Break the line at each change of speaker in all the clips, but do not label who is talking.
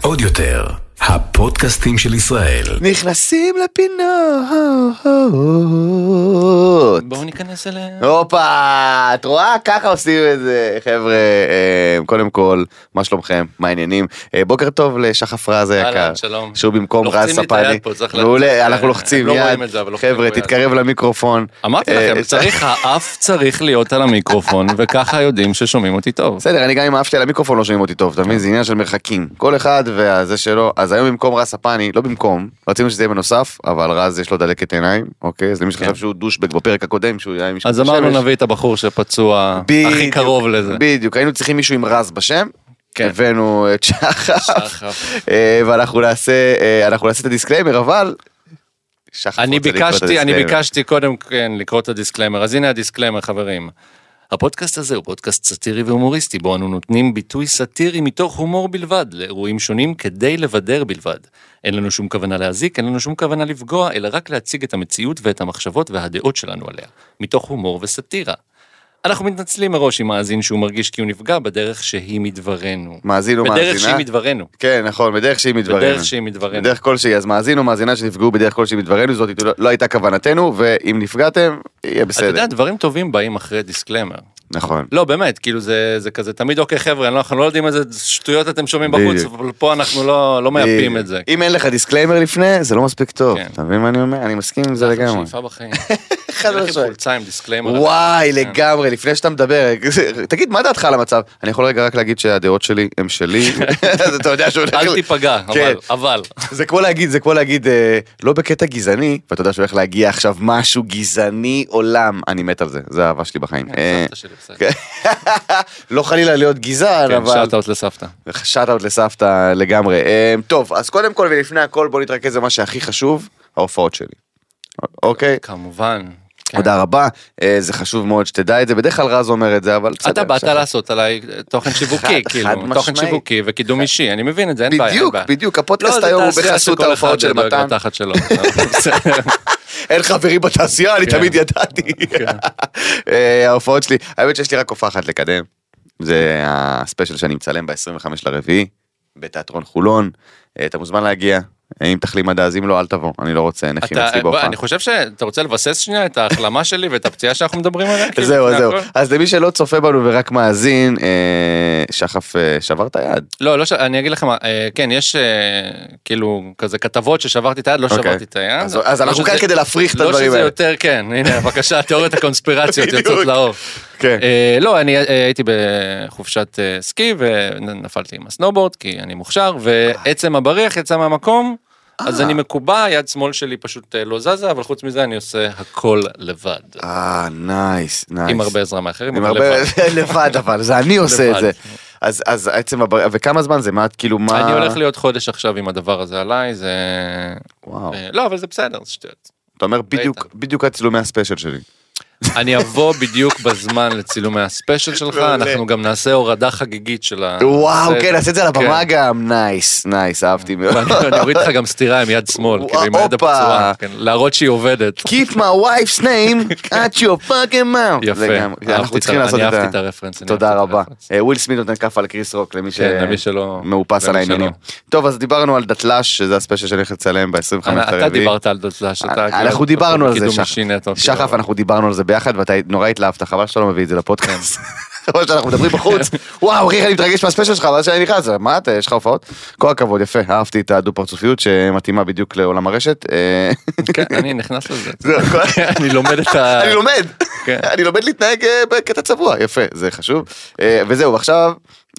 עוד יותר, הפודקאסטים של ישראל.
נכנסים לפינות.
בואו ניכנס אליהם.
לא. הופה, את רואה? ככה עושים את זה. חבר'ה, אה, קודם כל, מה שלומכם? מה העניינים? אה, בוקר טוב לשחף רז היקר.
אהלן, שלום.
שהוא במקום רז
לוחצים לי את היד
ספני.
פה, צריך להגיד.
מעולה, אנחנו לוחצים
הם לא
יד.
רואים את זה, אבל לוחצים
חבר'ה,
פה יד.
תתקרב למיקרופון.
אמרתי
אה,
לכם, צריך, האף צריך להיות על המיקרופון, וככה יודעים ששומעים אותי טוב.
בסדר, אני גם עם האף שלי על המיקרופון לא שומעים אותי טוב, אתה מבין? זה עניין של מרחקים. כל אחד והזה שלו, אז היום במקום רז ספני, לא במקום, רצינו שזה יהיה בנוסף, אבל רז יש לו דלקת עיניים, אוקיי? אז למי שחשב
כן.
שהוא דושבק בפרק הקודם, שהוא היה עם
אז אמרנו נביא את הבחור שפצוע הכי
בדיוק,
קרוב לזה.
בדיוק, היינו צריכים מישהו עם רז בשם,
כן.
הבאנו את שחף,
שחף.
אה, ואנחנו נעשה אה, אנחנו נעשה את הדיסקליימר, אבל... שחף
אני
רוצה לקרוא את
ביקשתי, אני
הדיסקליימר.
ביקשתי קודם כן לקרוא את הדיסקליימר, אז הנה הדיסקליימר חברים. הפודקאסט הזה הוא פודקאסט סאטירי והומוריסטי, בו אנו נותנים ביטוי סאטירי מתוך הומור בלבד, לאירועים שונים כדי לבדר בלבד. אין לנו שום כוונה להזיק, אין לנו שום כוונה לפגוע, אלא רק להציג את המציאות ואת המחשבות והדעות שלנו עליה, מתוך הומור וסאטירה. אנחנו מתנצלים מראש עם מאזין שהוא מרגיש כי הוא נפגע בדרך שהיא מדברנו.
מאזין
בדרך שהיא
ומאזינה.
מדברנו.
כן, נכון, בדרך שהיא מדברנו.
בדרך שהיא מדברנו.
בדרך כלשהי, אז מאזין או מאזינה שנפגעו בדרך כלשהי מדברנו, זאת לא- לא הייתה כוונתנו, ואם נפגעתם, יהיה
אתה
בסדר.
יודע, דברים טובים באים אחרי דיסקלמר.
נכון.
לא באמת כאילו זה זה כזה תמיד אוקיי חבר'ה אנחנו לא יודעים איזה שטויות אתם שומעים בחוץ
בדיוק.
אבל פה אנחנו לא לא מייפים את זה.
אם אין לך דיסקליימר לפני, זה לא מספיק טוב.
כן.
אתה מבין מה אני אומר? אני מסכים עם זה
אנחנו
לגמרי.
שאיפה בחיים.
חד
אני הולך עם
משמעית.
חולצה עם דיסקליימר.
וואי,
כן.
לגמרי, לפני שאתה מדבר, תגיד, מה דעתך על המצב? אני יכול רגע רק להגיד שהדעות שלי הן שלי, אז אתה יודע שהוא הולך...
אל תיפגע
כן.
אבל אבל
זה כמו להגיד, זה כמו להגיד, אה, לא בקטע גזעני, ואתה יודע שהולך להגיע עכשיו משהו גזעני עולם, אני מת על זה, זה האהבה שלי בחיים. אה,
סבתא שלי, בסדר.
כן. לא חלילה להיות גזען,
כן,
אבל...
שאלת עוד לסבתא.
שאט אאוט לסבתא לגמרי. אה, טוב, אז קודם כל ולפני הכל בוא נתרכז במה שהכי חשוב, ההופעות שלי. אוקיי?
כמובן. כן.
תודה רבה, אה, זה חשוב מאוד שתדע את זה, בדרך כלל רז אומר את זה, אבל בסדר.
אתה באת
בסדר.
לעשות עליי תוכן שיווקי,
חד
כאילו, תוכן
משמעית.
שיווקי וקידום אישי, אני מבין את זה, אין בעיה. אין
בדיוק,
בעיה.
בדיוק,
לא,
הפודקאסט
זה
היום הוא
תעשייה
בחסות
שכל
ההופעות
אחד
של
דואג
מתן.
לתחת שלו. בסדר.
אין חברים בתעשייה, אני
כן.
תמיד ידעתי. אה, ההופעות שלי, האמת שיש לי רק הופעה אחת לקדם. זה הספיישל שאני מצלם ב-25 לרביעי, בתיאטרון חולון. אה, אתה מוזמן להגיע, אה, אם תחלים עד אז, אם לא, אל תבוא, אני לא רוצה נכים
אתה- אה,
אצלי
בוא,
בהופעה.
אני חושב שאתה רוצה לבסס שנייה את ההחלמה שלי ואת הפציעה שאנחנו מדברים עליה? כאילו,
זהו,
לפני
זהו.
הכל?
אז למי שלא צופה בנו ורק מאזין, אה, שחף אה, שבר את היד.
לא, לא ש... אני אגיד לכם, אה, כן, יש אה, כאילו כזה כתבות ששברתי את היד, לא
אוקיי.
שברתי את היד.
אז- אז
לא
אנחנו
שזה-
כאן כדי להפריך את
לא
הדברים
שזה
האלה.
יותר, כן, הנה, בבקשה, תיאוריית הקונספירציות
בדיוק.
יוצאות לאור.
כן.
אה, לא, אני אה, הייתי בחופשת אה, סקי ונפלתי עם הסנובורד, כי אני מוכשר, ועצם הבריח יצא מהמקום, אז
אה.
אני מקובע, יד שמאל שלי פשוט אה, לא זזה, אבל חוץ מזה אני עושה הכל לבד.
אה, נייס, נייס.
עם הרבה עזרה מאחרים,
עם
אבל
הרבה...
לבד.
לבד, אבל זה אני עושה את
לבד.
זה. אז אז עצם הבר... וכמה זמן זה? מה, כאילו, מה...
אני הולך להיות חודש עכשיו עם הדבר הזה עליי, זה...
וואו.
אה, לא, אבל זה בסדר, זה שטויות.
אתה אומר בדיוק,
ראית.
בדיוק הצילומי הספיישל שלי.
אני אבוא בדיוק בזמן לצילומי הספיישל שלך,
מעולה.
אנחנו גם נעשה הורדה חגיגית של ה...
וואו,
זה-
כן, נעשה את זה על הבמה
כן.
גם, נייס, נייס,
אה.
אהבתי מאוד.
ואני אני אוריד לך גם סטירה עם יד שמאל,
וואו,
כאילו עם היד
הופה.
הפצועה, כן, להראות שהיא עובדת.
Keep my wife's name at your fucking mouth.
יפה,
לגמרי.
אהבתי
אנחנו
את
צריכים
ה-
לעשות
אני
את ה...
אהבתי את הרפרנס, אני
תודה
אהבתי את
רבה.
הרפרנס.
אה, וויל סמית נותן כף על קריס רוק, למי ש...
כן, למי שלא-
מאופס על
למי שלא.
העניינים. טוב, אז דיברנו על דתל"ש, שזה הספיישל שאני הולך לצלם ב-25
אני-
הרביעי.
אתה דיברת על דתל"ש, אתה...
אה, אנחנו
כאילו,
דיברנו על זה,
קידום
שחף.
אישי נטו, כאילו.
שחף, אנחנו דיברנו על זה ביחד, ואתה נורא התלהבת, חבל שאתה לא מביא את זה לפודקאסט. חבל שאנחנו מדברים בחוץ. וואו, אחי, אני מתרגש מהספיישל שלך, ואז שאני נכנס, מה אתה, יש לך הופעות? כל הכבוד, יפה, אהבתי את הדו-פרצופיות שמתאימה בדיוק לעולם הרשת. אה,
כן, אני נכנס לזה.
זהו, כל-
אני לומד את ה...
אני לומד,
אה, כן.
אני לומד להתנהג אה, בקטע צבוע, יפה, זה חשוב. אה, וזהו, עכשיו,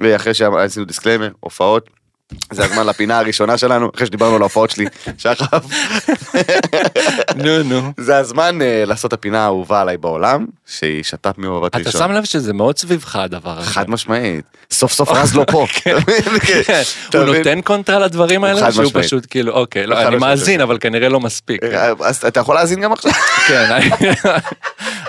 אה, אחרי שעשינו דיסקליימר, הופעות. זה הזמן לפינה הראשונה שלנו, אחרי שדיברנו על ההופעות שלי, שחף.
נו, נו.
זה הזמן אה, לעשות את הפינה האהובה עליי בעולם, שהיא שת"פ מאוהבת ראשון.
אתה שם לב שזה מאוד סביבך הדבר הזה.
חד משמעית. סוף סוף רז לא פה. אתה מבין?
כן,
אתה
הוא
מבין?
נותן קונטרה לדברים
חד
האלה שהוא
משמעית.
פשוט כאילו אוקיי
חד
לא, אני
משמעית. אה.
מאזין אבל כנראה לא מספיק
אז אתה יכול להאזין גם עכשיו?
כן אני-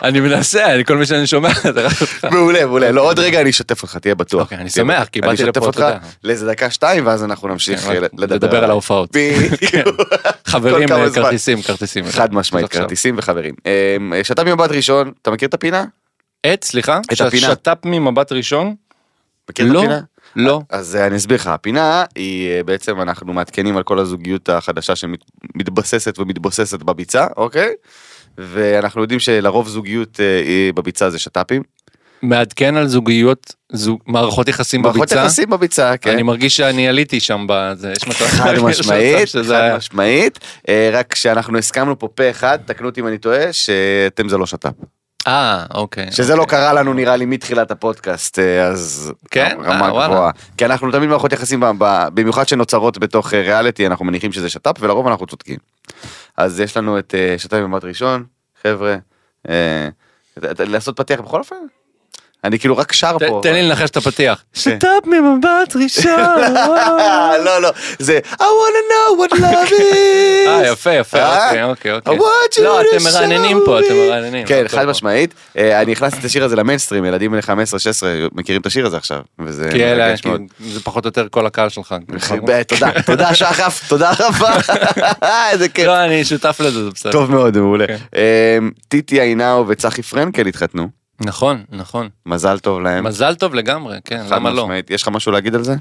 אני מנסה אני כל מי שאני שומע זה רק אותך.
מעולה, מעולה. לא, עוד רגע אני אשתף אותך, תהיה בטוח.
אוקיי, אני
תהיה
שמח,
בטוח.
כי באתי
אני אשתף
לפה,
אותך
תודה.
לאיזה דקה שתיים, ואז אנחנו נמשיך
כן,
אה,
רק
לדבר.
לדבר על ההופעות.
בדיוק.
חברים אה,
כל כמה זמן.
כרטיסים כרטיסים
חד משמעית,
עכשיו.
כרטיסים וחברים. אה, שת"פ ממבט ראשון, אתה מכיר את הפינה?
את סליחה
את הפינה.
שת"פ ממבט ראשון
מכיר את
לא.
הפינה?
לא.
אז אה, אני אסביר לך, הפינה היא אה, בעצם אנחנו מעדכנים על כל הזוגיות החדשה שמתבססת ומתבוססת בביצה, אוקיי? ואנחנו יודעים שלרוב זוגיות אה, היא בביצה זה שת"פים.
מעדכן על זוגיות, זוג, מערכות יחסים
מערכות
בביצה.
יחסים בביצה, כן.
אני מרגיש שאני עליתי שם בזה, יש מצב
חד משמעית,
שזה
חד
היה-
משמעית, אה, רק שאנחנו הסכמנו פה פה אחד, תקנו אותי אם אני טועה, שאתם זה לא שת"פ.
אה, אוקיי.
שזה לא קרה לנו נראה לי מתחילת הפודקאסט, אה, אז
כן?
רמה
אה, וואלה.
גבוהה. כי אנחנו תמיד מערכות יחסים, ב- ב- במיוחד שנוצרות בתוך אה, ריאליטי, אנחנו מניחים שזה שת"פ, ולרוב אנחנו צודקים. אז יש לנו את אה, שת"פ במבט ראשון, חבר'ה, אה, ת- ת- לעשות פתיח בכל אופן? אני כאילו רק שר
ת-
פה. כן.
תן לי לנחש את הפתיח. שת"פ ממבט ראשון.
אה, לא, לא, זה I wanna know what love is.
אה, יפה, יפה,
אה?
אוקיי, אוקיי,
I
אוקיי.
want you
לא,
to
אתם מרעננים
show
פה,
me.
אתם מרעננים. לא,
כן,
הכל
חד
פה.
משמעית. אה, אני הכנסתי את השיר הזה למיינסטרים, ילדים בני 15-16 מכירים את השיר הזה עכשיו. וזה
כי אלה,
מרגש מאוד.
כי זה פחות או יותר כל הקהל שלך.
ב- תודה, תודה שחף, תודה רבה, איזה כיף.
לא, אני שותף לזה, זה בסדר.
כן. טוב מאוד, מעולה.
כן.
אה, טיטי עינאו וצחי פרנקל התחתנו,
נכון, נכון.
מזל טוב להם.
מזל טוב לגמרי, כן,
כן. חד
למה לא?
משמעית. יש לך משהו להגיד על זה?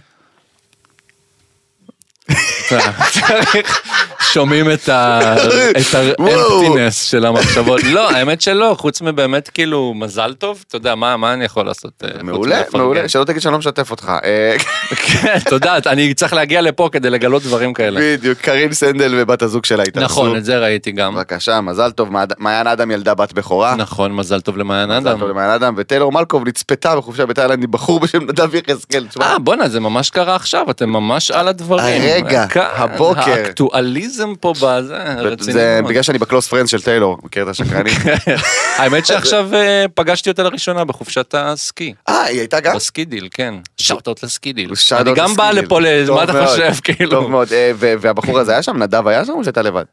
צריך- שומעים את ה- את
וואו.
האמפטינס של המחשבות. לא, האמת שלא, חוץ מבאמת כאילו מזל טוב, אתה יודע, מה מה אני יכול לעשות? אה, חוץ
מעולה,
מלפרגן?
מעולה, שלא תגיד שאני לא משתף אותך. אה,
כן, תודה, אני צריך להגיע לפה כדי לגלות דברים כאלה.
בדיוק, קרין סנדל ובת הזוג שלה התארסו.
לא. נכון, את זה ראיתי גם.
בבקשה, מזל טוב, מעד- מעיין אדם ילדה בת בכורה.
נכון, מזל טוב למעיין
מזל
אדם.
טוב למעיין אדם, וטיילור מלקוב נצפתה בחופשה בתאילנד עם בחור בשם נדב יחזקאל. תשמע,
אה, בואנה, זה ממש קרה עכשיו, אתם ממש על הדברים.
הרגע,
כאן,
הבוקר.
האקטואליזם פה בזה, רציני
זה
מאוד.
בגלל שאני בקלוס פרנד של טיילור, מכיר את השקרנים?
האמת שעכשיו אה, פגשתי אותה לראשונה בחופשת הסקי.
אה, היא הייתה גם?
בסקי דיל, כן. שאוטות לסקי דיל.
שאט
אני
אאוט
גם בא
לסקיל.
לפה, ל-
טוב
מה אתה
מאוד,
חושב,
טוב
כאילו?
מאוד, אה, ו- והבחור הזה היה שם? נדב היה שם או שהייתה לבד?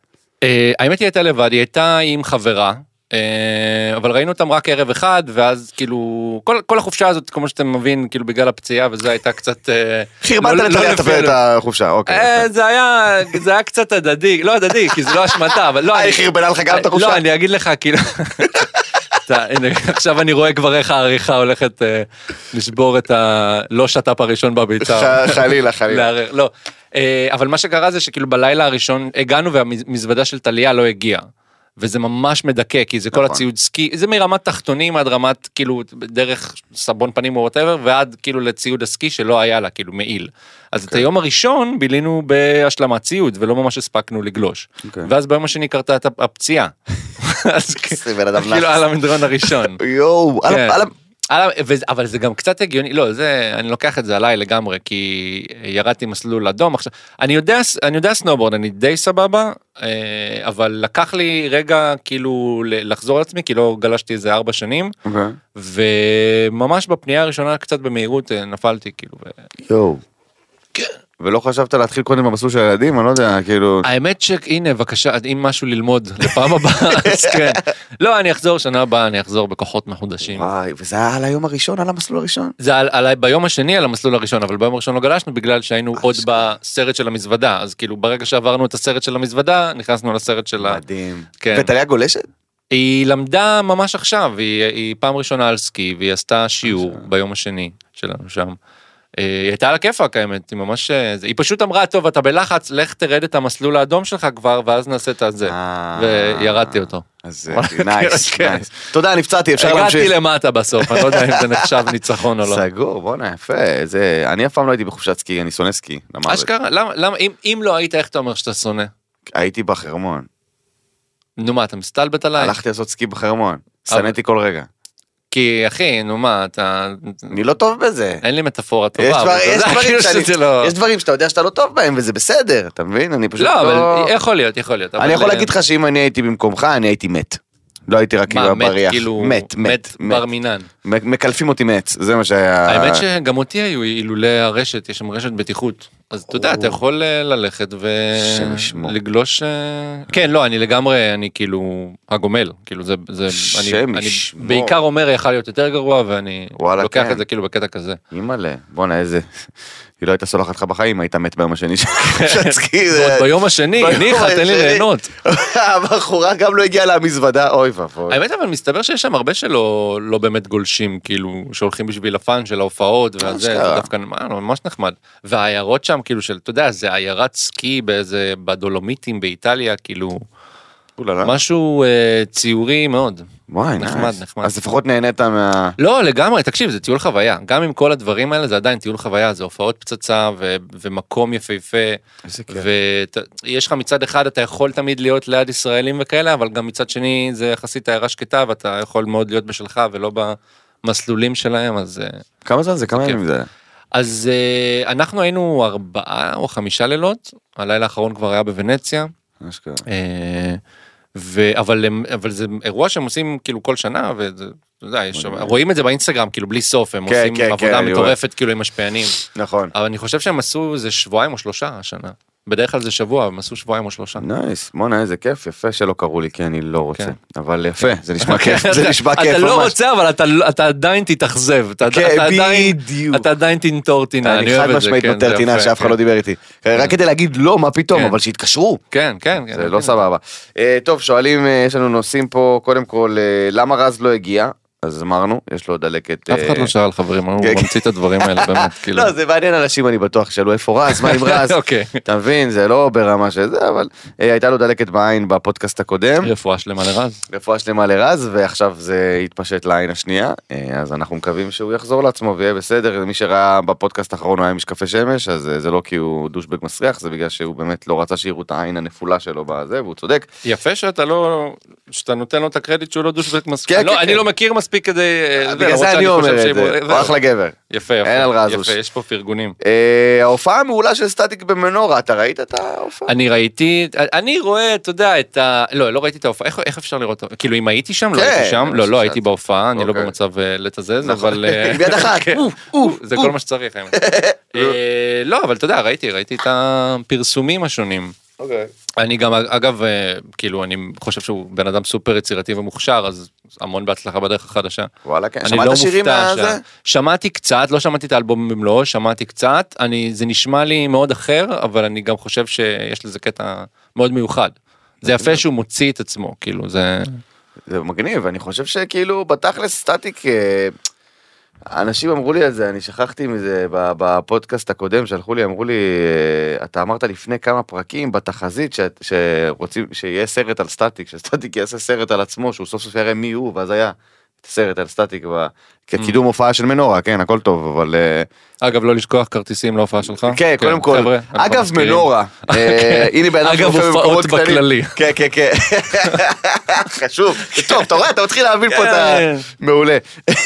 אה, האמת היא הייתה לבד, היא הייתה עם חברה. אה, אבל ראינו אותם רק ערב אחד ואז כאילו כל, כל החופשה הזאת כמו שאתם מבין כאילו בגלל הפציעה וזה הייתה קצת אה,
חרבנת
לא- לא
לטליה
לפי-
את החופשה, אוקיי.
אה, זה היה זה היה קצת הדדי לא הדדי כי זה לא אשמתה אבל לא
אה,
אני-
היא חרבנה לך גם את החופשה?
לא, אני אגיד לך, כאילו... אתה- הנה, עכשיו אני רואה כבר איך העריכה הולכת אה, לשבור את הלא שת"פ הראשון בביצה.
ח- חלילה, חלילה.
לערער, לא. אה, אבל מה שקרה זה שכאילו בלילה הראשון הגענו והמזוודה של טליה לא הגיעה. וזה ממש מדכא, כי זה כל
נכון.
הציוד סקי, זה מרמת תחתונים עד רמת כאילו דרך סבון פנים או וואטאבר, ועד כאילו לציוד הסקי שלא היה לה, כאילו מעיל. אז
אוקיי.
את היום הראשון בילינו בהשלמת ציוד, ולא ממש הספקנו לגלוש.
אוקיי.
ואז ביום השני קרתה את הפציעה. אז
איזה בן אדם
כאילו
נאצי.
על המדרון הראשון.
יואו, על-
כן.
על-
על- וזה- אבל זה גם קצת הגיוני, לא, זה, אני לוקח את זה עליי לגמרי, כי ירדתי מסלול אדום עכשיו. אני יודע, אני יודע סנובורד, אני די סבבה, אה, אבל לקח לי רגע כאילו ל- לחזור לעצמי, כי לא גלשתי איזה ארבע שנים,
אוקיי.
וממש בפנייה הראשונה קצת במהירות אה, נפלתי, כאילו. ו...
יואו.
כן.
ולא חשבת להתחיל קודם במסלול של הילדים? אני לא יודע, כאילו...
האמת שהנה, בבקשה, אם משהו ללמוד לפעם הבאה, אז כן. לא, אני אחזור שנה הבאה, אני אחזור בכוחות מחודשים.
וואי, וזה היה על היום הראשון, על המסלול הראשון?
זה על, על, ביום השני על המסלול הראשון, אבל ביום הראשון לא גלשנו בגלל
אה,
שהיינו עוד בסרט של המזוודה, אז כאילו ברגע שעברנו את הסרט של המזוודה, נכנסנו לסרט של ה...
מדהים.
כן.
וטליה גולשת?
היא למדה ממש עכשיו, היא, היא פעם ראשונה על סקי, והיא עשתה
אה,
שיעור ביום השני שלנו שם. אה, היא הייתה על הכיפאק האמת, היא ממש... אה, זה- היא פשוט אמרה, טוב, אתה בלחץ, לך תרד את המסלול האדום שלך כבר, ואז נעשה את הזה.
אה.
וירדתי אותו.
אז אה, נייס,
כן.
נייס. תודה, נפצעתי, אפשר להמשיך.
הגעתי למטה בסוף, אני לא יודע אם זה נחשב ניצחון או לא.
סגור, בואנה, יפה. זה... אני אף פעם לא הייתי בחופשת סקי, אני שונא סקי. למוות.
אשכרה, למה, למה, אם, אם לא היית, איך אתה אומר שאתה שונא?
הייתי בחרמון.
נו מה, אתה מסתלבט עליי?
הלכתי לעשות סקי בחרמון.
אה. אבל-
שנאתי כל רגע.
כי אחי, נו מה, אתה...
אני לא טוב בזה.
אין לי מטאפורה טובה,
יש דבר-
אה, אבל אתה
יש
יודע,
דברים
כאילו
שאני-
שזה לא...
יש דברים שאתה יודע שאתה לא טוב בהם, וזה בסדר, אתה מבין? אני פשוט
לא,
לא...
אבל יכול להיות, יכול להיות. אבל- אה,
אני יכול להגיד לך שאם אני הייתי במקומך, אני הייתי מת. לא הייתי רק
מה,
כאילו
מת,
בריח.
כאילו...
מת, מת, אה. מת.
בר מינן.
מ- מקלפים אותי מעץ, זה מה שהיה...
האמת שגם אותי היו אילולי הרשת, יש שם רשת בטיחות. אז אתה יודע, אתה יכול אה, ללכת
השם ישמור.
ולגלוש... אה, כן, לא, אני לגמרי, אני כאילו הגומל, כאילו זה... זה- אני-
השם
אני
ישמור.
בעיקר אומר, יכל להיות יותר גרוע, ואני
וואלה,
לוקח
כן.
את זה כאילו בקטע כזה.
אימא'לה, בואנה איזה... היא לא הייתה סולחת לך בחיים, היית מת ביום השני שלך. תזכיר.
ועוד ביום השני,
ביום
ניחא, תן לי
השני.
ליהנות.
הבחורה גם לא הגיעה למזוודה, אוי ואבוי.
האמת אבל מסתבר שיש שם הרבה שלא לא באמת גולשים כאילו שהולכים בשביל הפאן של ההופעות והזה זה
אשכרה.
דווקא מה, ממש נחמד והעיירות שם כאילו של אתה יודע זה עיירת סקי באיזה בדולומיטים באיטליה כאילו
אוללה.
משהו אה, ציורי מאוד
לא. וואי,
נחמד,
nice.
נחמד.
אז לפחות נהנית מה...
לא לגמרי תקשיב זה טיול חוויה גם עם כל הדברים האלה זה עדיין טיול חוויה זה הופעות פצצה ו- ומקום יפהפה
איזה
ויש לך מצד אחד אתה יכול תמיד להיות ליד ישראלים וכאלה אבל גם מצד שני זה יחסית עיירה שקטה ואתה יכול מאוד להיות בשלך ולא במסלולים שלהם אז אה,
כמה זמן זה? כמה
כיף.
ימים זה? היה?
אז אה, אנחנו היינו ארבעה או חמישה לילות הלילה האחרון כבר היה בוונציה.
אשכרה.
אה, ו, אבל, הם, אבל זה אירוע שהם עושים כאילו כל שנה וזה. אתה יודע, יש, שם- רואים את זה באינסטגרם כאילו בלי סוף הם
כן,
עושים
כן, כן,
עבודה
אני
מטורפת כאילו עם משפיענים
נכון.
אבל אני חושב שהם עשו איזה שבועיים או שלושה השנה בדרך כלל זה שבוע הם עשו שבועיים או שלושה.
נייס, בואנה איזה כיף, יפה שלא קראו לי כי אני לא רוצה,
כן.
אבל יפה, זה נשמע כיף, כן, זה
אתה-
נשמע כיף
אתה לא
ממש.
רוצה אבל אתה, אתה עדיין תתאכזב אתה,
כן,
אתה עדיין
בדיוק.
אתה עדיין תנטור טינה
אני
אני אוהב
חד
את זה.
משמעית
כן, זה
נוטל טינה
יפה,
שאף אחד לא
כן.
דיבר איתי, רק כדי להגיד לא, מה פתאום,
כן.
אבל שיתקשרו,
כן כן כן.
זה לא סבבה. אה, טוב, שואלים, אה, יש לנו נושאים פה, קודם כל, אה, למה רז לא הגיע? אז אמרנו, יש לו דלקת...
אף אחד
אה,
לא שאל חברים הוא
כן, כן.
ממציא את הדברים האלה באמת כאילו.
לא, זה מעניין אנשים, אני בטוח, שאלו איפה רז, מה עם רז?
אוקיי.
אתה מבין, זה לא ברמה של זה, אבל אה, הייתה לו דלקת בעין בפודקאסט הקודם.
רפואה שלמה לרז.
רפואה שלמה לרז, ועכשיו זה התפשט לעין השנייה, אה, אז אנחנו מקווים שהוא יחזור לעצמו ויהיה בסדר. מי שראה בפודקאסט האחרון הוא היה עם משקפי שמש, אז אה, זה לא כי הוא דושבג מסריח, זה בגלל שהוא באמת לא רצה שיראו את העין הנפולה שלו בזה, והוא צודק.
יפה שאתה לא שאתה נותן לו את הקרדיט שהוא לא דושבק מספיק.
כן,
לא,
כן,
אני
כן.
לא מכיר מספיק כדי. אה, זה,
בגלל
למרות
זה אני
שאני חושב
אומר את
שאם
זה,
הוא-
הוא אחלה גבר.
יפה יפה.
אין על רז
יפה
הוא-
יש פה פרגונים.
אה, ההופעה המעולה של סטטיק במנורה, אתה ראית את ההופעה?
אני ראיתי אני רואה אתה יודע את ה... לא לא ראיתי את ההופעה איך- איך אפשר לראות אותה? כאילו אם הייתי שם לא
כן,
הייתי שם
אני
לא
חושב
לא הייתי
שאת-
בהופעה אני לא
אוקיי.
במצב אה, לתזז
נכון.
אבל אה,
עם יד אחת,
כן.
אוף, אוף,
זה
אוף.
כל מה שצריך. האמת. אה, לא אבל אתה יודע ראיתי ראיתי את הפרסומים השונים.
אוקיי.
אני גם אגב אה, כאילו אני חושב שהוא בן אדם סופר יצירתי ומוכשר אז המון בהצלחה בדרך החדשה.
וואלה, כן.
אני
שמעת
לא
שירים
מופתע
מהזה?
שה- שמעתי קצת לא שמעתי את האלבום במלואו שמעתי קצת אני זה נשמע לי מאוד אחר אבל אני גם חושב שיש לזה קטע מאוד מיוחד. זה יפה שהוא מוציא את עצמו כאילו זה
זה מגניב, אני חושב שכאילו בתכלס סטטיק, אה, אנשים אמרו לי על זה, אני שכחתי מזה ב- בפודקאסט הקודם, שלחו לי, אמרו לי, אה, אתה אמרת לפני כמה פרקים בתחזית ש, שרוצים, שיהיה סרט על סטטיק, שסטטיק יעשה סרט על עצמו, שהוא סוף סוף יראה מי הוא, ואז היה סרט על סטטיק, ב- כקידום הופעה של מנורה, כן, הכל טוב, אבל... אה,
אגב לא לשכוח כרטיסים להופעה שלך.
כן, קודם כל,
אה? חבר'ה, אנחנו
אגב
מזכירים.
מנורה, אה, הנה בן אדם
אגב,
שמופיע
הופעות
במקומות קטנים.
בכללי.
כן, כן, כן, חשוב, טוב, אתה רואה, אתה מתחיל להבין פה את ה...
כן.
מעולה.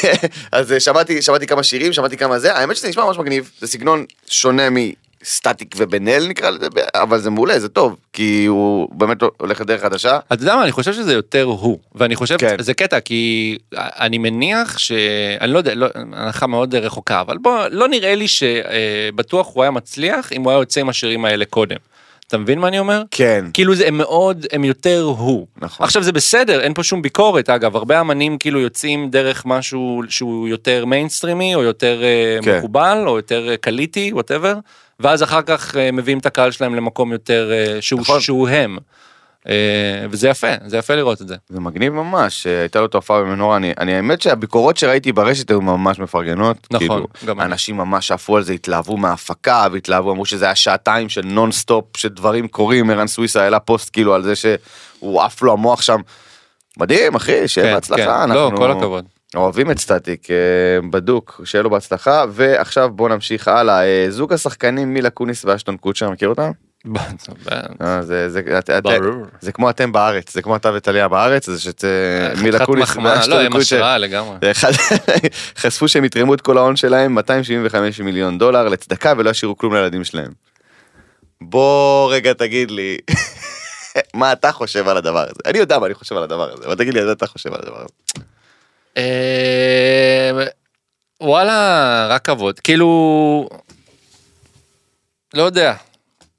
אז אה, שמעתי, שמעתי כמה שירים, שמעתי כמה זה, האמת שזה נשמע ממש מגניב, זה סגנון שונה מסטטיק ובן אל נקרא לזה, אבל זה מעולה, זה טוב, כי הוא באמת הולך לדרך חדשה.
אתה יודע מה, אני חושב שזה יותר הוא, ואני חושב,
כן.
כן. זה קטע, כי אני מניח ש... אני לא יודע, לא, הנחה מאוד רחוקה, אבל בוא, לא נראה לי שבטוח הוא היה מצליח אם הוא היה יוצא עם השירים האלה קודם. אתה מבין מה אני אומר?
כן.
כאילו זה, הם מאוד, הם יותר הוא.
נכון.
עכשיו זה בסדר, אין פה שום ביקורת, אגב, הרבה אמנים כאילו יוצאים דרך משהו שהוא יותר מיינסטרימי, או יותר
כן.
כן. מקובל, או יותר אה, קליטי, וואטאבר, ואז אחר כך אה, מביאים את הקהל שלהם למקום יותר אה, שהוא,
נכון.
נכון. שהוא הם. אה, וזה יפה, זה יפה לראות את זה.
זה מגניב ממש, אה, הייתה לו תופעה במנורה, אני, אני האמת שהביקורות שראיתי ברשת היו ממש מפרגנות.
נכון,
גם
גם אני.
אנשים ממש שעפו על זה, התלהבו מההפקה, והתלהבו, אמרו שזה היה שעתיים של נונסטופ, שדברים קורים, ערן סוויסה העלה פוסט כאילו על זה שהוא עף לו המוח שם. מדהים אחי, שיהיה
כן,
בהצלחה,
כן.
אנחנו...
לא, כל הכבוד.
אוהבים את סטטיק, אה, בדוק, שיהיה לו בהצלחה, ועכשיו בוא נמשיך הלאה, אה, זוג השחקנים מילה קוניס ואשטון קוצ'ר, מכיר אותם? אה, זה, זה, את, את,
ברור.
זה כמו אתם בארץ, זה כמו אתה וטליה בארץ, זה שאת אה, מילה
חתיכת
קוניס
מחמאה,
ואשטון
לא, הם
קוצ'ר.
השראה לגמרי.
זה אחד- חשפו שהם יתרמו את כל ההון שלהם, 275 מיליון דולר לצדקה ולא ישאירו כלום לילדים שלהם. בוא רגע תגיד לי, מה אתה חושב על הדבר הזה? אני יודע מה אני חושב על הדבר הזה, אבל תגיד לי, אז אתה חושב על הדבר הזה.
אמ, אה, וואלה, רק כבוד. כאילו, לא יודע,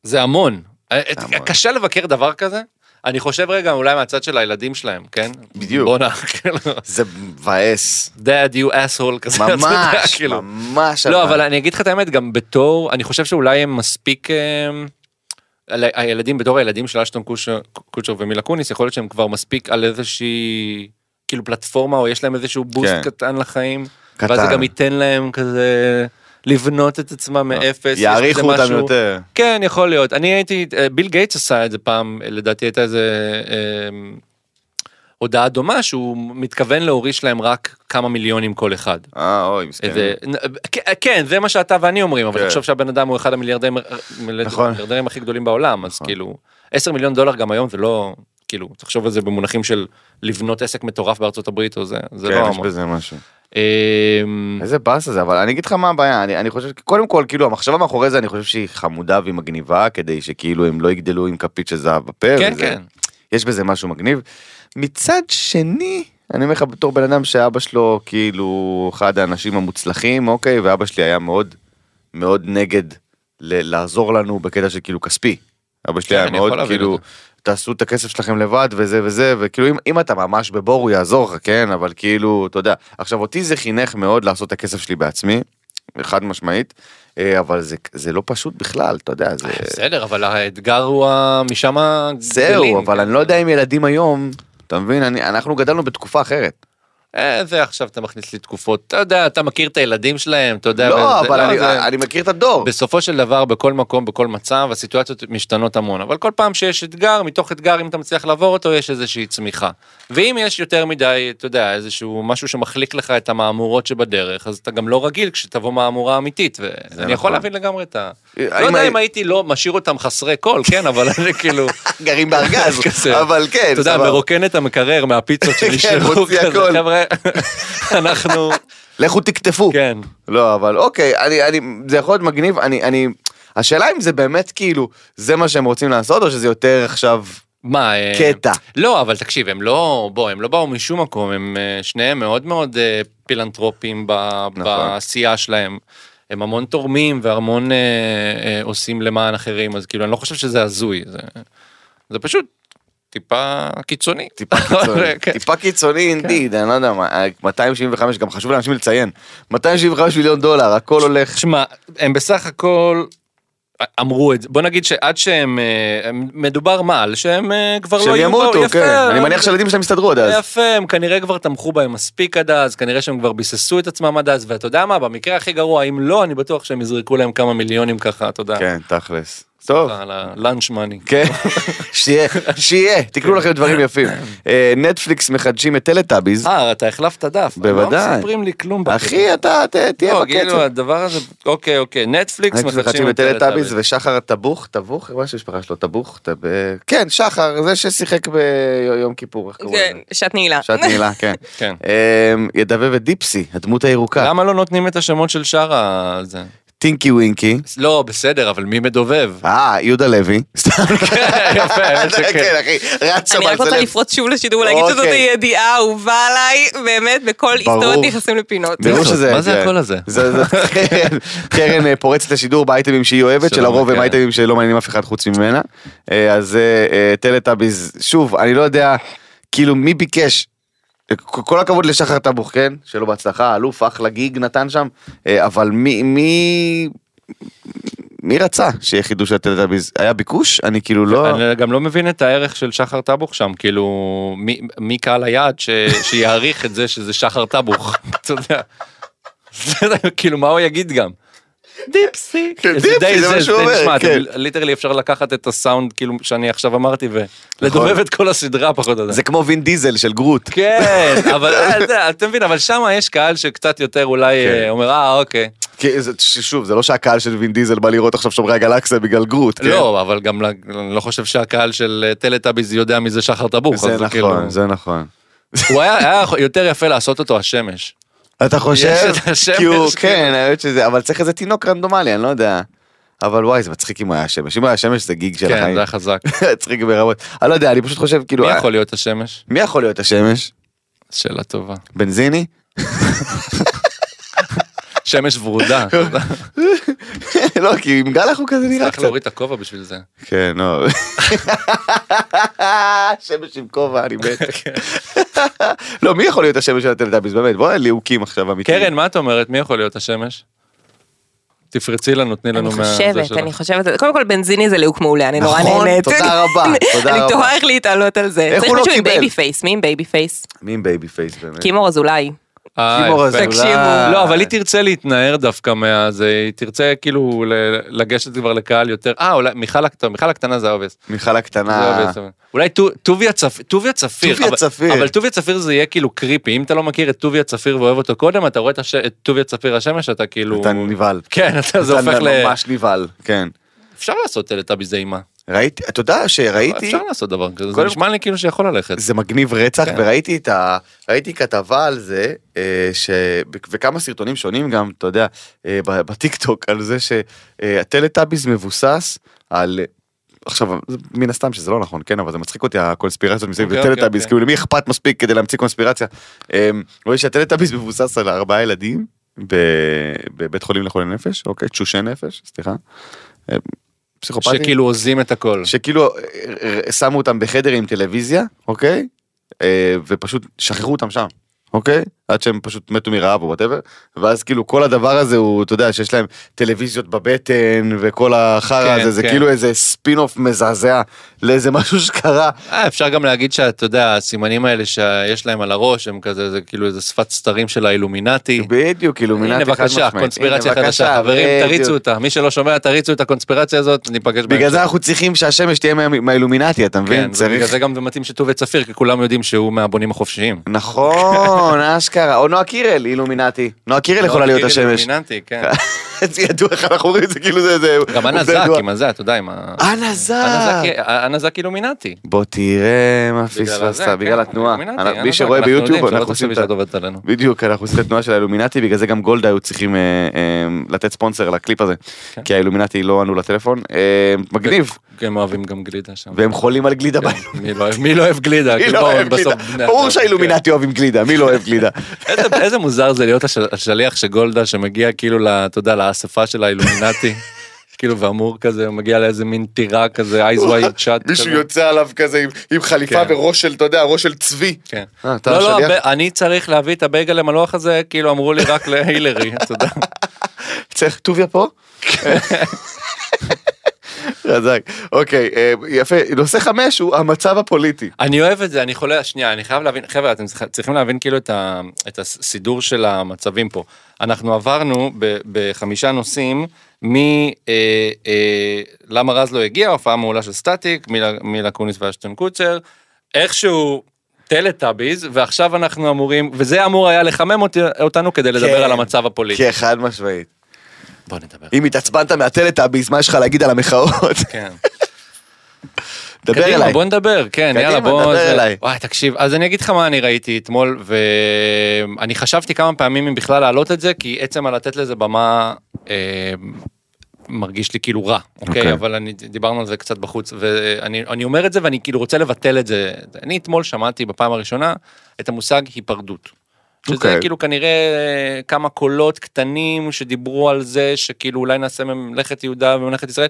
זה המון. אה, את-
המון.
קשה לבקר דבר כזה. אני חושב רגע אולי מהצד של הילדים שלהם, כן?
בדיוק.
בואנה, כאילו,
זה מבאס.
dad you asshole כזה. אתה יודע,
ממש,
כאילו.
ממש.
לא, אבל אני אגיד לך את האמת, גם בתור, אני חושב שאולי הם מספיק, אמ, ה- הילדים, בתור הילדים של אשטון קושר- קוצ'ר ומילה קוניס, יכול להיות שהם כבר מספיק על איזושהי, כאילו פלטפורמה, או יש להם איזשהו בוסט
כן.
קטן לחיים,
קטן. אה,
ואז זה גם ייתן להם כזה לבנות את עצמם מאפס. יש בזה
יעריכו אותם
משהו-
יותר.
כן, יכול להיות. אני הייתי, אה, ביל גייטס עשה את זה פעם, לדעתי הייתה איזה אה, הודעה דומה, שהוא מתכוון להוריש להם רק כמה מיליונים כל אחד.
אה, אוי, מסכן.
איזה, נ- כ- כן, זה מה שאתה ואני אומרים, אבל
כן.
תחשוב שהבן אדם הוא אחד המיליארדרים
נכון.
המיליארדרים הכי גדולים בעולם, אז
נכון.
כאילו, 10 מיליון דולר גם היום זה לא, כאילו, תחשוב על זה במונחים של לבנות עסק מטורף בארצות הברית או זה, זה לא
כן, יש
המון.
בזה משהו.
אמ,
איזה באסה זה, אבל אני אגיד לך מה הבעיה, אני, אני חושב, קודם כל, כאילו, המחשבה מאחורי זה, אני חושב שהיא חמודה והיא מגניבה, כדי שכאילו הם לא יגדלו עם כפית של זהב בפה.
כן,
וזה-
כן,
יש בזה משהו מגניב. מצד שני, אני אומר לך בתור בן אדם שאבא שלו כאילו אחד האנשים המוצלחים, אוקיי, ואבא שלי היה מאוד מאוד נגד ל- לעזור לנו בקטע של כאילו כספי. אבא שלי
כן,
היה
אני
מאוד
יכול להבין
כאילו,
את
תעשו את הכסף שלכם לבד וזה וזה, וכאילו אם, אם אתה ממש בבור הוא יעזור לך, כן, אבל כאילו, אתה יודע. עכשיו אותי זה חינך מאוד לעשות את הכסף שלי בעצמי, חד משמעית, אה, אבל זה, זה לא פשוט בכלל, אתה יודע, זה...
בסדר, אבל האתגר הוא ה- משם
זהו,
גדלים.
אבל אני לא יודע אם ילדים היום, אתה מבין, אני- אנחנו גדלנו בתקופה אחרת.
אה, זה עכשיו אתה מכניס לי תקופות, אתה יודע, אתה מכיר את הילדים שלהם, אתה יודע,
לא,
וזה-
אבל אני-
זה-
אני מכיר את הדור.
בסופו של דבר בכל מקום בכל מצב הסיטואציות משתנות המון אבל כל פעם שיש אתגר מתוך אתגר אם אתה מצליח לעבור אותו יש איזושהי צמיחה. ואם יש יותר מדי אתה יודע איזשהו משהו שמחליק לך את המהמורות שבדרך אז אתה גם לא רגיל כשתבוא מהמורה אמיתית
נכון.
ואני יכול להבין לגמרי את ה...
אה,
לא
אם
יודע
הי-
אם הייתי לא משאיר אותם חסרי קול כן אבל אני כאילו
גרים בארגז,
כזה.
אבל כן.
אתה יודע
סבבה.
מרוקן את המקרר מהפיצות
כן,
שנשארו
מוציא
כזה
הכל.
חבר'ה אנחנו
לכו תקטפו.
כן
לא, אבל אוקיי, אני, אני, זה יכול להיות מגניב, אני, אני, השאלה אם זה באמת כאילו, זה מה שהם רוצים לעשות, או שזה יותר עכשיו
מה אה,
קטע.
לא, אבל תקשיב, הם לא, בוא, הם לא באו משום מקום, הם אה, שניהם מאוד מאוד אה, פילנטרופים ב,
נכון.
בעשייה שלהם. הם המון תורמים והמון אה, אה, עושים למען אחרים, אז כאילו, אני לא חושב שזה הזוי, זה, זה פשוט טיפה קיצוני.
טיפה קיצוני,
כן.
טיפה קיצוני אינדיד, אני לא יודע מה, 275, גם חשוב לאנשים לציין, 275 מיליון דולר, הכל הולך,
שמע, הם בסך הכל אה, אמרו את זה, בוא נגיד שעד שהם, אה, הם- מדובר מה, על שהם אה, כבר לא
שהם
יהיו,
ימותו,
יפה,
כן, אני
אז-
מניח שהילדים שלהם יסתדרו עד אז.
יפה, הם כנראה כבר תמכו בהם מספיק עד אז, כנראה שהם כבר ביססו את עצמם עד אז, ואתה יודע מה, במקרה הכי גרוע, אם לא, אני בטוח שהם יזרקו להם כמה מיליונים ככה, אתה יודע.
כן, תכלס. טוב.
על ה-lunch money.
כן, שיהיה, שיהיה, תקנו לכם דברים יפים. אה, נטפליקס מחדשים את טלטאביז.
אה, אתה החלפת דף.
בוודאי.
לא מספרים לי כלום. בקטע.
אחי, אתה ת- תהיה
לא, כאילו,
בקצב.
הדבר הזה, אוקיי, אוקיי, נטפליקס
נטפליקס מחדשים את טלטאביז ושחר טבוך, טבוך, מה שהמשפחה שלו, טבוך, טב- כן, שחר, זה ששיחק ביום כיפור, איך
זה
קוראים לזה?
שעת כן, נעילה.
שעת נעילה, כן.
כן.
אה, ידבב את דיפסי, הדמות הירוקה.
למה לא נותנים את השמות של שאר ה... זה?
טינקי ווינקי.
לא, בסדר, אבל מי מדובב?
אה, יהודה לוי. סתם.
יפה, האמת שכן.
כן, אחי, רץ שם
אני
על
רק רוצה
צלם.
לפרוץ שוב לשידור, להגיד שזאת
אוקיי.
הידיעה האהובה עליי, באמת, בכל
ברור.
היסטוריות נכנסים לפינות.
ברור
זאת?
לא שזה...
מה זה הקול הזה?
זה- זה- קרן- קרן אה, פורצת לשידור באייטמים שהיא אוהבת,
שלום,
שלרוב הם
כן.
אייטמים שלא מעניינים אף אחד חוץ ממנה. אה, אז אה, אה, טלטאביז, שוב, אני לא יודע, כאילו, מי ביקש? אה, כ- כל הכבוד לשחר טבוך, כן? שלא בהצלחה, אלוף, אחלה גיג נתן שם, אה, אבל מי... מי... מי רצה שיהיה חידוש של טלטאביז? היה ביקוש? אני כאילו לא...
אני גם לא מבין את הערך של שחר טבוך שם, כאילו, מי- מי קהל היעד ש- שיעריך את זה שזה שחר טבוך, אתה יודע. כאילו, מה הוא יגיד גם? דיפסי.
כן, דיפסי, זה מה שהוא אומר, כן.
ליטרלי אפשר לקחת את הסאונד, כאילו, שאני עכשיו אמרתי, ולדובב את כל הסדרה פחות או יותר.
נכון. זה כמו וין דיזל של גרוט.
כן, אבל אה, זה, אתה מבין, אבל שם יש קהל שקצת יותר אולי
כן.
אה, אומר, אה, אוקיי.
כי זה- ש- שוב, זה לא שהקהל של וין דיזל בא לראות עכשיו שומרי הגלקסיה בגלל גרוט, כן?
לא, אבל גם, ל- אני לא חושב שהקהל של אה, טלטאביז יודע מי זה שחר טבוך.
זה
אז כאילו-
נכון, זה נכון.
הוא היה, היה יותר יפה לעשות אותו השמש.
אתה חושב?
את השמש,
כי הוא,
כאילו.
כן, האמת שזה, אבל צריך איזה תינוק רנדומלי, אני לא יודע. אבל וואי, זה מצחיק אם הוא היה השמש. אם הוא היה השמש זה גיג של
כן,
החיים.
זה היה חזק.
מצחיק ברמות. אני לא יודע, אני פשוט חושב, כאילו,
מי
אה,
יכול להיות השמש?
מי יכול להיות השמש?
שאלה טובה.
בנזיני?
שמש ורודה.
לא, כי עם גלח הוא כזה נראה
צריך
קצת.
להוריד את הכובע בשביל זה.
כן, לא. שמש עם כובע, אני מת.
כן.
לא, מי יכול להיות השמש של הטלדאביס? באמת, בוא, ליהוקים עכשיו אמיתי.
קרן, מה את אומרת? מי יכול להיות השמש? תפרצי לנו, תני לנו
אני
מה...
חושבת, אני חושבת, קודם כל בנזיני זה ליהוק מעולה, אני נורא
נכון,
נהנית.
תודה רבה, תודה
אני
רבה.
תוהה איך להתעלות על זה.
איך
צריך
הוא לא
משהו עם
קיבל?
בייבי פייס, מי עם בייבי פייס?
מי עם בייבי פייס באמת?
קימור אזולאי.
קימור
חושבת.
אזולאי.
תקשיבו.
אה, לא, אבל היא תרצה להתנער דווקא מהזה, היא תרצה כאילו ל- לגשת כבר לקהל יותר. אה, אולי מיכל הקטנה, מיכל הקטנה זה אובס.
מיכל
זה לא
הקטנה.
אובס, אבל- אולי טו- טוביה צפ- טוביה צפיר.
אה. טוביה
אבל-
צפיר.
אבל טוביה צפיר זה יהיה כאילו קריפי, אם אתה לא מכיר את טוביה צפיר ואוהב אותו קודם, אתה רואה את הש- את טוביה צפיר השמש, אתה כאילו...
אתה נבהל.
כן, אתה זה הופך ל...
אתה ממש נבהל. כן.
אפשר לעשות טלטאביס זה אימה.
ראיתי, אתה יודע שראיתי,
אפשר לעשות כן. דבר כזה, זה
קודם
נשמע לי כאילו שיכול ללכת.
זה מגניב רצח, וראיתי את ה... ראיתי כתבה על זה, אה, ש... וכמה סרטונים שונים גם, אתה יודע, אה, ב- בטיקטוק, על זה שהטלטאביס מבוסס על... עכשיו, זה מן הסתם שזה לא נכון, כן, אבל זה מצחיק אותי הקונספירציות מסביב
אוקיי, אוקיי,
לטלטאביס,
אוקיי.
כאילו למי אכפת מספיק כדי להמציא קונספירציה. אה, רואה שהטלטאביס מבוסס על ארבעה ילדים ב- בבית חולים לחולי נפש, אוקיי, תשושי נפש, סליחה. אה, פסיכופטים.
שכאילו הוזים את הכל.
שכאילו אה, אה, שמו אותם בחדר עם טלוויזיה, אוקיי? אה, ופשוט שכחו אותם שם, אוקיי? עד שהם פשוט מתו מרעב או וואטאבר, ואז כאילו כל הדבר הזה הוא, אתה יודע, שיש להם טלוויזיות בבטן וכל החרא
כן,
הזה, זה
כן.
כאילו איזה ספין אוף מזעזע לאיזה משהו שקרה.
אה, אפשר גם להגיד שאתה יודע, הסימנים האלה שיש להם על הראש, הם כזה, זה כאילו איזה שפת סתרים של האילומינטי.
בדיוק, כאילו
הנה
מילת אחד
בבקשה,
משמעית.
קונספירציה
הנה, בבקשה,
חדשה, חברים,
בדיוק.
תריצו אותה. מי שלא שומע, תריצו את הקונספירציה הזאת, ניפגש
בגלל
בהמשך.
זה אנחנו צריכים שהשמש תהיה מה- מהאילומינטי, אתה מבין?
כן, ובגלל
צריך...
זה גם זה מתאים שטוביה צפיר, כי כולם יודעים שהוא מהבונים החופשיים.
נכון, אשכרה. או נועה קירל, אילומינטי. נועה קירל יכולה כן, להיות
כאילו
השמש.
דומיננטי, כן.
זה ידוע איך אנחנו אומרים את זה, כאילו זה... זה-
גם
עובדה
אנה זק,
ידועה.
עם הזה, אתה יודע, עם ה...
אנה זק.
אנה זק- אנה זק אילומינטי.
בוא תראה מה
בגלל
פספסת,
הזה,
בגלל
כן,
התנועה.
אילומינטי,
אנ-
אנה
מי
זק,
שרואה
אנחנו יודעים,
ביוטיוב,
שלא
אנחנו
תחשבי
עושים את
שאת
ה...
עובדת עלינו.
בדיוק, אנחנו עושים את התנועה של האילומינטי, בגלל זה גם גולדה היו צריכים אה, אה, לתת ספונסר לקליפ הזה.
כן.
כי האילומינטי לא ענו לטלפון. אה, מגניב.
הם אוהבים גם גלידה שם.
והם חולים על גלידה בעיניים.
מי לא אוהב- מי לא אוהב גלידה?
מי
כאילו,
לא אוהב
הם בסוף
גלידה?
בני
ברור
אדם,
שהאילומינטי אוהבים גלידה, מי לא אוהב גלידה?
כן. איזה- איזה מוזר זה להיות הש- השליח של גולדה שמגיע כאילו, ל- אתה יודע, לאספה של האילומינטי. כאילו ואמור כזה, הוא מגיע לאיזה מין טירה כזה, eyes wide shut.
מישהו
כזה.
יוצא עליו כזה עם- עם חליפה
כן.
וראש של, אתה יודע, ראש של צבי.
כן.
אה, אתה
לא, לא,
השליח?
הב- אני צריך להביא את הבייגל למלוח הזה, כאילו אמרו לי רק להילרי, אתה יודע.
צריך טוביה פה? חזק. אוקיי, אה, יפה. נושא חמש הוא המצב הפוליטי.
אני אוהב את זה, אני חולה, שנייה, אני חייב להבין, חבר'ה, אתם צריכ- צריכים להבין כאילו את, ה, את הסידור של המצבים פה. אנחנו עברנו ב, בחמישה נושאים מ... אה, אה, למה רז לא הגיע, הופעה מעולה של סטטיק, מילה, מילה קוניס ואשטון קוצ'ר, איכשהו טלטאביז, ועכשיו אנחנו אמורים, וזה אמור היה לחמם אותי, אותנו כדי לדבר
כן.
על המצב הפוליטי.
כן, חד משמעית.
בוא נדבר.
אם התעצבנת מהטלטאביס, מה יש לך להגיד על המחאות?
כן.
דבר
קדימה,
אליי.
בוא נדבר, כן,
קדימה,
יאללה, בוא...
דבר
זה-
אליי.
וואי, תקשיב, אז אני אגיד לך מה אני ראיתי אתמול, ואני חשבתי כמה פעמים אם בכלל להעלות את זה, כי עצם הלתת לזה במה אה, מרגיש לי כאילו רע, אוקיי?
אוקיי.
אבל אני, דיברנו על זה קצת בחוץ, ואני אני אומר את זה ואני כאילו רוצה לבטל את זה. אני אתמול שמעתי בפעם הראשונה את המושג היפרדות. שזה
אוקיי.
כאילו כנראה אה, כמה קולות קטנים שדיברו על זה שכאילו אולי נעשה ממלכת יהודה וממלכת ישראל.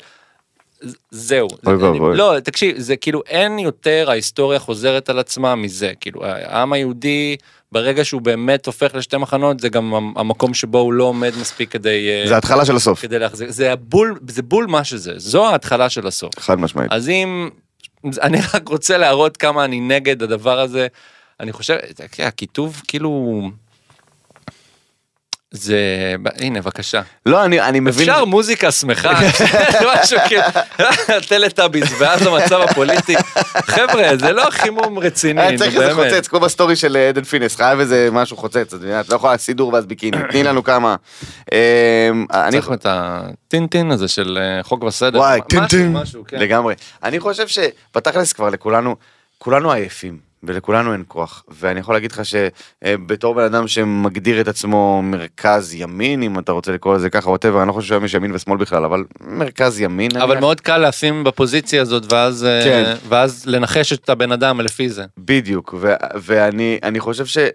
ז- זהו.
אוי
זה- אני-
ואבוי.
לא, תקשיב, זה כאילו אין יותר ההיסטוריה חוזרת על עצמה מזה. כאילו העם היהודי ברגע שהוא באמת הופך לשתי מחנות זה גם המ- המקום שבו הוא לא עומד מספיק כדי... אה,
זה ההתחלה של הסוף.
כדי להחזיק, זה הבול, זה בול מה שזה, זו ההתחלה של הסוף.
חד משמעית.
אז אם, אני רק רוצה להראות כמה אני נגד הדבר הזה, אני חושב, תקשיב, הכיתוב כאילו, זה, הנה בבקשה.
לא, אני אני מבין. כן.
אפשר מוזיקה שמחה, משהו כאילו, טלטאביס ואז המצב הפוליטי, חבר'ה זה לא חימום רציני,
היה
נו
אה, צריך איזה
באמת.
חוצץ, כמו בסטורי של אה, עדן פינס, חייב איזה משהו חוצץ, את מבינה? את לא יכולה סידור ואז ביקיני, תני לנו כמה. אמ, אני-
צריך את הטינטין הזה של אה, חוק וסדר,
וואי,
משהו,
טינטין,
משהו, כן.
לגמרי. אני חושב שבתכלס כבר לכולנו, כולנו עייפים. ולכולנו אין כוח, ואני יכול להגיד לך שבתור בן אדם שמגדיר את עצמו מרכז ימין, אם אתה רוצה לקרוא לזה ככה, ווטאבר, אני לא חושב שהיום יש ימין ושמאל בכלל, אבל מרכז ימין.
אבל
נניח.
מאוד קל לשים בפוזיציה הזאת ואז אה,
כן.
ואז לנחש את הבן אדם לפי זה.
בדיוק, ו- ואני אני חושב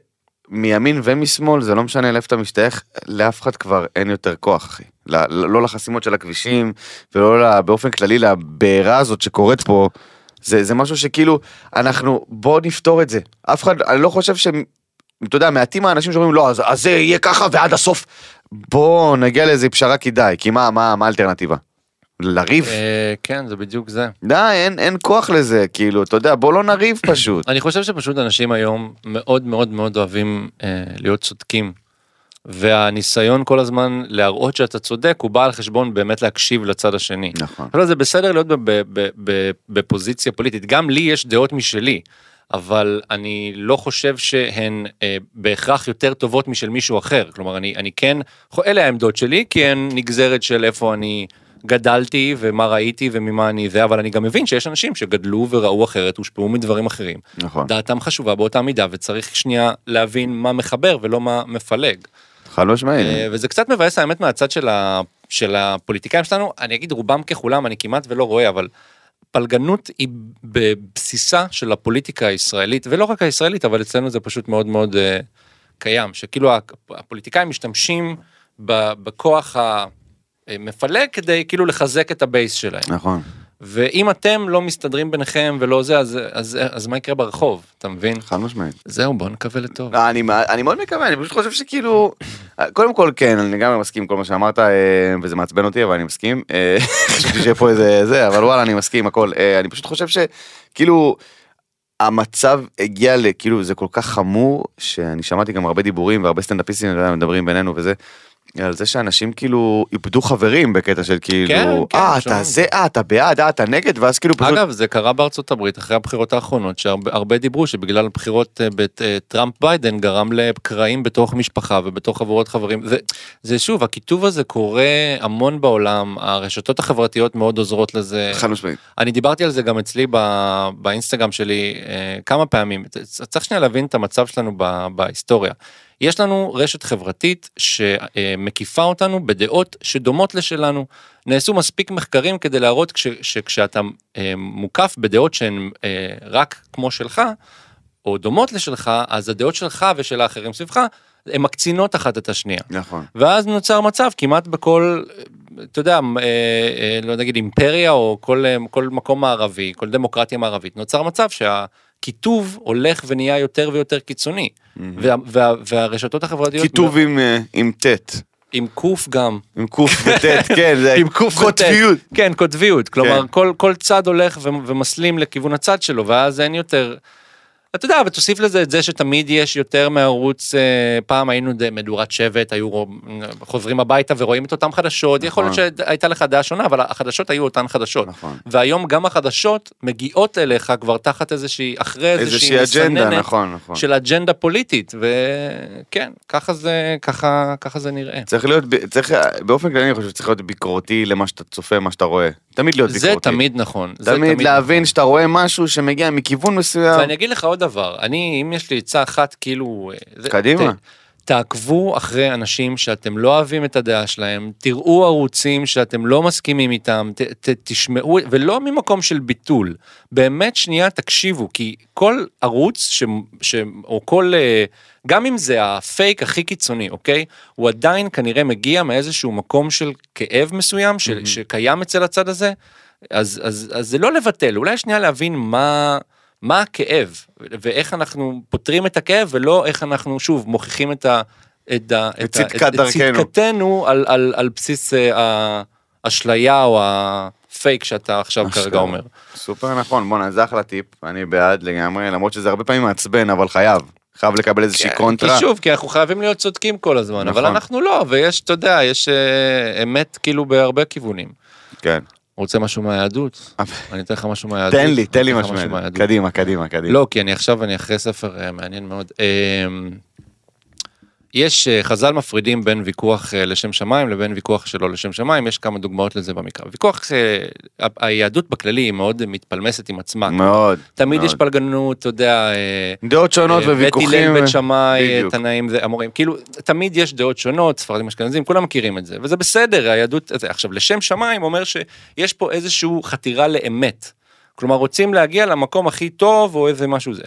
שמימין ומשמאל, זה לא משנה לאיפה אתה משתייך, לאף אחד כבר אין יותר כוח, אחי. ל- ל- לא לחסימות של הכבישים, ולא ל- באופן כללי לבעירה הזאת שקורית פה. זה, זה משהו שכאילו, אנחנו, בואו נפתור את זה. אף אחד, אני לא חושב ש... אתה יודע, מעטים האנשים שאומרים, לא, אז, אז זה יהיה ככה ועד הסוף. בואו נגיע לאיזה פשרה כדאי, כי מה, מה, מה האלטרנטיבה? לריב?
אה, כן, זה בדיוק זה.
די, אין, אין כוח לזה, כאילו, אתה יודע, בוא לא נריב פשוט.
אני חושב שפשוט אנשים היום מאוד מאוד מאוד אוהבים אה, להיות צודקים. והניסיון כל הזמן להראות שאתה צודק הוא בא על חשבון באמת להקשיב לצד השני.
נכון.
אבל זה בסדר להיות ב- ב- ב- ב- בפוזיציה פוליטית, גם לי יש דעות משלי, אבל אני לא חושב שהן אה, בהכרח יותר טובות משל מישהו אחר. כלומר, אני, אני כן, אלה העמדות שלי, כי הן נגזרת של איפה אני גדלתי ומה ראיתי וממה אני זה, אבל אני גם מבין שיש אנשים שגדלו וראו אחרת, הושפעו מדברים אחרים.
נכון.
דעתם חשובה באותה מידה, וצריך שנייה להבין מה מחבר ולא מה מפלג.
חד משמעית.
אה, וזה קצת מבאס האמת מהצד של, ה, של הפוליטיקאים שלנו, אני אגיד רובם ככולם, אני כמעט ולא רואה, אבל פלגנות היא בבסיסה של הפוליטיקה הישראלית, ולא רק הישראלית, אבל אצלנו זה פשוט מאוד מאוד אה, קיים, שכאילו ה- הפוליטיקאים משתמשים ב- בכוח המפלג כדי כאילו לחזק את הבייס שלהם.
נכון.
ואם אתם לא מסתדרים ביניכם ולא זה, אז, אז, אז מה יקרה ברחוב, אתה מבין?
חד משמעית.
זהו, בוא נקווה לטוב.
לא, אני, אני מאוד מקווה, אני פשוט חושב שכאילו, קודם כל כן, אני גם מסכים עם כל מה שאמרת, אה, וזה מעצבן אותי, אבל אני מסכים. אה, חשבתי שיהיה פה איזה זה, אבל וואלה, אני מסכים, הכל. אה, אני פשוט חושב שכאילו, המצב הגיע ל... כאילו, זה כל כך חמור, שאני שמעתי גם הרבה דיבורים והרבה סטנדאפיסטים אתה יודע, מדברים בינינו וזה. על זה שאנשים כאילו איבדו חברים בקטע של
כן,
כאילו,
כן,
אה,
שומעים.
אתה זה, אה, אתה בעד, אה, אתה נגד, ואז כאילו פשוט,
אגב, זה קרה בארצות הברית אחרי הבחירות האחרונות, שהרבה הרבה דיברו שבגלל הבחירות אה, בת- אה, טראמפ ביידן גרם לקרעים בתוך משפחה ובתוך חבורות חברים. זה, זה שוב, הקיטוב הזה קורה המון בעולם, הרשתות החברתיות מאוד עוזרות לזה.
חד משמעית.
אני דיברתי על זה גם אצלי ב- באינסטגרם שלי אה, כמה פעמים. צ- צריך שנייה להבין את המצב שלנו ב- בהיסטוריה. יש לנו רשת חברתית שמקיפה אותנו בדעות שדומות לשלנו. נעשו מספיק מחקרים כדי להראות כש- שכשאתה אה, מוקף בדעות שהן אה, רק כמו שלך, או דומות לשלך, אז הדעות שלך ושל האחרים סביבך, הן מקצינות אחת את השנייה.
נכון.
ואז נוצר מצב כמעט בכל, אתה יודע, אה, אה, לא נגיד אימפריה או כל, אה, כל מקום מערבי, כל דמוקרטיה מערבית, נוצר מצב שהקיטוב הולך ונהיה יותר ויותר קיצוני. וה, וה, והרשתות החברתיות...
כיתוב עם, אה, עם ט'.
עם קוף גם.
עם קוף וטט, כן, זה
עם קוף
קוטביות.
וטט. כן, קוטביות. כלומר,
כן.
כל, כל צד הולך ו- ומסלים לכיוון הצד שלו, ואז אין יותר... אתה יודע, ותוסיף לזה את זה שתמיד יש יותר מערוץ, אה, פעם היינו ד- מדורת שבט, היו רוב- חוזרים הביתה ורואים את אותן חדשות, יכול להיות
נכון.
שהייתה לך דעה שונה, אבל החדשות היו אותן חדשות.
נכון.
והיום גם החדשות מגיעות אליך כבר תחת איזושהי, אחרי איזושהי
איזושהי אג'נדה,
מסננת
נכון, נכון.
של אג'נדה פוליטית, וכן, ככה זה, ככה, ככה זה נראה.
צריך להיות, ב- צריך, באופן כללי אני חושב שצריך להיות ביקורתי למה שאתה צופה, מה שאתה רואה. תמיד להיות
זה
ביקורתי.
תמיד נכון. זה
תמיד
נכון.
להבין שאתה רואה משהו שמגיע מכיוון מסוים.
ואני אגיד לך עוד דבר, אני, אם יש לי עצה אחת, כאילו... אה, זה-
קדימה.
ת- תעקבו אחרי אנשים שאתם לא אוהבים את הדעה שלהם, תראו ערוצים שאתם לא מסכימים איתם, ת, ת, תשמעו, ולא ממקום של ביטול. באמת שנייה תקשיבו, כי כל ערוץ, ש, ש, או כל, אה, גם אם זה הפייק הכי קיצוני, אוקיי? הוא עדיין כנראה מגיע מאיזשהו מקום של כאב מסוים, ש, mm-hmm. שקיים אצל הצד הזה, אז, אז, אז זה לא לבטל, אולי שנייה להבין מה... מה הכאב, ו- ואיך אנחנו פותרים את הכאב, ולא איך אנחנו שוב מוכיחים את ה... את, ה, את, ה-
צדקת דרכנו.
צדקתנו על, על, על בסיס אה, האשליה או הפייק שאתה עכשיו כרגע
אשכרה.
אומר.
סופר נכון, בואנה, זה אחלה טיפ, אני בעד לגמרי, למרות שזה הרבה פעמים מעצבן, אבל חייב. חייב לקבל איזושהי קונטרה.
כן, כי שוב, כי אנחנו חייבים להיות צודקים כל הזמן, אבל
נכון.
אנחנו לא, ויש, אתה יודע, יש אה, אמת כאילו בהרבה כיוונים.
כן.
רוצה משהו מהיהדות?
אה.
אני אתן לך משהו מהיהדות.
תן לי, תן לי
אתן לך
משהו. מעניין.
מהיהדות.
קדימה, קדימה, קדימה.
לא, כי אני עכשיו, אני אחרי ספר אה, מעניין מאוד. אמ, יש, אה, חז"ל מפרידים בין ויכוח אה, לשם שמיים לבין ויכוח שלא לשם שמיים, יש כמה דוגמאות לזה במקרא. ויכוח, אה, ה- היהדות בכללי היא מאוד מתפלמסת עם עצמה.
מאוד.
תמיד
מאוד.
יש פלגנות, אתה יודע, אה,
דעות שונות
אה, בית
וויכוחים.
הלל, בית שמאי,
בדיוק.
תנאים, זה, אמורים, כאילו, תמיד יש דעות שונות, ספרדים אשכנזים, כולם מכירים את זה, וזה בסדר, היהדות, זה. עכשיו, לשם שמיים אומר שיש פה איזושהי חתירה לאמת. כלומר, רוצים להגיע למקום הכי טוב, או איזה משהו זה.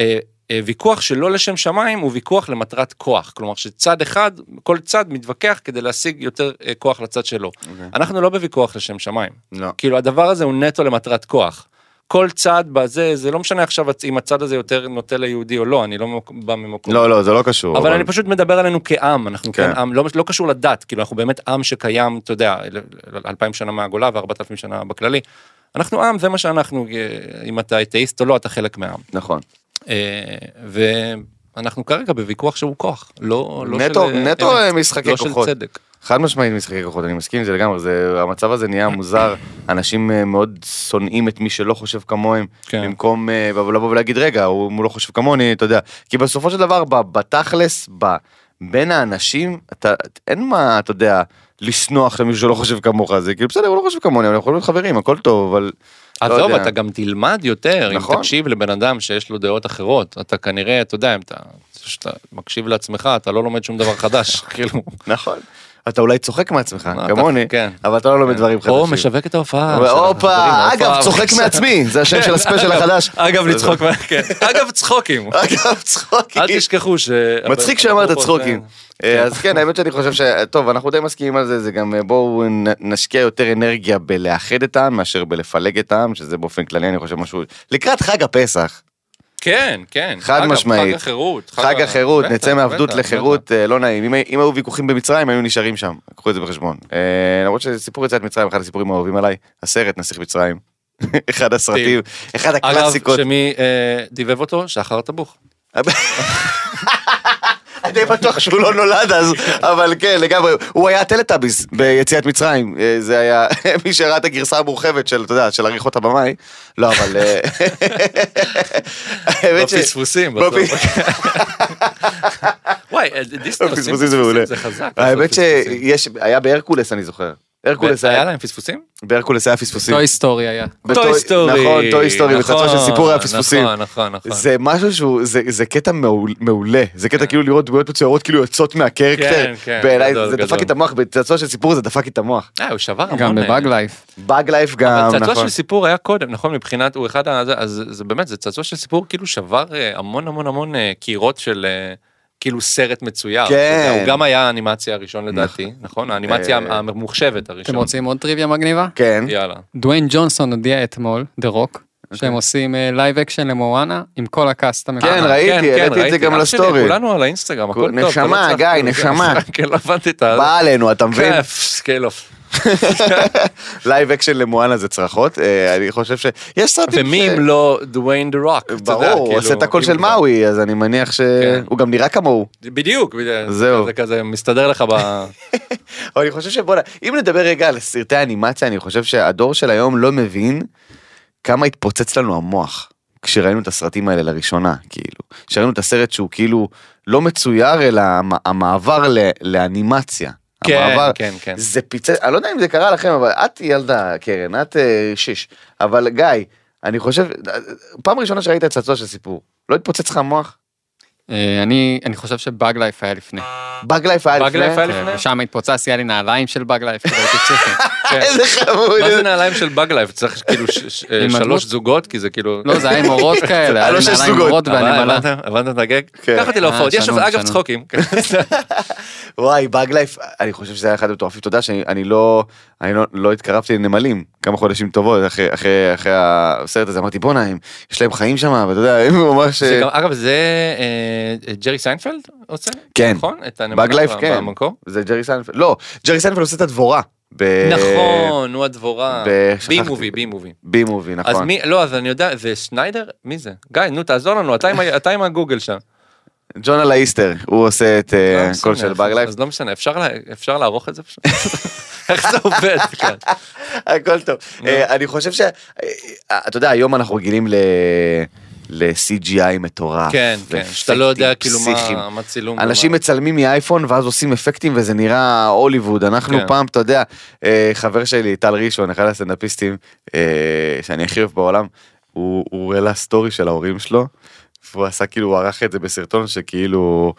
אה, אה, ויכוח שלא לשם שמיים הוא ויכוח למטרת כוח. כלומר שצד אחד, כל צד מתווכח כדי להשיג יותר אה, כוח לצד שלו.
אוקיי.
אנחנו לא בוויכוח לשם שמיים.
לא.
כאילו הדבר הזה הוא נטו למטרת כוח. כל צד בזה, זה לא משנה עכשיו אם הצד הזה יותר נוטה ליהודי או לא, אני לא מ- בא ממקום.
לא, לא, זה לא קשור.
אבל אני פשוט מדבר עלינו כעם, אנחנו
כן.
כן עם, לא לא קשור לדת, כאילו אנחנו באמת עם שקיים, אתה יודע, ל- ל- אלפיים שנה מהגולה וארבעת אלפים שנה בכללי. אנחנו עם, זה מה שאנחנו, אה, אם אתה אתאיסט או לא, אתה חלק מהעם.
נכון.
אה, ואנחנו כרגע בוויכוח שהוא כוח, לא, לא
נטו-
של... אה,
נטו,
אמת,
אה, משחקי
לא
כוחות.
של צדק.
חד משמעית משחקי כוחות, אני מסכים עם זה לגמרי, זה, המצב הזה נהיה מוזר, אנשים אה, מאוד שונאים את מי שלא חושב כמוהם,
כן.
במקום אה, לבוא ולהגיד, רגע, הוא, הוא לא חושב כמוני, אתה יודע, כי בסופו של דבר, ב- בתכלס, ב, בין האנשים, אתה, אין מה, אתה יודע, לשנוא עכשיו מישהו שלא חושב כמוך, זה כאילו, בסדר, הוא לא חושב כמוני, אבל יכולים להיות חברים, הכל טוב, אבל... לא
עזוב,
יודע.
אתה גם תלמד יותר,
נכון.
אם תקשיב לבן אדם שיש לו דעות אחרות, אתה כנראה, אתה יודע, אם אתה, כשאתה מקשיב לעצמך, אתה לא לומד שום דבר חדש, כאילו.
נכון. אתה אולי צוחק מעצמך,
מה, אתה-
כמוני,
כן.
אבל אתה לא לומד דברים חדשים.
או משווק את ההופעה.
אבל
אה, של החברים,
הופה,
ההופעה. כן.
אגב, צוחק מעצמי, זה השם של הספיישל החדש.
אגב, לצחוק, מה- כן. אגב, צחוקים.
אגב, צחוקים.
אל תשכחו ש...
מצחיק שאמרת צחוקים. אה, אז כן, האמת שאני חושב ש... טוב, אנחנו די מסכימים על זה, זה גם אה, בואו נ- נשקיע יותר אנרגיה בלאחד את העם מאשר בלפלג את העם, שזה באופן כללי אני חושב משהו... לקראת חג הפסח,
כן, כן.
חד
אגב,
משמעית.
חג החירות.
חג
ה-
החירות,
בטח,
נצא מעבדות
בטח,
לחירות, אה, לא נעים. אם הי- אם היו ויכוחים במצרים, היו נשארים שם, קחו את זה בחשבון. אה, למרות שסיפור יציאת מצרים, אחד הסיפורים האהובים עליי, הסרט נסיך מצרים. אחד הסרטים, אחד
בטח. אגב,
הקלאסיקות.
שמי אה, דיבב אותו? שחר טבוך.
אני די בטוח שהוא לא נולד אז, אבל כן, לגמרי. הוא היה הטלטאביס ביציאת מצרים. אה, זה היה מי שראה את הגרסה המורחבת של, אתה יודע, של עריכות הבמאי. לא, אבל... אה,
לא
האמת ש- לא
בפספוסים.
בפ-
בסוף. וואי, אה, דיסני עושים
בפספוסים לא זה מעולה.
זה חזק.
האמת
לעשות פספוסים. אה,
שיש, היה בהרקולס אני זוכר. הרקולס
היה
היה,
להם פספוסים?
בהרקולס היה פספוסים.
טוי סטורי היה.
בטוי- נכון, טוי סטורי, וחצו של סיפור היה פספוסים.
נכון, נכון, נכון.
זה משהו שהוא, זה, זה קטע מעול- מעולה, זה קטע כאילו לראות דמויות מצוירות כאילו יוצאות מהקרקטר,
כן, כן,
בעיניי
גדול,
זה דפק
גדול.
לי את המוח, בצעצוע של סיפור זה דפק לי את המוח.
אה, הוא שבר המון.
גם בבאג לייף.
באג לייף גם,
אבל צעצוע
נכון.
של סיפור היה קודם, נכון? מבחינת, הוא אחד ה... זה- אז זה באמת, זה צעצוע של סיפור כאילו שבר אה, המון המון המון אה, קירות של אה, כאילו סרט מצויר.
כן.
אתה יודע, הוא גם היה האנימציה הראשון לדעתי, נכון? האנימציה
אה,
הממוחשבת הראשון.
אתם רוצים עוד טריוויה מגניבה?
כן,
יאללה.
דוויין ג'ונסון הודיע אתמול, דה רוק, שהם עושים לייב אקשן למואנה עם כל הקאסט המקומי.
כן, ראיתי,
כן, כן,
העליתי את זה
ראיתי.
גם
אח שלי,
לסטורי.
כולנו על האינסטגרם, הכל טוב.
נשמה,
אתה לא צריך-
גיא,
כן,
נשמה.
כן, לא הבנתי את ה...
בא עלינו, אתה מבין?
כיף, סקייל אוף. כן.
לייב אקשן למואנה זה צרחות, אה, אני חושב ש... יש סרטים...
ומי
ש-
אם לא דוויין דה רוק, אתה יודע,
ברור, הוא
כאילו,
עושה את הקול
אם
של
כבר.
מאווי, אז אני מניח
כן.
שהוא גם נראה כמוהו.
בדיוק, בדיוק.
זהו.
זה כזה מסתדר לך ב...
אבל אני חושב שבוא'נה, אם נדבר רגע על סרטי אנימציה, אני חושב שהדור של היום לא מבין כמה התפוצץ לנו המוח כשראינו את הסרטים האלה לראשונה, כאילו. כשראינו את הסרט שהוא כאילו לא מצויר, אלא המ- המעבר ל- לאנימציה.
כן,
המעבר,
כן, כן.
זה פיצץ, אני לא יודע אם זה קרה לכם, אבל את ילדה, קרן, את אה, שש. אבל גיא, אני חושב, פעם ראשונה שראית את צעצוע של סיפור, לא התפוצץ לך המוח?
אה, אני אני חושב שבאג לייף היה לפני.
באג לייף היה
באג
לפני?
לייף היה לפני?
כן, ושם התפוצצתי, היה לי נעליים של באג לייף, כאילו הייתי פסיכי.
כן.
איזה חמוד.
מה זה נעליים של באג לייב? צריך כאילו ש- ש-
עם
שלוש
הדמות?
זוגות כי זה כאילו...
לא, זה היה עם אורות כאלה,
היה
היה
לו
לי
שש
נעליים עם
זוגות.
אורות
אבל
ואני מלא.
הבנת- הבנת את הגג?
כן.
קח אותי להופעות,
אה,
יש
שנון,
אגב
שנון.
צחוקים. כן.
וואי, באג לייף, אני חושב שזה היה אחד המטורפים, אתה יודע שאני אני לא, אני לא, לא התקרבתי לנמלים כמה חודשים טובות אחרי, אחרי, אחרי הסרט הזה, אמרתי בואנה, הם- יש להם חיים שם, ואתה יודע, הם ממש...
זה גם- אגב זה אה, ג'רי סיינפלד עושה?
כן.
נכון? את הנמלה
באג לייף,
ב-
כן.
במקור?
זה ג'רי סיינפלד, לא, ג'רי סיינפלד עושה את הדבורה. ב...
נכון, הוא הדבורה.
ב- שכחתי.
בי מובי, בי מובי.
בי מובי, נכון.
אז מי, לא, אז אני יודע, זה שניידר? מי זה? גיא, נו, תעזור לנו, אתה עם ה- אתה עם הגוגל שם.
ג'ון אלאיסטר, הוא עושה את
לא
אה,
משנה,
קול של באג לייף.
אז לא משנה, אפשר לה- אפשר לערוך את זה פשוט? איך זה עובד? כן.
הכל טוב. אה, אני חושב ש... אה, אתה יודע, היום אנחנו רגילים ל... ל-CGI מטורף.
כן, כן, שאתה לא יודע
ואפקטים
כאילו
אה, פסיכיים.
מה- מה צילום.
אנשים
ומה-
מצלמים מאייפון ואז עושים אפקטים וזה נראה הוליווד אנחנו
כן.
פעם אתה יודע אה, חבר שלי טל ראשון אחד הסטנדאפיסטים אה, שאני הכי אוהב בעולם הוא הוא העלה סטורי של ההורים שלו. והוא עשה כאילו הוא ערך את זה בסרטון שכאילו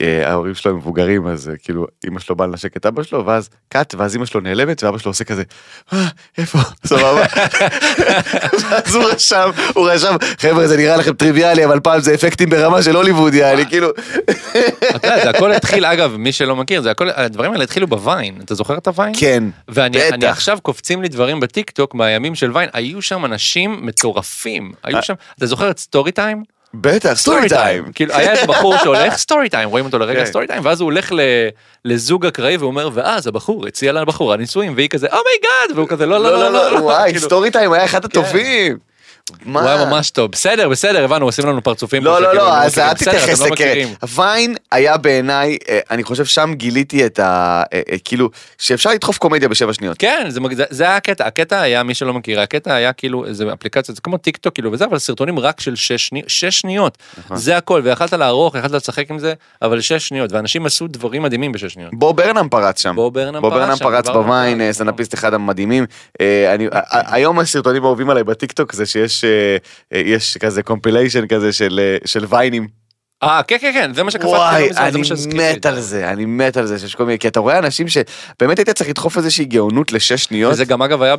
אה, ההורים שלו הם מבוגרים, אז אה, כאילו, אמא שלו באה לנשק את אבא שלו, ואז קאט, ואז אמא שלו נעלמת, ואבא שלו עושה כזה, "אה, איפה? סבבה. ואז הוא רשם, הוא רשם, חבר'ה, זה נראה לכם טריוויאלי, אבל פעם זה אפקטים ברמה של הוליווד, יעני, כאילו,
אתה יודע, זה הכל התחיל, אגב, מי שלא מכיר, זה הכל, הדברים האלה התחילו בוויין. אתה זוכר את הוויין?
כן,
ואני אני
בטח.
עכשיו קופצים לי דברים בטיק טוק מהימים של ויין, היו שם אנשים מטורפים,
אה.
היו שם, אתה זוכר את סטורי טיים?
בטח, סטורי טיים.
כאילו היה איזה בחור שהולך סטורי טיים, רואים אותו לרגע
כן.
סטורי טיים, ואז הוא הולך ל- לזוג אקראי ואומר, ואז הבחור הציע לבחורה נישואים, והיא כזה, אומייגאד, והוא כזה, לא, לא, לא, לא, לא,
וואי,
כאילו,
סטורי טיים היה אחד הטובים. מה?
הוא היה ממש טוב, בסדר, בסדר, הבנו, עושים לנו פרצופים. פה
לא, לא,
שכאילו,
לא,
הם
אז
מכירים.
אל
בסדר, אתם
תתייחס
לא
לקרן.
מכירים.
ויין היה בעיניי, אה, אני חושב שם גיליתי את ה... אה, אה, כאילו, שאפשר לדחוף קומדיה בשבע שניות.
כן, זה, מג- זה, זה היה הקטע, הקטע היה, מי שלא מכיר, הקטע היה כאילו, איזה אפליקציה, זה כמו טיק טוק כאילו וזה, אבל סרטונים רק של שש, שני, שש שניות,
נכון.
זה הכל, ויכלת לערוך, יכלת לשחק עם זה, אבל שש שניות, ואנשים עשו דברים מדהימים בשש שניות.
בוב ברנם פרץ שם.
בוב ברנם
בוב
פרץ
ברנם
שם,
פרץ
דיברנו
בוויין,
על זה.
אה, סטנדאפיסט אחד המדהימים. אה, אני- ה- ה- היום הסרטונים האהובים עליי בטיקטוק זה שיש אה, אה, יש כזה קומפיליישן כזה של, אה, של ויינים.
אה, כן, כן, כן, זה מה שקפצתי.
וואי,
לא מזמן, זה
אני
מה שהזכיר לי.
מת על זה, אני מת על זה שיש כל מיני, כי אתה רואה אנשים שבאמת היית צריך לדחוף איזושהי גאונות לשש שניות.
וזה גם אגב היה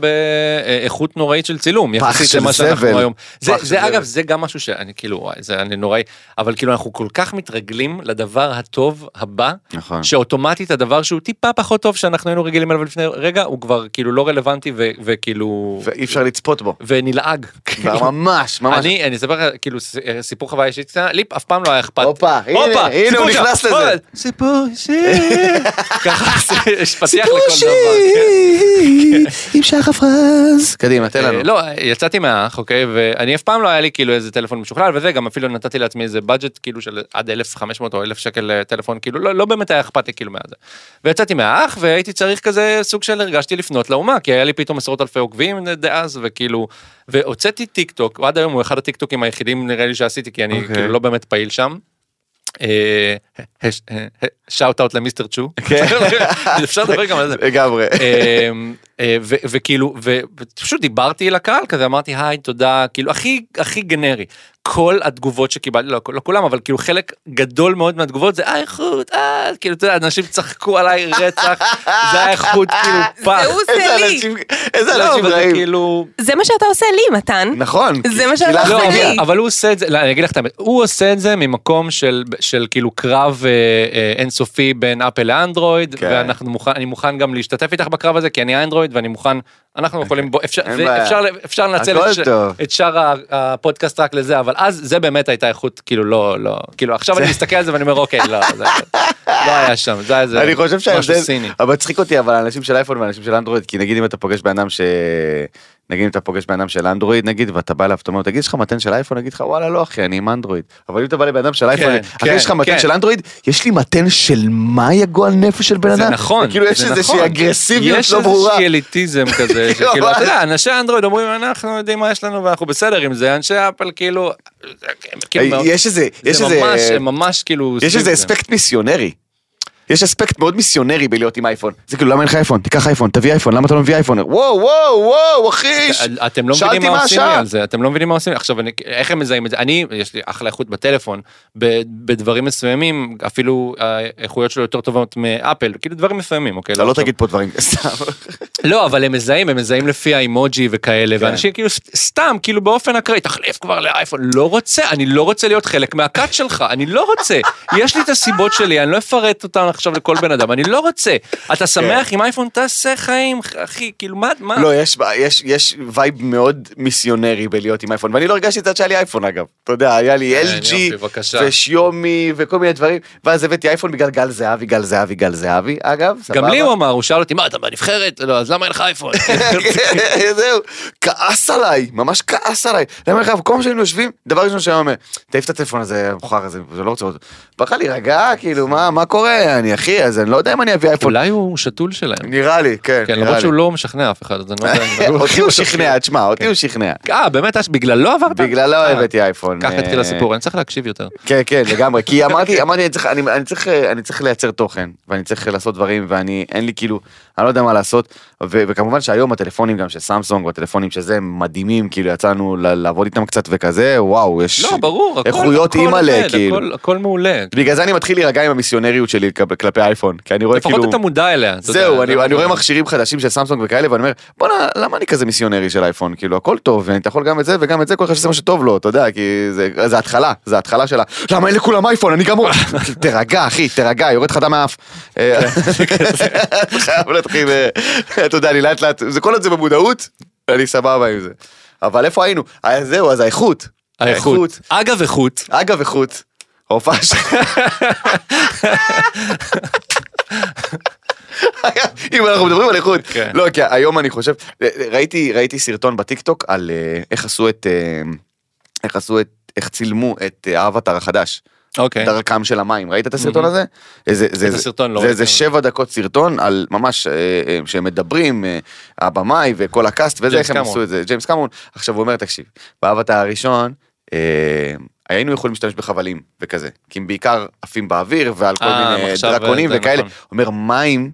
באיכות נוראית של צילום, יחסית
של
למה
זבל.
שאנחנו היום. זה,
פח של
זה
זבל.
אגב, זה גם משהו שאני כאילו, וואי, זה אני נוראי, אבל כאילו אנחנו כל כך מתרגלים לדבר הטוב הבא,
נכון.
שאוטומטית הדבר שהוא טיפה פחות טוב שאנחנו היינו רגילים אליו לפני רגע, הוא כבר כאילו לא רלוונטי ו- וכאילו,
ואי אפשר לצפות בו.
ונלעג. כאילו.
ממש, ממש.
אני אני אספר לך כאילו ס- סיפור חוויה אישית קטנה, לי אף פעם לא היה אכפת.
הופה, הנה,
הופה,
הנה,
סיפור
הוא
שם.
נכנס לזה.
הופה, סיפור אישי. ככה זה- יש פתיח לכל דבר. כן.
עם שחף רז. קדימה, תן לנו.
אה, לא, יצאתי מהאח, אוקיי, ואני אף פעם לא היה לי כאילו איזה טלפון משוכלל וזה, גם אפילו נתתי לעצמי איזה בדג'ט כאילו של עד 1,500 או 1,000 שקל אה, טלפון, כאילו לא, לא באמת היה אכפת לי כאילו מה זה. ויצאתי מהאח והייתי צריך כזה סוג של הרגשתי לפנות לאומה, כי היה לי פתאום עשרות אלפי עוקבים אה, דאז, וכאילו, והוצאתי טיק טוק, עד היום הוא אחד הטיק טוקים היחידים נראה לי שעשיתי, כי אני
אוקיי.
כאילו לא באמת פעיל שם. אה, שאוט אאוט למיסטר צ'ו,
כן.
אפשר לדבר גם על זה.
לגמרי.
אמ, אה, ו- וכאילו ו- ופשוט דיברתי לקהל כזה אמרתי היי תודה כאילו הכי הכי גנרי כל התגובות שקיבלתי לא, לא כולם אבל כאילו חלק גדול מאוד מהתגובות זה אה איכות אה כאילו אתה יודע אנשים צחקו עליי רצח זה היה איכות כאילו פח.
הוא עושה
איזה
לי.
אנשים- איזה
לא,
אנשים
אבל זה
רעים.
כאילו
זה מה שאתה עושה לי, מתן.
נכון.
זה מה
כי
שאתה
לך
עושה
לא,
אחרי.
מגיע.
אבל, אבל הוא עושה את זה, לא, אני אגיד לך את האמת, הוא עושה את זה ממקום של, של כאילו קרב אה, אה, אינסופי בין אפל לאנדרואיד,
כן.
כן. ואני מוכן, אני מוכן גם להשתתף איתך בקרב הזה, כי אני אנדרואיד ואני מוכן, אנחנו יכולים, בוא, אפשר,
אוקיי. אין בעיה.
זה, אפשר, אפשר לנצל
הכל
את, ש-
טוב.
את שאר ה- הפודקאסט רק לזה, אבל אז זה באמת הייתה איכות, כאילו לא, לא, כאילו עכשיו אני מסתכל על זה ואני אומר, אוקיי, לא, זה לא היה שם, זה היה איזה
אני חושב
משהו
שההבדל,
סיני.
אבל מצחיק אותי אבל אנשים של אייפון ואנשים של אנדרואיד כי נגיד אם אתה פוגש בן אדם ש... נגיד אם אתה פוגש בן אדם של אנדרואיד נגיד ואתה בא אליו אתה אומר לו, תגיד יש לך מתן של אייפון נגיד לך וואלה לא אחי אני עם אנדרואיד אבל אם אתה בא לבן אדם של אייפון אחי
כן,
יש לך מתן
כן.
של אנדרואיד יש לי מתן של מה יא גועל נפש של בן אדם
זה נכון,
כאילו יש
זה
איזושהי
נכון.
אגרסיביות לא ברורה כאילו,
יש איזושהי אליטיזם כזה, שכאילו, אתה יודע, אנשי אנדרואיד אומרים, אנחנו יודעים מה יש לנו ואנחנו בסדר עם זה, אנשי אפל כאילו, הם כאילו
אה,
מאוד-
יש איזה יש
זה ממש,
איזה
הם ממש
יש
כאילו, סביב
איזה
זה.
אספקט מיסיונרי. יש אספקט מאוד מיסיונרי בלהיות עם אייפון. זה כאילו למה אין לך אייפון? תיקח אייפון, תביא אייפון, למה אתה לא מביא אייפון? וואו וואו וואו אחי! ש-
אתם לא
שאלתי
מבינים מה עושים לי
השעה.
על זה, אתם לא מבינים מה עושים לי, עכשיו אני- איך הם מזהים את זה, אני, יש לי אחלה איכות בטלפון, ב- בדברים מסוימים, אפילו האיכויות שלו יותר טובות מאפל, כאילו דברים מסוימים, אוקיי?
אתה לא
עכשיו-
תגיד פה דברים סתם.
לא, אבל הם מזהים, הם מזהים לפי האימוג'י וכאלה,
כן.
ואנשים כאילו ס- סתם, כאילו באופן אקראי, תחליף כבר לאייפון, לא רוצה, אני לא רוצה להיות חלק מהכת שלך, אני לא רוצה. יש לי את הסיבות שלי, אני לא אפרט אותן עכשיו לכל בן אדם, אני לא רוצה. אתה
כן.
שמח עם אייפון, תעשה חיים, אחי, כאילו, מה, מה?
לא, יש- יש- יש וייב מאוד מיסיונרי בלהיות עם אייפון, ואני לא הרגשתי את זה עד שהיה לי אייפון אגב. אתה יודע, היה לי
כן,
LG
יופי, בבקשה.
ושיומי וכל מיני דברים, ואז הבאתי אייפון בגלל גל זהבי, גל זהבי, גל זהבי, אגב, סבבה.
גם לי הוא אמר, הוא שאל אותי, מה, אתה בנבחרת? לא, אז למה אין לך אייפון?
כן, זהו, כעס עליי, ממש כעס עליי. למה לך, כל פעם שהיינו יושבים, דבר ראשון שהיה אומר, תעיף את הטלפון הזה, המכוער הזה, זה לא רוצה אותו. בא להירגע, כאילו, מה מה קורה, אני אחי, אז אני לא יודע אם אני אביא אייפון.
אולי הוא שתול שלהם.
נראה לי, כן,
כן,
נראה
למרות
לי.
שהוא לא משכנע אף אחד, אז אני לא יודע.
אותי הוא שכנע, תשמע, אותי הוא שכנע.
אה, באמת, אז בגללו עברת?
בגללו
אה,
הבאתי אייפון.
ככה התחיל
אה,
הסיפור, אני צריך להקשיב יותר.
כן, כן, לגמרי. כי אמרתי, אמרתי, אני צריך, אני, אני צריך, אה, אני צריך לייצר תוכן, ואני צריך לעשות דברים, ואני, אין לי כאילו, אני לא יודע מה לעשות, ו- וכמובן שהיום הטלפונים גם של סמסונג, והטלפונים שזה, הם מדהימים, כאילו יצאנו ל- לעבוד איתם קצת וכזה, וואו, יש...
לא, ברור, הכל,
איכויות
הכל
אימא'לה,
עובד,
כאילו.
הכל, הכל מעולה.
בגלל זה אני מתחיל להירגע עם המיסיונריות שלי כ- כלפי אייפון, כי אני רואה
לפחות
כאילו...
אתה מודע אליה. אתה
זהו,
יודע,
אני
זה- לא
אני רואה מכשירים חדשים של סמסונג וכאלה, ואני אומר, בואנה, למה אני כזה מיסיונרי של אייפון? כאילו, הכל טוב, ואתה יכול גם את זה וגם את זה, כל אחד שעושה מה שטוב לו, אתה יודע, כי זה- זה התחלה, זה התחלה של ה... למה אין לכולם אייפון? אני גם... רוצה." תירגע, אחי, תירגע, יורד לך דם מהאף. אה, חייב להתחיל, אה, אתה יודע, אני לאט לאט, זה כל עוד זה במודעות, אני סבבה עם זה. אבל איפה היינו? אה, זהו, אז האיכות.
האיכות. אגב, איכות.
אגב, איכות. ההופעה שלך. אם אנחנו מדברים על איכות.
כן.
לא, כי היום אני חושב, ראיתי, ראיתי סרטון בטיקטוק על אה, איך עשו את, אה, איך עשו את, איך צילמו את אה, האבטר החדש.
אוקיי.
דרכם של המים, ראית את הסרטון
מהמם.
הזה? איזה- זה-
את
זה-
הסרטון לא
זה
ראיתי.
איזה שבע דקות סרטון על ממש, אה, אה, שהם מדברים, אה, הבמאי וכל הקאסט וזה, איך
ג'יימס
הם
קמרון.
עשו את זה, ג'יימס קמרון. עכשיו הוא אומר, תקשיב, באבטר הראשון, אה, היינו יכולים להשתמש בחבלים וכזה, כי הם בעיקר עפים באוויר ועל כל
אה,
מיני
מחשב,
דרקונים
זה
וכאלה.
נכון.
אומר, מים,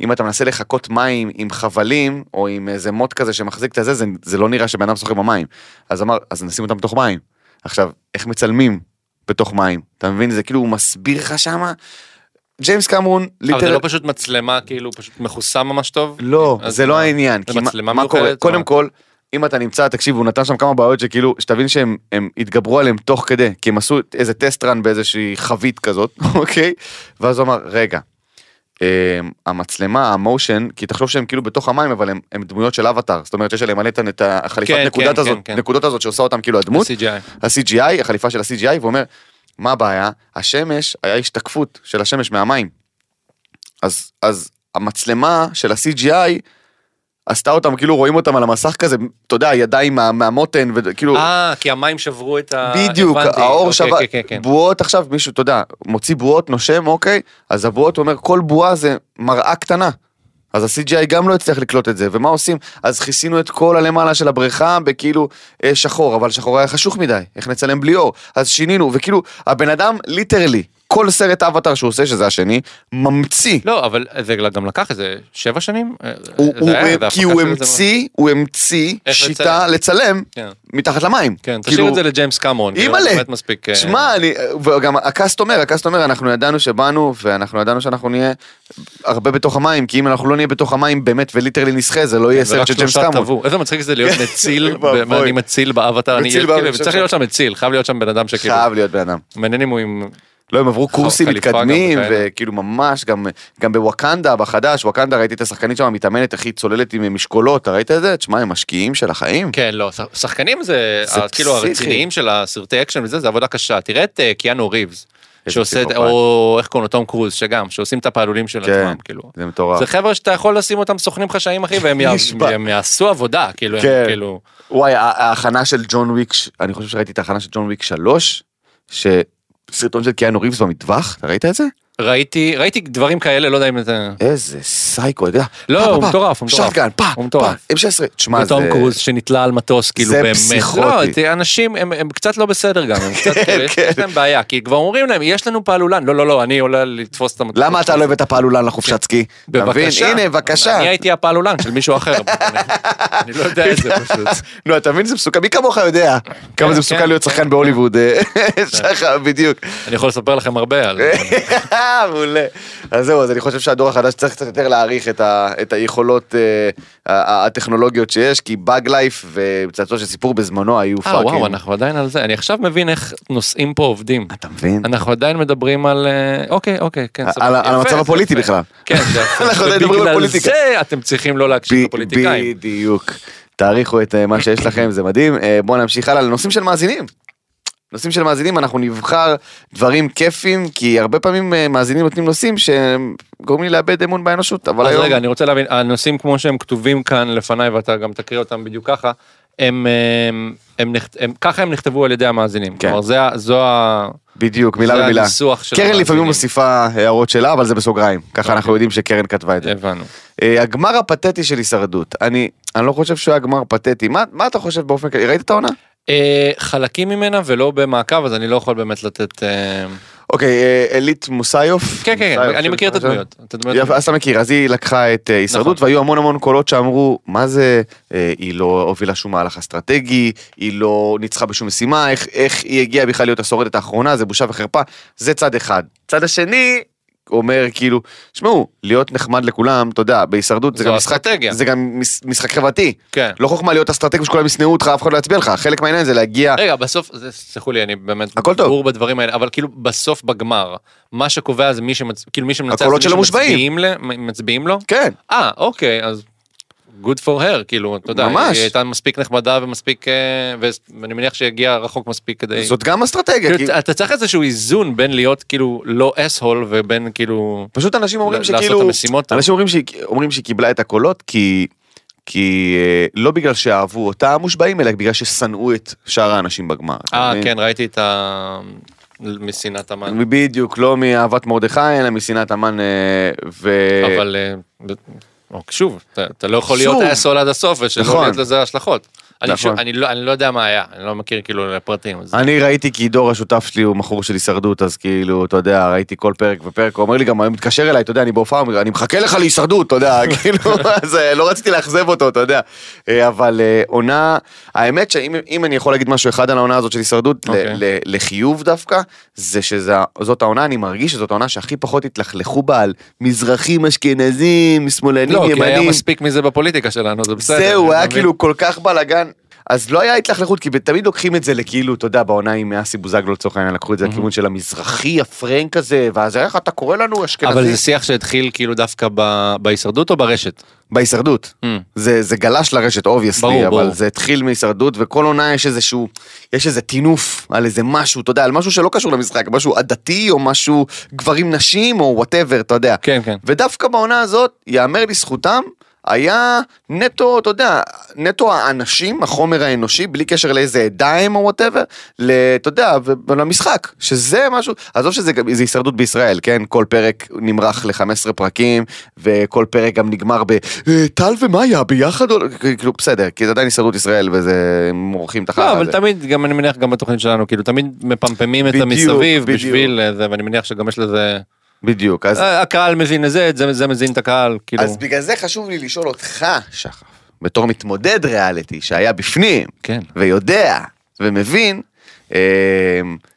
אם אתה מנסה לחקות מים עם חבלים, או עם איזה מוט כזה שמחזיק את הזה, זה, זה לא נראה שבן אדם שוחה במים. אז אמר, אז נשים אותם בתוך מים. עכשיו, איך מצלמים בתוך מים? אתה מבין? זה כאילו, הוא מסביר לך שמה? ג'יימס קמרון,
אבל זה
ליטר-
לא פשוט מצלמה, כאילו, פשוט מכוסה ממש טוב?
לא,
אז
זה לא
מה?
העניין.
זה
כי מה-
מצלמה
מה קורה?
מיוחדת?
קודם
מה?
כל, אם אתה נמצא, תקשיב, הוא נתן שם כמה בעיות שכאילו, שתבין שהם הם התגברו עליהם תוך כדי, כי הם עשו איזה טסט רן באיזושהי חבית כזאת, אוקיי? ואז הוא אמר, רגע, אמ, המצלמה, המושן, כי תחשוב שהם כאילו בתוך המים, אבל הם, הם דמויות של אבטאר, זאת אומרת שיש עליהם מלא את ה- את החליפת
כן,
נקודת
כן,
הזאת,
כן, כן.
נקודות הזאת שעושה אותם כאילו הדמות,
CGI.
ה-CGI, החליפה של ה-CGI, ואומר, מה הבעיה? השמש, היה השתקפות של השמש מהמים. אז, אז המצלמה של ה-CGI עשתה אותם, כאילו רואים אותם על המסך כזה, אתה יודע, ידיים מה, מהמותן, וכאילו...
אה, כי המים שברו את ה...
לא. בדיוק,
הבנתי.
האור
אוקיי,
שווה,
כן, כן, כן.
בועות עכשיו, מישהו, אתה יודע, מוציא בועות, נושם, אוקיי, אז הבועות, הוא אומר, כל בועה זה מראה קטנה. אז ה-CGI גם לא הצליח לקלוט את זה, ומה עושים? אז כיסינו את כל הלמעלה של הבריכה בכאילו אה, שחור, אבל שחור היה חשוך מדי, איך נצלם בלי אור? אז שינינו, וכאילו, הבן אדם, ליטרלי, כל סרט אבטר שהוא עושה, שזה השני, ממציא.
לא, אבל זה גם לקח איזה שבע שנים? אה,
הוא,
לא, זה
הוא,
היה, זה
כי
הפקה
הוא
של זה.
המציא, הוא המציא
איך
שיטה לצלם
כן.
מתחת למים.
כן,
כאילו-
תשאיר את זה לג'יימס קמרון. כאילו,
אימא'לה,
באמת מספיק... אה,
שמע, אני, וגם הקאסט אומר, הקאסט אומר, אנחנו ידענו שבאנו, ואנחנו ידענו שאנחנו נהיה הרבה בתוך המים, כי אם אנחנו לא נהיה בתוך המים באמת וליטרלי נשחה, זה לא יהיה
ורק
סרט של ג'יימס
כן, שלושה
קמרון.
טבעו. איזה מצחיק זה להיות מציל,
אוי ואבוי.
ב- אני מציל באבטר, אני
מציל
כאילו,
באבטר,
צריך להיות שם מציל, חייב להיות שם בן אדם שכאילו,
חייב להיות בן אדם.
מעניין אם הוא עם,
לא, הם עברו קורסים
חליפה גם
מתקדמים,
וכאלה.
וכאילו ממש, גם, גם בוואקנדה, בחדש, וואקנדה, ראיתי את השחקנית שם המתאמנת, איך היא צוללת עם משקולות, ראית את זה? תשמע, הם משקיעים של החיים.
כן לא, שח- שחקנים זה,
זה
ה- כאילו
פסיכי.
הרציניים של הסרטי אקשן וזה, זה עבודה קשה, תראה את אה, קיאנו ריבס,
איזה
שעושה, את-
פסיכופת.
או איך קוראים לו, תום קרוז, שגם, שעושים את הפעלולים של
כן.
עצמם, כאילו.
זה מטורף.
זה חבר'ה שאתה יכול לשים אותם סוכנים חשאיים אחי והם יע-
נשבע.
הם יעשו עבודה כאילו, הם
כן.
כאילו,
וואי, הה- ההכנה של ג'ון וויק, ש- אני חושב שראיתי את ההכנה של ג'ון וויק 3, שסרטון של קיאנו ריבס במטווח, אתה ראית את זה?
ראיתי, ראיתי דברים כאלה, לא יודע אם זה,
איזה סייקו, אתה יודע.
לא,
פה,
הוא
פה,
מטורף, הוא מטורף.
שטגן, פה,
הוא
פה,
מטורף.
M16. תשמע, זה...
וטום קרוז שנתלה על מטוס כאילו
זה
באמת.
פסיכוטי.
לא, תראה, אנשים הם, הם קצת לא בסדר גם, הם קצת, כאילו, יש-
כן.
יש להם בעיה, כי כבר אומרים להם יש לנו פעלולן, לא לא לא, אני עולה לתפוס את המטוס.
למה אתה לא הבאת פעלולן לחופשת סקי? אתה מבין?
בבקשה.
הנה, בבקשה.
אני הייתי הפעלולן של מישהו אחר. אני- אני לא יודע את זה פשוט.
נו, אתה מבין? זה מסוכן, מי כמוך יודע כמה זה מסוכן
כן,
להיות שחקן בהוליווד. אה, שחר, בדיוק.
אני יכול לספר לכם הרבה
אה,
על...
מעולה. אז זהו, אז אני חושב שהדור החדש צריך קצת יותר להעריך את, ה, את היכולות אה, ה- ה- הטכנולוגיות שיש, כי באג לייף ופצצות של סיפור בזמנו היו
אה
פאקינג.
וואו, אנחנו עדיין על זה, אני עכשיו מבין איך נושאים פה עובדים.
אתה מבין?
אנחנו עדיין מדברים על... אה, אוקיי, אוקיי, כן. סבבה.
על ה- על
יפה,
המצב
זה
הפוליטי
יפה.
בכלל.
כן, זה יפה.
אנחנו עדיין מדברים על פוליטיקה.
ובגלל זה אתם צריכים לא להקשיב
ב-
לפוליטיקאים.
בדיוק. תעריכו את אה, מה שיש לכם, זה מדהים. אה, בואו נמשיך הלאה לנושאים של מאזינים. נושאים של מאזינים, אנחנו נבחר דברים כיפים, כי הרבה פעמים אה, מאזינים נותנים נושאים שגורמים לי לאבד אמון באנושות, אבל
אז
היום...
רגע, אני רוצה להבין, הנושאים כמו שהם כתובים כאן לפניי, ואתה גם תקריא אותם בדיוק ככה, הם, אה, הם, הם, נכת- הם ככה הם נכתבו על ידי המאזינים.
כן.
כלומר, זה, ה- זו ה...
בדיוק, מילה
זה
במילה.
הניסוח של
קרן לפעמים
המאזינים. אוקיי.
מוסיפה הערות שלה, אבל זה בסוגריים. ככה אנחנו יודעים שקרן כתבה את זה.
הבנו.
אה, הגמר הפתטי של הישרדות. אני אני לא חושב שהוא היה גמר פתטי. מה מה אתה חושב באופן כללי? ראית את העונה?
אה, חלקים ממנה ולא במעקב, אז אני לא יכול באמת לתת... אה,
אוקיי, אה, אלית מוסיוף.
כן, כן, כן,
מוסיוף,
אני מכיר את
משהו?
הדמויות. את הדמויות.
יפה, אז אתה מכיר, אז היא לקחה את אה, הישרדות,
נכון.
והיו המון המון קולות שאמרו, מה זה, אה, היא לא הובילה שום מהלך אסטרטגי, היא לא ניצחה בשום משימה, איך- איך היא הגיעה בכלל להיות השורדת האחרונה, זה בושה וחרפה, זה צד אחד. צד השני אומר כאילו, שמעו, להיות נחמד לכולם, אתה יודע, בהישרדות זה
זו
גם משחק,
אסטרטגיה.
זה גם מש- משחק חברתי.
כן.
לא חוכמה להיות אסטרטג ושכולם ישנאו אותך, אף אחד לא יצביע לך, חלק מהעניין זה להגיע,
רגע, בסוף, זה- סלחו לי, אני באמת
הכל טוב.
בור בדברים האלה, אבל כאילו בסוף בגמר, מה שקובע זה מי שמצ... כאילו מי שמנצח, זה
הקולות
מי
של המושבעים.
שמצביעים ל- מ- מצביעים לו?
כן.
אה, אוקיי, אז good for her, כאילו, אתה יודע,
ממש.
היא הייתה מספיק נחמדה ומספיק, אה, ו- ואני מניח שהגיעה רחוק מספיק כדי...
זאת גם אסטרטגיה, כי
כאילו, אתה צריך איזשהו איזון בין להיות כאילו לא אס-הול ובין כאילו...
פשוט אנשים אומרים
ל-
שכאילו,
לעשות את המשימות טוב.
אנשים אומרים שהיא, אומרים שהיא קיבלה את הקולות כי, כי אה, לא בגלל שאהבו אותה המושבעים, אלא בגלל ששנאו את שאר האנשים בגמר. אתה
אה,
מבין?
כן, ראיתי את ה... משנאת המן.
בדיוק, לא מאהבת מרדכי, אלא משנאת המן, אה, ו...
אבל אה, ב- אוק, שוב, אתה- אתה לא יכול להיות
שוב.
אסול עד הסוף ושלא
נכון.
להיות לזה השלכות. אני
נכון.
שוב- אני לא אני לא יודע מה היה, אני לא מכיר כאילו לפרטים. אז-
אני ראיתי כי דור השותף שלי הוא מכור של הישרדות, אז כאילו, אתה יודע, ראיתי כל פרק ופרק, הוא אומר לי גם, הוא מתקשר אליי, אתה יודע, אני בהופעה, הוא אומר, אני מחכה לך להישרדות, אתה יודע, כאילו, אז אה, לא רציתי לאכזב אותו, אתה יודע. אה, אבל אה, עונה, האמת שאם אם אני יכול להגיד משהו אחד על העונה הזאת של הישרדות, ל-
אוקיי.
ל- לחיוב דווקא, זה שזאת העונה, אני מרגיש שזאת העונה שהכי פחות התלכלכו בה על מזרחים, אשכנזים, שמאלנים,
לא,
ימנים.
כי היה מספיק מזה בפוליטיקה שלנו, זה בסדר.
זהו,
אני
היה
מבין.
כאילו כל כך בלאגן. אז לא היה התלכלכות, כי תמיד לוקחים את זה לכאילו, אתה יודע, בעונה עם אסי בוזגלו לצורך העניין, לקחו את
Mhm.
זה לכיוון של המזרחי הפרנק הזה, ואז איך אתה קורא לנו
אבל זה
אשכנזי?
שיח שהתחיל כאילו דווקא ב- בהישרדות או ברשת?
בהישרדות.
Mm.
זה זה גלש לרשת,
ברור,
אובייסלי, אבל
ברור.
זה התחיל מהישרדות, וכל עונה יש איזשהו, יש איזה טינוף על איזה משהו, אתה יודע, על משהו שלא קשור למשחק, משהו עדתי, או משהו גברים נשים, או וואטאבר, אתה יודע.
כן, כן.
ודווקא בעונה הזאת, יאמר לזכותם, היה נטו, אתה יודע, נטו האנשים, החומר האנושי, בלי קשר לאיזה עדה הם או וואטאבר, אתה יודע, ו- ולמשחק, שזה משהו, עזוב שזה גם- זה הישרדות בישראל, כן? כל פרק נמרח ל-15 פרקים, וכל פרק גם נגמר ב... "אה, טל ומאיה ביחד, או לא?" כאילו, בסדר, כי זה עדיין הישרדות ישראל, וזה, הם מורחים את החרא
לא,
הזה.
אבל תמיד, גם אני מניח גם בתוכנית שלנו, כאילו תמיד מפמפמים את
בדיוק,
המסביב
בדיוק.
בשביל אה, זה, ואני מניח שגם יש לזה...
בדיוק, אז...
אה, הקהל מבין את זה, את זה זה מזין את הקהל, כאילו.
אז בגלל זה חשוב לי לשאול אותך, שחף, בתור מתמודד ריאליטי שהיה בפנים,
כן.
ויודע, ומבין, אה,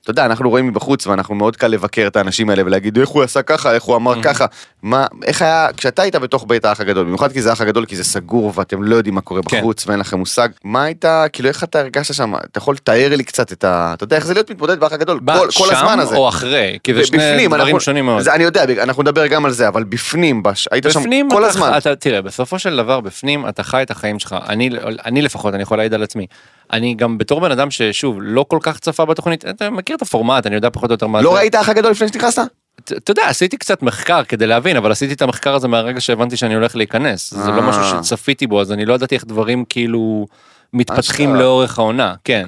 אתה יודע, אנחנו רואים מבחוץ ואנחנו מאוד קל לבקר את האנשים האלה ולהגיד איך הוא עשה ככה, איך הוא
Mm.
אמר ככה, מה, איך היה, כשאתה היית בתוך בית האח הגדול, במיוחד כי זה האח הגדול, כי זה סגור ואתם לא יודעים מה קורה
כן.
בחוץ ואין לכם מושג, מה הייתה, כאילו איך אתה הרגשת שם, אתה יכול לתאר לי קצת את ה... אתה יודע איך זה להיות מתמודד באח הגדול,
בא
כל, כל הזמן
שם
הזה.
או אחרי? כי זה שני
בפנים,
דברים
אנחנו-
שונים מאוד.
זה, אני יודע, אנחנו נדבר גם על זה, אבל בפנים, בש, היית שם כל
אתה,
הזמן.
אתה, תראה, בסופו של דבר בפנים אתה חי את החיים שלך. אני, לא- אני לפחות, אני יכול להעיד על עצמי. אני גם בתור בן אדם ששוב, לא כל כך צפה בתוכנית, אתה מכיר את הפורמט, אני יודע פחות או יותר מה
לא
זה.
ראית אח הגדול לפני שנכנסת?
ת- אתה יודע, עשיתי קצת מחקר כדי להבין, אבל עשיתי את המחקר הזה מהרגע שהבנתי שאני הולך להיכנס. זה לא
אה.
משהו שצפיתי בו, אז אני לא ידעתי איך דברים כאילו מתפתחים
אשכרה. אוקיי.
לאורך העונה, כן.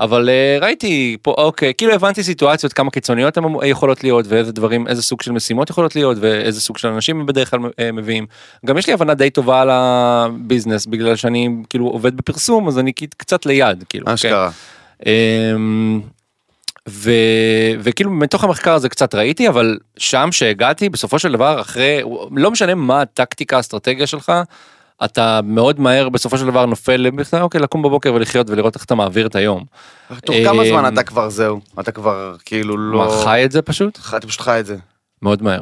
אבל אה, ראיתי פה, אוקיי, כאילו הבנתי סיטואציות, כמה קיצוניות הן אמור- יכולות להיות, ואיזה דברים, איזה סוג של משימות יכולות להיות, ואיזה סוג של אנשים הם בדרך כלל אה, מביאים. גם יש לי הבנה די טובה על הביזנס, בגלל שאני כאילו עובד בפרסום, אז אני כאילו קצת ליד, כאילו. כן.
אשכרה.
אמ, ו, וכאילו מתוך המחקר הזה קצת ראיתי אבל שם שהגעתי בסופו של דבר אחרי לא משנה מה הטקטיקה האסטרטגיה שלך. אתה מאוד מהר בסופו של דבר נופל לבכלל אוקיי לקום בבוקר ולחיות ולראות איך אתה מעביר את היום.
תוך כמה
אמ,
זמן אתה כבר זהו? אתה כבר כאילו לא...
מה חי את זה פשוט?
ח- אתה פשוט חי את זה.
מאוד מהר.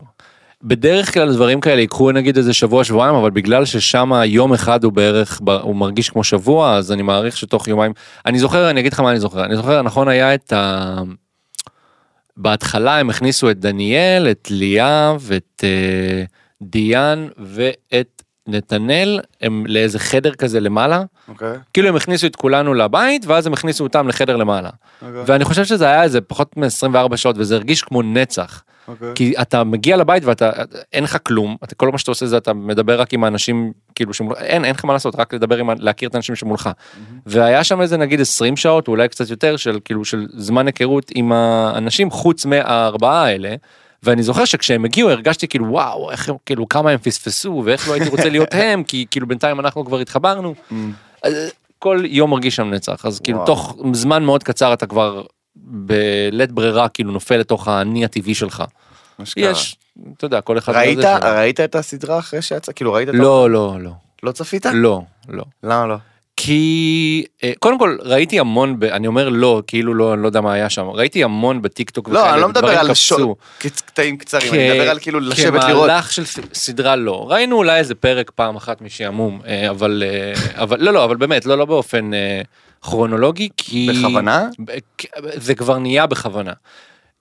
בדרך כלל דברים כאלה ייקחו נגיד איזה שבוע שבועיים אבל בגלל ששם יום אחד הוא בערך ב- הוא מרגיש כמו שבוע אז אני מעריך שתוך יומיים אני זוכר אני אגיד לך מה אני זוכר אני זוכר נכון היה את ה... בהתחלה הם הכניסו את דניאל את ליאב את אה, דיאן ואת נתנאל הם לאיזה חדר כזה למעלה
אוקיי.
כאילו הם הכניסו את כולנו לבית ואז הם הכניסו אותם לחדר למעלה
כן.
ואני חושב שזה היה איזה פחות מ-24 שעות וזה הרגיש כמו נצח. כי אתה מגיע לבית ואתה אין לך כלום אתה כל מה שאתה עושה זה אתה מדבר רק עם האנשים כאילו שמולך אין אין לך מה לעשות רק לדבר עם ה- להכיר את האנשים שמולך. והיה שם איזה נגיד 20 שעות אולי קצת יותר של כאילו של זמן היכרות עם האנשים חוץ מהארבעה האלה. ואני זוכר שכשהם הגיעו הרגשתי כאילו וואו איך הם כאילו כמה הם פספסו ואיך לא הייתי רוצה להיות הם כי כאילו בינתיים אנחנו כבר התחברנו. אז, כל יום מרגיש שם נצח, אז כאילו
וואו.
תוך זמן מאוד קצר אתה כבר בלית ברירה כאילו נופל לתוך האני הטבעי שלך.
מה שקרה.
יש, אתה יודע, כל אחד...
אה. ראית,
והזה שלו.
ראית את הסדרה אחרי שיצא? כאילו ראית את ה-
לא, לא, לא.
לא צפית?
לא, לא.
למה לא?
כי אה, קודם כל ראיתי המון, ב- אני אומר לא, כאילו לא, אני לא יודע מה היה שם, ראיתי המון בטיקטוק
לא, אני לא מדבר
דברים
על
קפצו.
שו- קט- קטעים קצרים, אני
כ-
מדבר על כאילו לשבת לראות.
כמהלך של ס- סדרה לא. ראינו אולי איזה פרק פעם אחת משעמום, אה, אבל, אה, אבל לא, לא, אבל באמת, לא, לא באופן אה, כרונולוגי, כי...
בכוונה?
ב- כ- זה כבר נהיה בכוונה.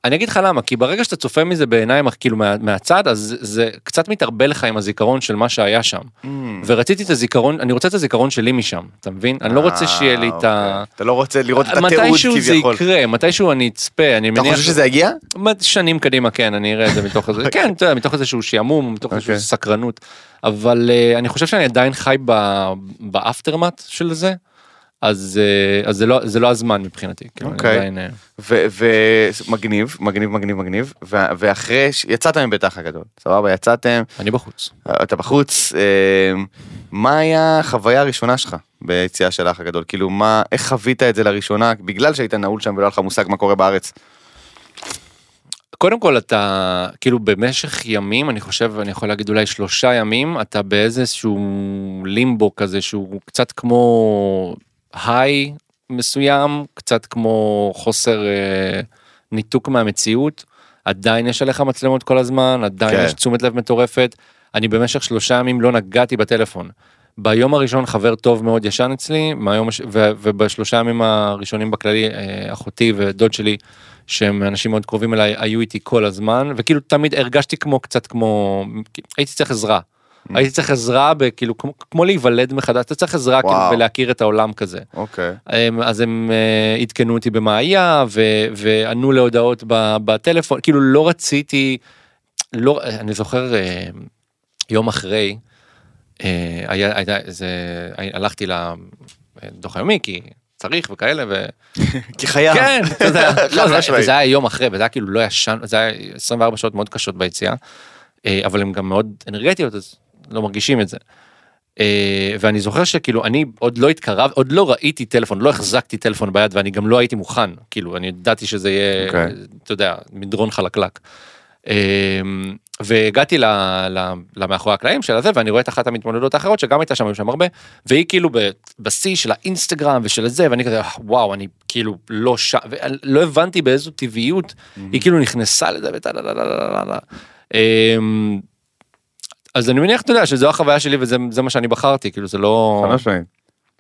אני אגיד לך למה, כי ברגע שאתה צופה מזה בעיניים, כאילו מה, מהצד, אז זה- זה קצת מתערבל לך עם הזיכרון של מה שהיה שם.
Mm.
ורציתי את הזיכרון, אני רוצה את הזיכרון שלי משם, אתה מבין? אני לא רוצה שיהיה לי את ה...
אתה לא רוצה אה, לראות את התיעוד
מתישהו זה
כביכול.
יקרה, מתישהו אני אצפה, אני
אתה
מניח...
חושב שזה יגיע?
מה- שנים קדימה כן אני אראה את זה מתוך איזה כן אתה יודע, מתוך איזשהו שעמום מתוך איזשהו
אוקיי.
סקרנות אבל אה, אני חושב שאני עדיין חי ב- באפטרמט של זה אז אה, אז זה לא זה לא הזמן מבחינתי. כאילו, אני
אוקיי.
עדיין, אה,
ומגניב, מגניב, מגניב, מגניב, ו- ואחרי, ש- יצאתם מבית האח הגדול, סבבה, יצאתם,
אני בחוץ.
אתה בחוץ, אה, מה היה החוויה הראשונה שלך ביציאה של האח הגדול? כאילו, מה, איך חווית את זה לראשונה, בגלל שהיית נעול שם ולא היה לך מושג מה קורה בארץ?
קודם כל אתה כאילו במשך ימים אני חושב אני יכול להגיד אולי שלושה ימים אתה באיזשהו לימבו כזה שהוא קצת כמו היי מסוים קצת כמו חוסר אה, ניתוק מהמציאות עדיין יש עליך מצלמות כל הזמן עדיין
כן.
כן. יש תשומת לב מטורפת אני במשך שלושה ימים לא נגעתי בטלפון. ביום הראשון חבר טוב מאוד ישן אצלי, מהיום, הש- ו, ובשלושה ימים הראשונים בכללי, אה, אחותי ודוד שלי, שהם אנשים מאוד קרובים אליי, היו איתי כל הזמן, וכאילו תמיד הרגשתי כמו קצת כמו, הייתי צריך עזרה. הייתי צריך עזרה, בכאילו, כמו, כמו להיוולד מחדש, אתה צריך עזרה כאילו,
וואו.
ולהכיר את העולם כזה.
אוקיי.
הם- אז הם אה, עדכנו אותי במה היה ו- וענו להודעות ב- בטלפון כאילו לא רציתי לא אני זוכר אה, יום אחרי אה, היה הייתה איזה הלכתי לדוח היומי כי צריך וכאלה ו...
כי חייב.
כן, אתה יודע, לא,
חד
זה-
משמעית.
וזה היה יום אחרי, וזה היה כאילו לא ישן, זה היה 24 שעות מאוד קשות ביציאה, אה, אבל הן גם מאוד אנרגטיות, אז לא מרגישים את זה. אה, ואני זוכר שכאילו אני עוד לא התקרב, עוד לא ראיתי טלפון, לא החזקתי טלפון ביד ואני גם לא הייתי מוכן, כאילו אני ידעתי שזה יהיה,
אוקיי.
אתה יודע, מדרון חלקלק. אה, והגעתי ל, ל, למאחורי הקלעים של הזה ואני רואה את אחת המתמודדות האחרות שגם הייתה שם, היו שם הרבה, והיא כאילו ב- בשיא של האינסטגרם ושל הזה ואני כזה "אה, וואו אני כאילו לא שם לא הבנתי באיזו טבעיות היא כאילו נכנסה לזה ותה לה לה לה לה לה לה. אמ, אז אני מניח אתה יודע שזו החוויה שלי וזה זה מה שאני בחרתי כאילו זה לא
חד משמעית.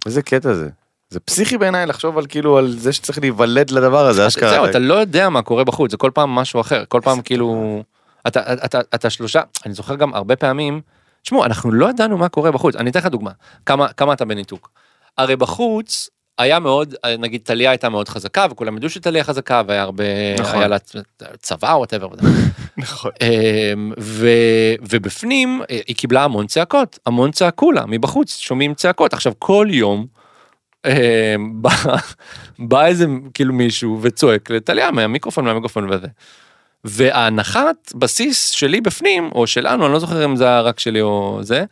איזה קטע זה. זה פסיכי בעיניי לחשוב על כאילו על זה שצריך להיוולד לדבר הזה, אשכרה.
זהו, אתה לא יודע מה קורה בחוץ, זה כל פעם משהו אחר, כל פעם כאילו... אתה, אתה, אתה, אתה שלושה, אני זוכר גם הרבה פעמים, תשמעו, אנחנו לא ידענו מה קורה בחוץ, אני אתן לך דוגמה, כמה, כמה אתה בניתוק. הרי בחוץ היה מאוד, נגיד טליה הייתה מאוד חזקה, וכולם ידעו שטליה חזקה, והיה הרבה,
נכון.
היה לה צבא או וואטאבר.
נכון.
אמ, ו, ובפנים אה, היא קיבלה המון צעקות, המון צעקו לה מבחוץ, שומעים צעקות. עכשיו כל יום אמ, בא, בא איזה כאילו מישהו וצועק לטליה מהמיקרופון מהמיקרופון וזה. וההנחת בסיס שלי בפנים, או שלנו, אני לא זוכר אם זה היה רק שלי או זה,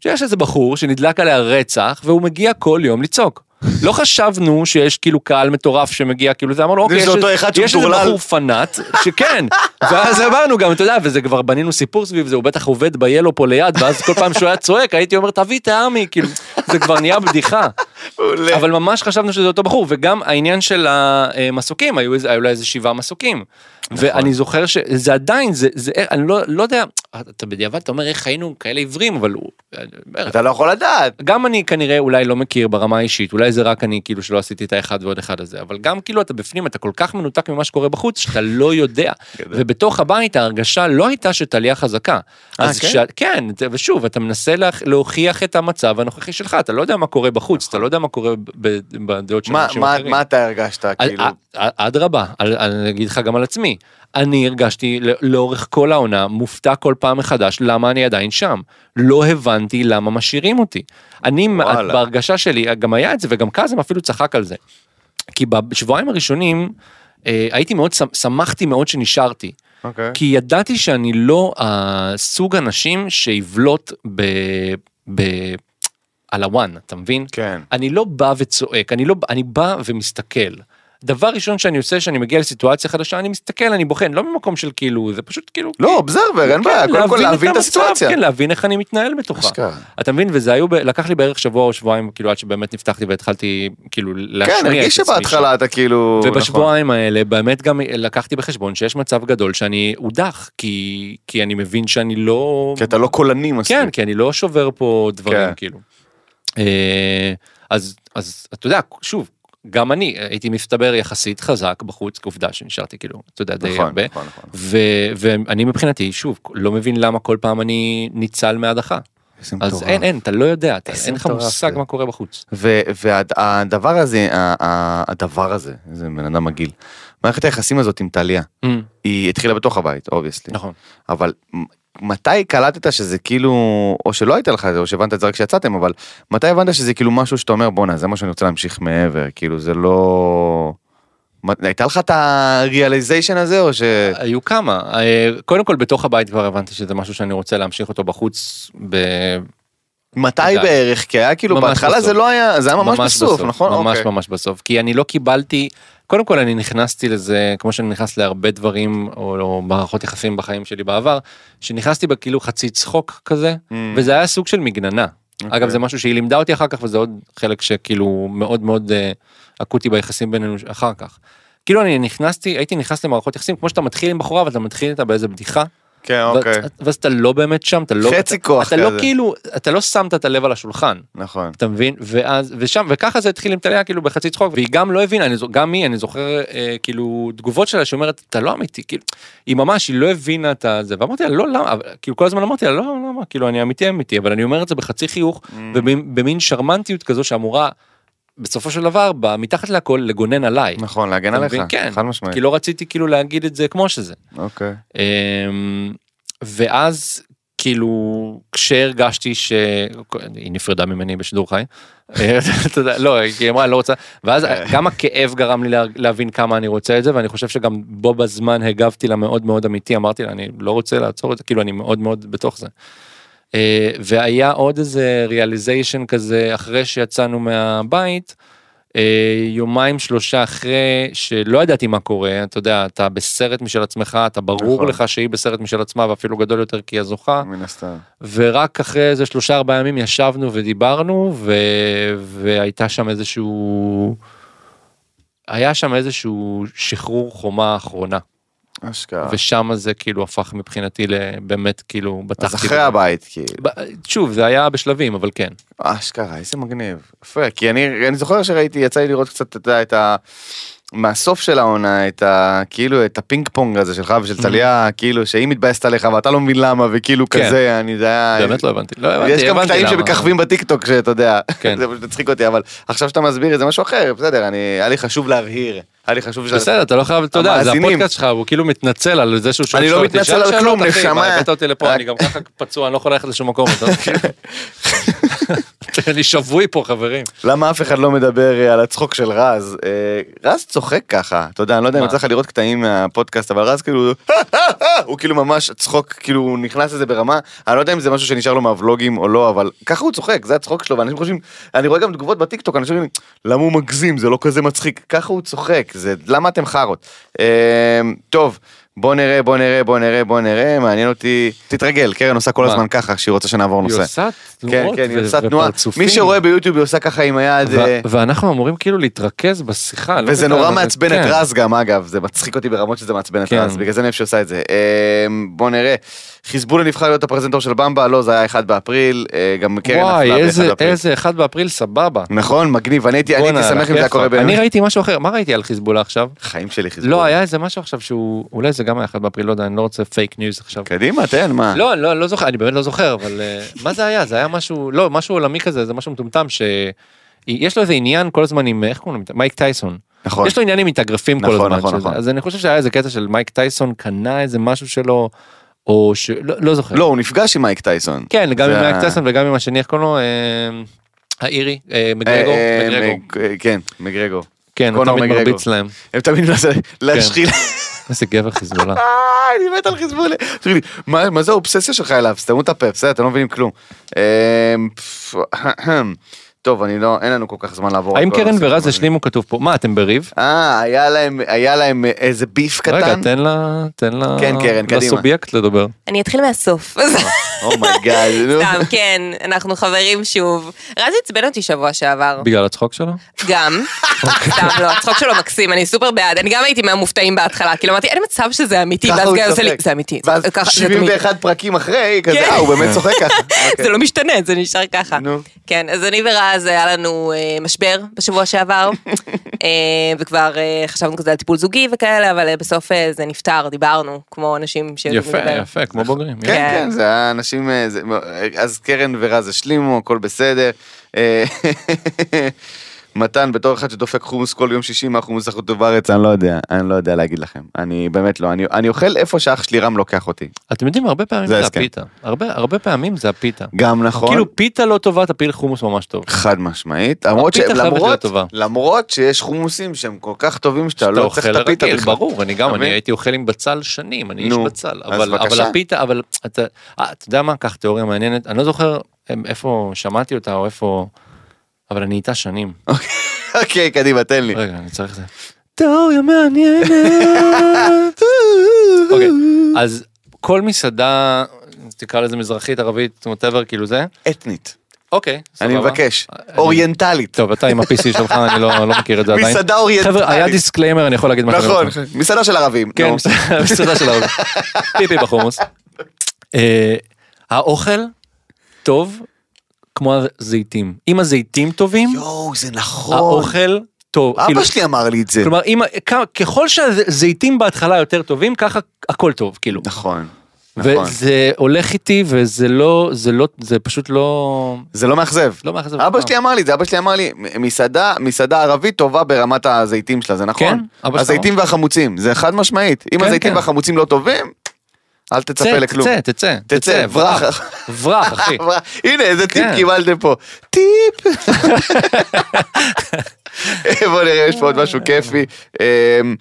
שיש איזה בחור שנדלק עליה רצח והוא מגיע כל יום לצעוק. לא חשבנו שיש כאילו קהל מטורף שמגיע כאילו זה אמרנו אוקיי
זה
יש,
אותו אחד
יש איזה
שמטורלל."
בחור פנאט שכן ואז אמרנו גם אתה יודע וזה כבר בנינו סיפור סביב זה הוא בטח עובד ביאלו פה ליד ואז כל פעם שהוא היה צועק הייתי אומר תביא את העמי כאילו זה כבר נהיה בדיחה.
מעולה.
אבל ממש חשבנו שזה אותו בחור וגם העניין של המסוקים היו איזה- היו אולי איזה שבעה מסוקים. ואני זוכר שזה עדיין זה זה אני לא לא יודע אתה בדיעבד אתה אומר איך היינו כאלה עיוורים אבל הוא. אני אומר,
אתה לא יכול לדעת.
גם אני כנראה אולי לא מכיר ברמה האישית אולי זה רק אני כאילו שלא עשיתי את האחד ועוד אחד הזה אבל גם כאילו אתה בפנים אתה כל כך מנותק ממה שקורה בחוץ שאתה לא יודע
גדול.
ובתוך הבית ההרגשה לא הייתה שטליה חזקה.
אה,
אז
כן?
כשה- כן זה- ושוב אתה מנסה להכ- להוכיח את המצב הנוכחי שלך אתה לא יודע מה קורה בחוץ אתה לא יודע מה קורה ב- ב- בדעות של
נכון. מה-
אנשים
מה-
אחרים.
מה אתה הרגשת
על-
כאילו?
א- א- אדרבה, על- על- אני אגיד לך גם על עצמי. אני הרגשתי ל- לאורך כל העונה מופתע כל פעם מחדש למה אני עדיין שם. לא הבנתי למה משאירים אותי. אני,
וואלה.
בהרגשה שלי, גם היה את זה וגם קאזם אפילו צחק על זה. כי בשבועיים הראשונים אה, הייתי מאוד, שמ- שמחתי מאוד שנשארתי.
אוקיי.
כי ידעתי שאני לא הסוג אנשים שיבלוט ב... ב... על הוואן, אתה מבין?
כן.
אני לא בא וצועק, אני, לא, אני בא ומסתכל. דבר ראשון שאני עושה, שאני מגיע לסיטואציה חדשה, אני מסתכל, אני בוחן, לא ממקום של כאילו, זה פשוט כאילו... כן,
לא, אובזרבר, אין בעיה, קודם כל להבין את
המצב,
הסיטואציה.
כן, להבין איך אני מתנהל בתוכה.
אשכרה.
אתה מבין, וזה היו, ב- לקח לי בערך שבוע או שבועיים, כאילו, עד שבאמת נפתחתי והתחלתי, כאילו, להשמיע
כן,
את
הרגיש
עצמי שם.
שבהתחלה אתה כאילו...
ובשבועיים האלה באמת גם לקחתי בחשבון שיש מצב גדול שאני אודח, כי, כי אני מבין שאני לא...
נכון. כי אתה לא קולני מספיק.
כן, כי אני לא שובר פה דברים,
כן.
כאילו. אה, אז, אז אתה יודע, שוב, גם אני הייתי מסתבר יחסית חזק בחוץ, כי עובדה שנשארתי כאילו, אתה יודע, די
נכון,
הרבה.
נכון, נכון.
ו- ואני מבחינתי, שוב, לא מבין למה כל פעם אני ניצל מהדחה.
איזה
אז
מטורף.
אין, אין, אתה לא יודע, אתה-
איזה
אין לך
מטורף
מושג
זה.
מה קורה בחוץ.
והדבר הזה, ה- ה- הדבר הזה, איזה בן אדם מגעיל. מערכת היחסים הזאת עם טליה, היא התחילה בתוך הבית, אובייסלי.
נכון.
אבל מ- מתי קלטת שזה כאילו, או שלא הייתה לך את זה, או שהבנת את זה רק כשיצאתם, אבל מתי הבנת שזה כאילו משהו שאתה אומר, בואנה, זה מה שאני רוצה להמשיך מעבר, כאילו זה לא... מה- הייתה לך את הריאליזיישן הזה, או ש...
היו כמה. אה, קודם כל, בתוך הבית כבר הבנתי שזה משהו שאני רוצה להמשיך אותו בחוץ, ב-
מתי
יודע.
בערך? כי היה כאילו,
ממש
בהתחלה
בסוף.
זה לא היה, זה היה ממש בסוף, נכון?
ממש
אוקיי.
ממש בסוף, כי אני לא קיבלתי, קודם כל אני נכנסתי לזה, כמו שאני נכנס להרבה דברים, או, או מערכות יחסים בחיים שלי בעבר, שנכנסתי בה כאילו חצי צחוק כזה,
Mm.
וזה היה סוג של מגננה.
אוקיי.
אגב, זה משהו שהיא לימדה אותי אחר כך, וזה עוד חלק שכאילו מאוד מאוד אה, אקוטי ביחסים בינינו אחר כך. כאילו אני נכנסתי, הייתי נכנס למערכות יחסים, כמו שאתה מתחיל עם בחורה, ואתה מתחיל איתה באיזה בדיחה,
כן,
ואת-
אוקיי,
ואז אתה לא באמת שם, אתה לא...
חצי
אתה-
כוח
אתה לא
כזה.
כאילו, אתה לא שמת את הלב על השולחן.
נכון.
אתה מבין ואז ושם וככה זה התחיל עם טליה כאילו בחצי צחוק והיא גם לא הבינה אני זו- גם היא אני זוכר אה, כאילו תגובות שלה שאומרת אתה לא אמיתי כאילו היא ממש היא לא הבינה את זה ואמרתי לה לא למה אבל, כאילו כל הזמן אמרתי לה לא למה כאילו אני אמיתי אמיתי אבל אני אומר את זה בחצי חיוך
Mm.
ובמין שרמנטיות כזו שאמורה בסופו של דבר ב- מתחת להכל לגונן עליי.
נכון, להגן
אתה
עליך,
מבין? כן. כאילו-
חד משמעית.
כי לא רציתי כאילו להגיד את זה כמו שזה.
אוקיי.
אמ, ואז כאילו כשהרגשתי שהיא נפרדה ממני בשידור חי, אה, אתה יודע, לא היא אמרה לא רוצה ואז גם הכאב גרם לי לה- להבין כמה אני רוצה את זה ואני חושב שגם בו בזמן הגבתי לה מאוד מאוד אמיתי אמרתי לה אני לא רוצה לעצור את זה כאילו אני מאוד מאוד בתוך זה. אה, והיה עוד איזה ריאליזיישן כזה אחרי שיצאנו מהבית. אה, יומיים שלושה אחרי שלא ידעתי מה קורה אתה יודע אתה בסרט משל עצמך אתה ברור
נכון.
לך שהיא בסרט משל עצמה ואפילו גדול יותר כי היא הזוכה
מן הסתם.
ורק אחרי איזה שלושה ארבעה ימים ישבנו ודיברנו ו... והייתה שם איזשהו היה שם איזשהו שחרור חומה אחרונה
אשכרה.
ושם זה כאילו הפך מבחינתי לבאמת כאילו
אז
בטחתי.
אחרי הבית, כאילו.
ב- שוב זה היה בשלבים אבל כן.
אשכרה, איזה מגניב. יפה, כי אני, אני זוכר שראיתי, יצא לי לראות קצת, אתה יודע, את ה... מהסוף של העונה, את ה... כאילו, את הפינג פונג הזה שלך ושל
Mhm.
טליה, כאילו, שהיא מתבאסת עליך ואתה לא מבין למה, וכאילו
כן.
כזה, אני, זה היה...
באמת לא הבנתי. לא הבנתי.
יש גם
הבנתי
קטעים
למה.
שמככבים בטיקטוק שאתה יודע,
כן.
זה פשוט הצחיק אותי, אבל עכשיו שאתה מסביר את זה משהו אחר, בסדר, אני, היה לי חשוב להבהיר, היה לי חשוב ש...
בסדר אתה לא חייב אתה יודע זה
המאזינים.
הפודקאסט שלך הוא כאילו מתנצל על זה שהוא שואל
אני לא
שאלות.
מתנצל
תשאל
על
שאלות,
כלום,
אחי, מה,
נשמה.
הבאת אותי לפה
רק-
אני גם ככה פצוע אני לא יכול ללכת לשום מקום. אתה יודע? אני שבוי פה חברים.
למה אף אחד לא מדבר אה, על הצחוק של רז? אה, רז צוחק ככה, אתה יודע, אני לא יודע אם
מה?
יצא לך לראות קטעים מהפודקאסט, אבל רז כאילו, הוא כאילו ממש צחוק, כאילו הוא נכנס לזה ברמה, אני לא יודע אם זה משהו שנשאר לו מהוולוגים או לא, אבל ככה הוא צוחק, זה הצחוק שלו, ואנשים חושבים, אני רואה גם תגובות בטיקטוק, אנשים אומרים, למה הוא מגזים, זה לא כזה מצחיק, ככה הוא צוחק, זה, למה אתם חארות? אה, טוב. בוא נראה, בוא נראה, בוא נראה, בוא נראה, מעניין אותי, תתרגל, קרן עושה כל
מה?
הזמן ככה, כשהיא רוצה שנעבור
היא
נושא.
עושה
כן,
תנועות
כן, היא
ו-
עושה תנועה.
ופרצופים.
מי שרואה ביוטיוב היא עושה ככה עם היד,
ו-
אה,
ואנחנו אמורים כאילו להתרכז בשיחה. לא
וזה
בגלל-
נורא מעצבן את
כן.
רז גם, אגב, זה מצחיק אותי ברמות שזה מעצבן את
כן.
רז, בגלל זה אני אוהב שעושה את זה. אה, בוא נראה, חיזבאללה נבחר להיות הפרזנטור של במבה, לא, זה היה 1 באפריל, אה, גם קרן נפלה
וואי
ב-1
איזה
באפריל.
איזה אחד באפריל סבבה.
נכון, מגניב, אני הייתי אני
בואנה,
הייתי שמח אם זה היה
יפה.
קורה
אני
בינינו.
ראיתי משהו אחר מה ראיתי על חיזבאללה עכשיו?
חיים שלי חיזבאללה.
לא היה איזה משהו עכשיו שהוא אולי זה גם היה אחד באפריל לא יודע אני לא רוצה פייק ניוז עכשיו.
קדימה, תן, מה.
לא, אני לא, אני לא זוכר, אני באמת לא זוכר, אבל אה, מה זה היה? זה היה משהו, לא, משהו עולמי כזה, זה משהו מטומטם ש... יש לו איזה עניין כל הזמן עם, איך קוראים לו? מייק טייסון.
נכון.
יש לו עניין עם מתאגרפים כל
נכון,
הזמן.
נכון,
שזה-
נכון.
אז אני חושב שהיה איזה קטע של מייק טייסון קנה איזה משהו שלו, או ש... לא, לא זוכר.
לא, הוא נפגש עם מייק טייסון.
כן, גם
זה
עם מייק
ה-
טייסון וגם עם השני, איך קוראים לו? אה, האירי? אה,
אה,
מגרגו?
אה,
מגרגו.
מג- אה, כן, מגרגו.
כן, הוא
קונור
תמיד
מגרגור.
מרביץ להם.
הם תמיד מנסים
כן.
להשחיל,
איזה גבר חיזבאללה.
אה, אני מת על חיזבאללה. תגיד לי, מה מה זה האובססיה שלך אליו? סתמו את הפה, בסדר, אתם לא מבינים כלום. אמ, פפ, אהם. טוב, אני לא, אין לנו כל כך זמן לעבור. על
האם
כל
קרן
הנושאים
ורז
המעניינים.
השלימו כתוב פה? מה, אתם בריב?
אה, היה להם, היה להם איזה ביף קטן.
רגע, תן לה, תן לה,
כן, קרן, קדימה. אוקיי.
לסובייקט לדבר.
אני אתחיל מהסוף.
Oh אומייגאד.
סתם, כן, אנחנו חברים שוב. רז עצבן אותי שבוע שעבר.
בגלל הצחוק שלו?
גם.
אוקיי.
סתם, לא, הצחוק שלו מקסים, אני סופר בעד. אני גם הייתי מהמופתעים בהתחלה, כאילו אמרתי, אין מצב שזה אמיתי,
ככה
ואז
הוא
גיא עושה לי,
צוחק.
זה אמיתי. זה-
ואז
ככה, זה תמיד."
71 פרקים אחרי, כזה,
כן.
אה, הוא באמת צוחק ככה. אוקיי.
זה לא משתנה, זה נשאר ככה.
נו.
כן, אז אני ורז היה לנו אה, משבר בשבוע שעבר, אה, וכבר אה, חשבנו כזה על טיפול זוגי וכאלה, אבל אה, בסוף אה, זה נפתר, דיברנו, כמו אנשים ש...
יפה, יפה, כמו בוגרים. יפה.
כן,
כן.
כן, זה היה אנשים, אה, זה- אז קרן ורז השלימו, הכל בסדר. אה, מתן, בתור אחד שדופק חומוס כל יום שישי, מה החומוס הכי טוב בארץ, אני לא יודע, אני לא יודע להגיד לכם. אני באמת לא, אני- אני אוכל איפה שאח שלי רם לוקח אותי.
אתם יודעים, הרבה פעמים
זה
זה
ההסכם.
הפיתה. הרבה הרבה פעמים זה הפיתה.
גם נכון.
כאילו פיתה לא טובה, תפיל חומוס ממש טוב.
חד משמעית, למרות, ש...
הפיתה חייבת להיות
למרות,
טובה.
למרות שיש חומוסים שהם כל כך טובים שאתה
אתה
לא צריך את
אוכל
הפיתה
רגיל,
בכלל.
ברור, אני גם,
אתה
אני
מבין?
הייתי אוכל עם בצל שנים, אני איש
נו,
בצל,
אז
אבל אבל
בבקשה.
הפיתה, אבל אתה אה, אתה יודע מה, קח תיאוריה מעניינת, אני לא זוכר אה, איפה שמעתי אותה או איפה, אבל אני איתה שנים.
אוקיי, קדימה, תן לי.
רגע, אני צריך זה. תיאוריה מעניינת. אוקיי, אז כל מסעדה, תקרא לזה מזרחית, ערבית, ווטאבר, כאילו זה,
אתנית,
אוקיי, סבבה.
אני מבקש,
אני-
אוריינטלית,
טוב, אתה עם ה-PC שלך, אני לא לא מכיר את זה עדיין.
מסעדה אוריינטלית.
חבר'ה, היה דיסקליימר, אני יכול להגיד מה שאני
נכון,
רוצה.
מסעדה של ערבים.
כן,
נו.
מסעדה של העולם. פיפי בחומוס. אה, האוכל טוב כמו הזיתים. אם הזיתים טובים,
יואו,
אה,
זה נכון.
האוכל טוב. כאילו-
אבא שלי אמר לי את זה.
כלומר, אם, כ- ככל שהזיתים בהתחלה יותר טובים, ככה הכל טוב, כאילו.
נכון, נכון.
וזה הולך איתי, וזה לא, זה לא, זה פשוט לא,
זה לא מאכזב.
לא מאכזב.
אבא
אותך.
שלי אמר לי את זה, אבא שלי אמר לי, מסעדה, מסעדה ערבית טובה ברמת הזיתים שלה, זה
כן,
נכון?
אבא שלך
הזיתים והחמוצים, זה חד משמעית. אם
כן,
הזיתים
כן.
והחמוצים לא טובים, אל תצפה
צא,
לכלום.
תצא, תצא,
תצא, ברח.
ברח, אחי.
אבל- הנה איזה טיפ
כן.
קיבלתם פה, טיפ. בוא נראה יש פה עוד משהו כיפי. אמ,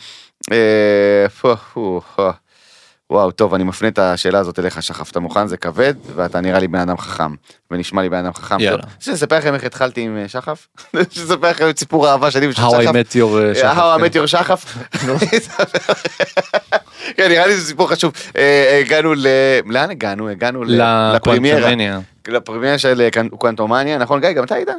אה, פו, פו, פו. וואו טוב אני מפנה את השאלה הזאת אליך שחף אתה מוכן זה כבד ואתה נראה לי בן אדם חכם ונשמע לי בן אדם חכם.
יאללה.
טוב, רוצה לספר לכם איך התחלתי עם אה, שחף? לספר לכם את סיפור האהבה שלי ושל
How I
שחף.
met your... אה,
How I
כן.
met your שחף. כן, נראה לי זה סיפור חשוב. אה, הגענו ל... לאן הגענו? הגענו ל- לפרימיירה.
לקוונטומניה.
לפרמייה של אה, קנ- קוונטומניה, נכון גיא? גם אתה היית?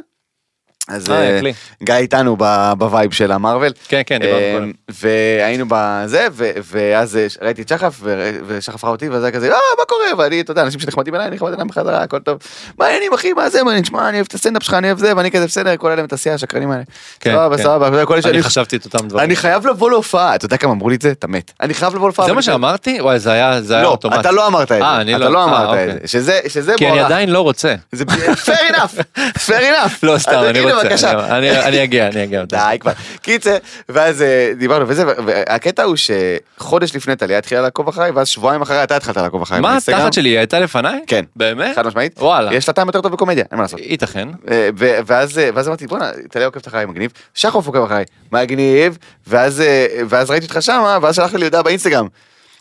אז
אה,
אה,
קלי.
גיא איתנו ב- בווייב של המרוויל.
כן, כן, דיברנו קודם.
אה, והיינו בזה, ו- ואז אה, ש- ראיתי את שחף, ו- ושחף ראה אותי, ואז היה כזה, אה, מה קורה? ואני, אתה יודע, אנשים שנחמדים אליי, אני נחמד אליהם בחזרה, הכל טוב. מה העניינים, אחי, מה זה, מה, אני- שמע, אני אוהב את הסטנדאפ שלך, אני אוהב זה, ואני כזה בסדר, כל אלה מתעשייה, השקרנים האלה.
כן,
סבבה,
כן.
סבבה, וכל אלה
אני
שאני-
חשבתי את אותם דברים.
אני חייב לבוא להופעה, אתה יודע כמה אמרו לי את זה? אתה מת. אני חייב לבוא להופעה.
זה
אבל
מה
אני-
שאמרתי? וואי, זה היה זה היה
לא,
אוטומט.
אתה לא אמרת את
אה,
זה.
אני
אתה לא
אה,
אמרת
אוקיי.
את זה. שזה- שזה
כי אני
מוערך.
עדיין לא רוצה.
זה fair enough, fair enough.
לא, סתם,
אז
אני
הנה,
רוצה. לא,
בבקשה.
אני- אני- אני אגיע, אני אגיע.
די כבר. קיצר, ואז אה, דיברנו וזה, ו- והקטע הוא שחודש לפני טליה התחילה לעקוב אחריי, ואז שבועיים אחריי אתה התחלת לעקוב אחריי.
מה,
באינסטגרם.
התחת שלי היא הייתה לפניי?
כן.
באמת?
חד משמעית.
וואלה.
יש לה טעם יותר טוב בקומדיה, אין מה לעשות.
ייתכן.
אה, ו- ואז אה, ואז אמרתי בואנה טליה עוקבת אחריי מגניב שחוף עוקב אחריי מגניב ואז אה, ואז ראיתי אותך שמה ואז שלחת לי הודעה באינסטגרם.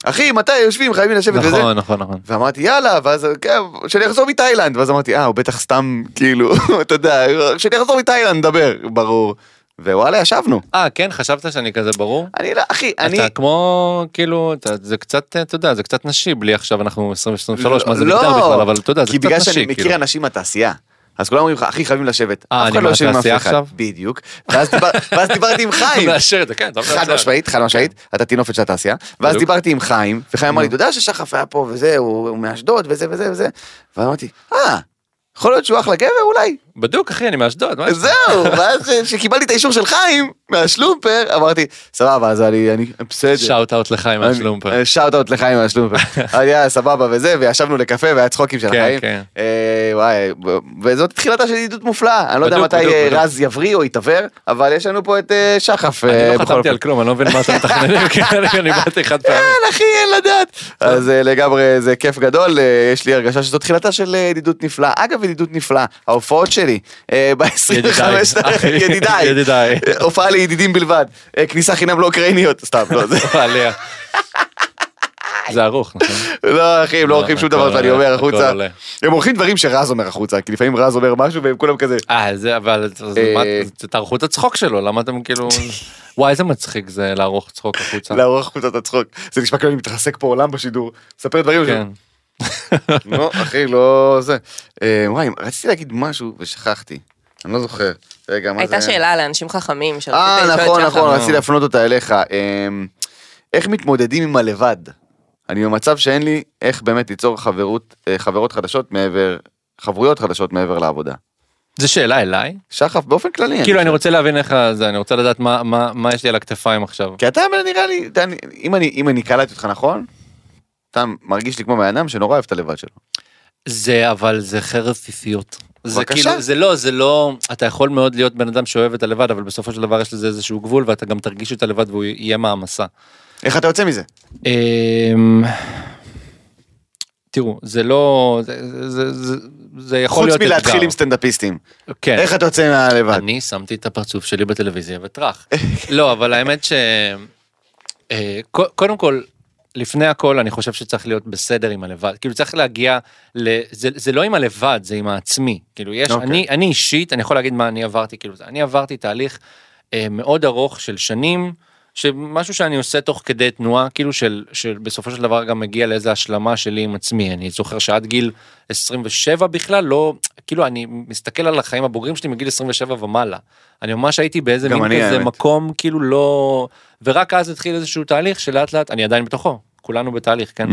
אחי מתי יושבים חייבים לשבת וזה.
נכון, נכון, נכון.
ואמרתי יאללה ואז כן, כשאני אחזור מתאילנד ואז אמרתי אה הוא בטח סתם כאילו אתה יודע כשאני אחזור מתאילנד נדבר ברור ווואלה ישבנו
אה, כן, חשבת שאני כזה ברור?
אני לא אחי אני
אתה כמו, כאילו, אתה- זה קצת, אתה יודע, זה קצת נשי, בלי עכשיו אנחנו 2023, מה זה
לא,
מגדר בכלל, אבל אתה יודע, זה
כי
קצת
בגלל שאני
נשי,
מכיר
כאילו.
אנשים מהתעשייה. אז כולם אומרים לך, אחי, חייבים לשבת.
אה,
אף
אני
אחד לא יושב עם אף
מהתעשייה
אחד.
עכשיו?
בדיוק. ואז דיבר- ואז דיברתי עם חיים.
אתה מאשר את זה, כן, אתה אומר את
חד
זה.
משמעית, חד משמעית, אתה תינופת של התעשייה, ואז
כן. בדיוק.
דיברתי עם חיים, וחיים אמר לי, אתה יודע ששחף היה פה וזה, הוא הוא מאשדוד וזה וזה וזה, ואמרתי, אה, יכול להיות שהוא אחלה גבר אולי,
בדיוק, אחי, אני מאשדוד, מה יש לך?
זהו, ואז כשקיבלתי את האישור של חיים מהשלומפר, אמרתי, סבבה, אז אני, אני, בסדר.
שאוט אאוט לחיים מהשלומפר.
שאוט אאוט לחיים מהשלומפר. אמרתי, יאללה, סבבה וזה, וישבנו לקפה והיה צחוקים של
כן,
חיים.
כן.
אה, וואי, ב- וזאת תחילתה של ידידות מופלאה, אני לא יודע
בדוק,
מתי
בדוק,
אה,
בדוק.
רז יבריא או יתעוור, אבל יש לנו פה את אה, שחף. אה,
אני לא
בכל
חתמתי
אופן.
על כלום, אני לא מבין מה אתם מתכננים, כי אני באתי חד פעמי.
אין אחי אין לדעת אז אה, לגמרי זה כיף גדול אה, יש לי הרגשה שזו תחילתה של אה, ידידות נפלאה אגב ידידות נפלאה ההופעות ש- שלי, ב-25,
ידידיי. אחי,
ידידיי,
ידידיי.
אה, הופעה לידידים בלבד, אה, כניסה חינם לאוקראיניות, סתם, לא, זה-
עליה. זה ארוך, נכון?
לא אחי, הם לא
לא,
עורכים שום
הכל
דבר שאני
עולה,
אומר
הכל
החוצה,
עולה.
הם עורכים דברים שרז אומר החוצה, כי לפעמים רז אומר משהו והם כולם כזה,
אה, זה, אבל אז
אה.
מה, ת- תערכו את הצחוק שלו, למה אתם כאילו... וואי, איזה מצחיק זה לערוך צחוק החוצה.
לערוך החוצה את הצחוק, זה נשמע כאילו אני מתרסק פה עולם בשידור, מספר דברים,
כן.
נו, אחי, לא זה. אה, וואי, רציתי להגיד משהו ושכחתי. אני לא זוכר. רגע, מה זה?
הייתה שאלה לאנשים חכמים שרצית
אה,
לשאול את
נכון,
אוקיי, שחר.
נכון,
אה.
רציתי להפנות אותה אליך. אה, איך מתמודדים עם הלבד? אני במצב שאין לי איך באמת ליצור חברות, אה, חברות חדשות מעבר, חברויות חדשות מעבר לעבודה.
זה שאלה אליי?
שחף, באופן כללי.
כאילו, אני
חושב.
רוצה להבין איך זה, אני רוצה לדעת מה- מה מה יש לי על הכתפיים עכשיו.
כי אתה אבל נראה לי, אתה- אם אני- אם אני קלטתי אותך נכון, אתה מרגיש לי כמו בן אדם שנורא אוהב את הלבד שלו.
זה אבל זה חרב פיפיות. זה
כן. בבקשה.
כאילו, זה לא, זה לא, אתה יכול מאוד להיות בן אדם שאוהב את הלבד, אבל בסופו של דבר יש לזה איזשהו גבול, ואתה גם תרגיש את הלבד והוא יהיה מעמסה.
איך אתה יוצא מזה?
אמ, תראו, זה לא, זה- זה- זה- זה יכול
חוץ
להיות אתגר.
מלהתחיל עם סטנדאפיסטים.
כן.
איך אתה יוצא מהלבד?
אני שמתי את הפרצוף שלי בטלוויזיה וטראח. לא, אבל האמת ש... אה, ק- קודם כל, לפני הכל אני חושב שצריך להיות בסדר עם הלבד. כאילו צריך להגיע ל... זה, זה לא עם הלבד, זה עם העצמי. כאילו יש,
אוקיי.
אני, אני אישית, אני יכול להגיד מה אני עברתי, כאילו זה. אני עברתי תהליך אה, מאוד ארוך של שנים. שמשהו שאני עושה תוך כדי תנועה כאילו של שבסופו של דבר גם מגיע לאיזה השלמה שלי עם עצמי אני זוכר שעד גיל 27 בכלל לא כאילו אני מסתכל על החיים הבוגרים שלי מגיל 27 ומעלה אני ממש הייתי באיזה
גם
מין
אני,
כזה
האמת.
מקום כאילו לא ורק אז התחיל איזשהו תהליך שלאט לאט אני עדיין בתוכו כולנו בתהליך כן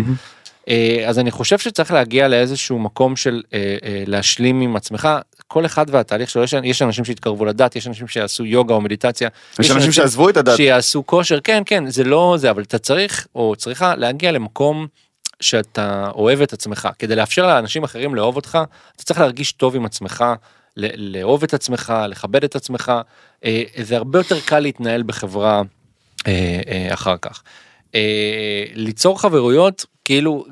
אה, אז אני חושב שצריך להגיע לאיזשהו מקום של אה, אה, להשלים עם עצמך כל אחד והתהליך שלו יש, יש אנשים שהתקרבו לדת יש אנשים שיעשו יוגה או מדיטציה
יש אנשים שעזבו את הדת.
שיעשו כושר כן כן זה לא זה אבל אתה צריך או צריכה להגיע למקום שאתה אוהב את עצמך כדי לאפשר לאנשים אחרים לאהוב אותך אתה צריך להרגיש טוב עם עצמך ל- לאהוב את עצמך לכבד את עצמך אה, זה הרבה יותר קל להתנהל בחברה אה, אה, אחר כך. אה, ליצור חברויות כאילו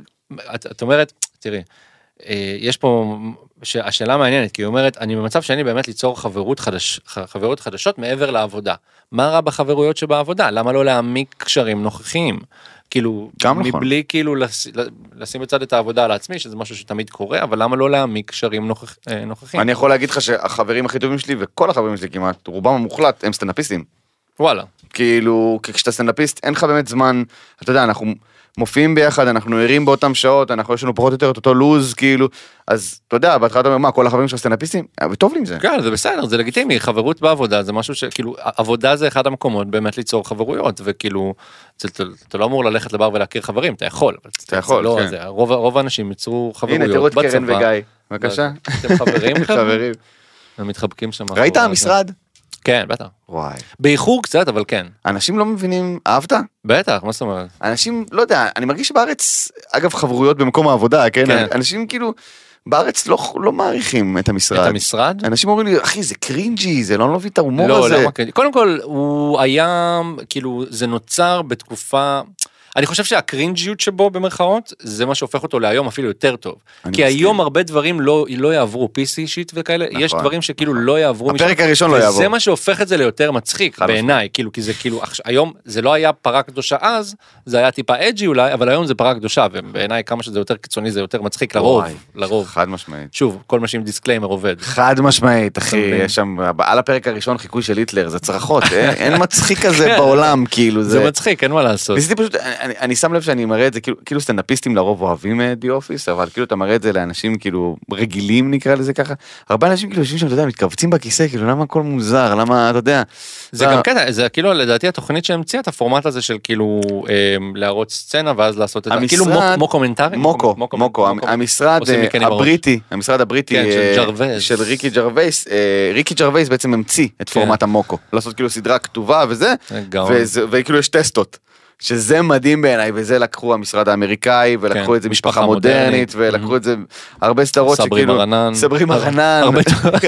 את, את אומרת תראי אה, יש פה ש- השאלה מעניינת כי היא אומרת אני במצב שאני באמת ליצור חברות חדש ח- חברות חדשות מעבר לעבודה מה רע בחברויות שבעבודה למה לא להעמיק קשרים נוכחיים כאילו
גם נכון.
מבלי כאילו לש, לשים בצד את העבודה על עצמי שזה משהו שתמיד קורה אבל למה לא להעמיק קשרים נוכח, אה, נוכחים
אני יכול להגיד לך שהחברים הכי טובים שלי וכל החברים שלי כמעט רובם המוחלט הם סטנדאפיסטים.
וואלה
כאילו כי כשאתה סטנדאפיסט אין לך באמת זמן אתה יודע אנחנו מופיעים ביחד אנחנו ערים באותם שעות אנחנו יש לנו פחות או יותר את אותו לוז כאילו אז אתה יודע בהתחלה אתה אומר מה כל החברים שלך סטנדאפיסטים אה, וטוב לי עם זה.
כן, זה בסדר, זה לגיטימי, חברות בעבודה זה משהו שכאילו, עבודה זה אחד המקומות באמת ליצור חברויות, וכאילו, זה- אתה- אתה לא אמור ללכת לבר ולהכיר חברים, אתה יכול, אבל
אתה יכול,
זה לא
כן.
זה, רוב רוב האנשים ייצרו חברויות
הנה
בצבא. לא,
תראו את קרן וגיא בבקשה.
אתם חברים?
חברים.
נכון, הם מתחבקים שם. מאחורי
ראית
הזה.
המשרד?
כן, בטח.
וואי.
באיחור קצת, אבל כן.
אנשים לא מבינים אהבת?
בטח, מה זאת אומרת?
אנשים לא יודע אני מרגיש שבארץ אגב חברויות במקום העבודה כן
כן.
אנשים כאילו בארץ לא לא מעריכים את
את
המשרד.
המשרד?
אנשים אומרים לי אחי זה קרינג'י זה לא מביא את ההומור
לא,
הזה.
למה כן? קודם כל, הוא היה, כאילו, זה נוצר בתקופה... אני חושב שהקרינג'יות שבו במרכאות זה מה שהופך אותו להיום אפילו יותר טוב.
אני
כי
מסכים.
היום הרבה דברים לא, לא יעברו PC אישית וכאלה,
נכון,
יש דברים שכאילו
נכון.
לא יעברו. משם.
הפרק הראשון לא יעבור.
וזה מה שהופך את זה ליותר מצחיק
חד משמעית.
בעיניי, כאילו, כי זה כאילו, עכש- היום זה לא היה פרה קדושה אז, זה היה טיפה אג'י אולי, אבל היום זה פרה קדושה, ובעיניי כמה שזה יותר קיצוני זה יותר מצחיק לרוב,
וואי,
לרוב.
חד משמעית.
שוב, כל מה שעם דיסקליימר עובד.
חד משמעית אחי
אתה מבין?
יש שם על הפרק הראשון חיקוי של היטלר זה צרחות אין אין מצחיק כזה בעולם כאילו
זה
זה.
מצחיק, אין מה לעשות.
ניסיתי פשוט אני- אני אני שם לב שאני מראה את זה כאילו כאילו סטנדאפיסטים לרוב אוהבים די אופיס אבל כאילו אתה מראה את זה לאנשים כאילו רגילים נקרא לזה ככה הרבה אנשים כאילו יושבים שם אתה יודע מתכווצים בכיסא כאילו למה הכל מוזר למה אתה יודע. אה,
זה
אתה-
גם קטע, זה כאילו לדעתי התוכנית שהמציאה את הפורמט הזה של כאילו אמ, להראות סצנה ואז לעשות את זה,
המשרד-
כאילו מוק- מוקומנטרי,
מוקו,
מוקומנ-
מוקו, המ- המשרד
עושים
אה,
מקנים בראש.
הבריטי, המשרד הבריטי
כן, של
אה,
ג'רווייס.
של ריקי ג'רווייס, אה, ריקי ג'רווייס בעצם המציא את
כן.
פורמט המוקו, לעשות כאילו סדרה כתובה וזה,
אה, גאון.
וזה- וכאילו יש טסטות. שזה מדהים בעיניי, וזה לקחו המשרד האמריקאי, ולקחו
כן,
את זה משפחה
משפחה
מודרנית,
מודרנית, Mm-hmm.
ולקחו את זה הרבה סדרות
סברי
שכאילו,
מרנן.
סברי מרנן,
הרבה-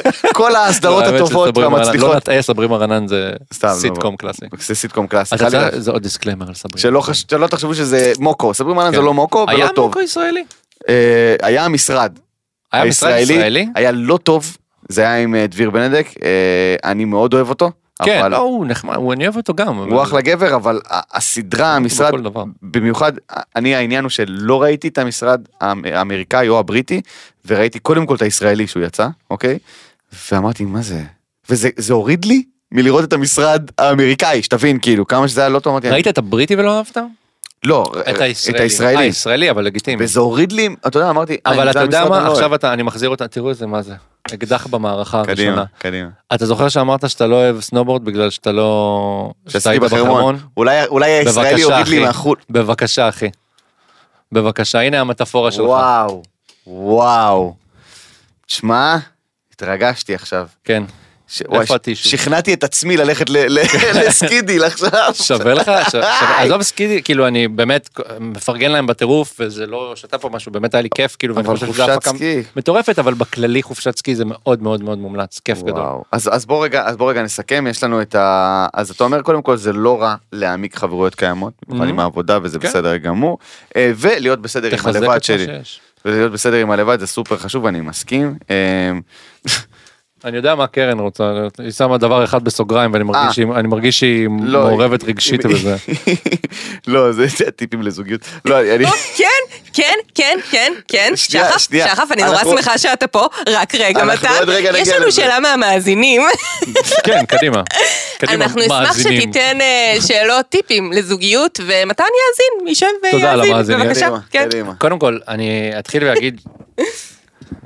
כל ההסדרות
לא, האמת
הטובות
שסברי מרנן- לא
והמצליחות,
נטעה, סברי מרנן זה
סתם, לא.
סיטקום קלאסי.
זה סיטקום קלאסי,
אז אתה
חלילה.
צריך- זה עוד דיסקליימר על סברי.
שלא חש- שלא תחשבו שזה מוקו, סברי מרנן זה
כן.
לא מוקו ולא
היה
טוב,
מוקו ישראלי?
אה, היה המשרד,
היה משרד ישראלי?
היה לא טוב, זה היה עם אה, דביר בנדק, אה, אני מאוד אוהב אותו.
כן,
אה, אבל-
לא, הוא נחמד, הוא- אני אוהב אותו גם.
הוא
אבל-
אחלה גבר, אבל ה- הסדרה, המשרד,
בכל דבר.
במיוחד, אני העניין הוא שלא ראיתי את המשרד האמ- האמריקאי או הבריטי, וראיתי קודם כל את הישראלי שהוא יצא, אוקיי? ואמרתי, מה זה? וזה זה הוריד לי מלראות את המשרד האמריקאי, שתבין, כאילו, כמה שזה היה לא טוב, אמרתי,
ראית את הבריטי ולא אהבת? אה,
לא,
את הישראלי.
את
אה,
הישראלי.
ישראלי, אבל לגיטימי.
וזה הוריד לי, אתה יודע, אמרתי, "אה,
אבל
זה
אתה יודע
המשרד, אני
מה,
לא אוהב."
עכשיו אתה, אני מחזיר אותה, תראו איזה מה זה. אקדח במערכה הראשונה.
קדימה, קדימה.
אתה זוכר שאמרת שאתה לא אוהב סנובורד בגלל שאתה לא... שאתה
שעשיתי
היית
בחרמון, אולי אולי הישראלי
בבקשה,
הוריד
אחי.
לי מהחו"ל.
בבקשה, אחי. בבקשה, הנה המטאפורה שלך.
וואו, וואו. תשמע, התרגשתי עכשיו.
כן.
ש...
איפה
ש-
הטישו?
שכנעתי את עצמי ללכת ל- ל- לסקידיל עכשיו.
שווה לך, ש- שווה- עזוב סקידי, כאילו אני באמת מפרגן להם בטירוף, וזה לא, שאתה פה משהו, באמת היה לי כיף, כאילו, ואני
אבל
חושב שזו
חופשת
הפקה
סקי.
מטורפת, אבל בכללי חופשת סקי זה מאוד מאוד מאוד מומלץ, כיף גדול.
וואו. אז, אז בוא רגע, אז בוא רגע נסכם, יש לנו את ה... אז אתה אומר, קודם כל, זה לא רע להעמיק חברויות קיימות, במיוחד עם העבודה, וזה
כן.
בסדר גמור, אה, ולהיות בסדר עם
תחזק את
הלבד
מה
שלי.
שיש.
ולהיות בסדר עם הלבד זה סופר חשוב, ואני מסכים. אה,
אני יודע מה קרן רוצה, היא שמה דבר אחד בסוגריים ואני
אה.
מרגיש שהיא- אני מרגיש שהיא
לא,
מעורבת
אם-
רגשית
אם-
בזה.
לא, זה זה הטיפים לזוגיות. לא, אני...
טוב, כן, כן, כן, כן, כן.
שנייה,
שחף,
שנייה.
שחף, אני נורא
אנחנו-
שמחה שאתה פה. רק רגע,
אנחנו
מתן.
עוד רגע
יש
נגיע
לנו
לזה.
שאלה מהמאזינים.
כן, קדימה. קדימה,
אנחנו נשמח
מאזינים.
שתיתן אה, שאלות, טיפים לזוגיות, ומתן יאזין, יישב ויאזין.
תודה על המאזינים.
בבקשה,
קדימה,
כן.
קדימה.
קודם כל, אני אתחיל ואגיד,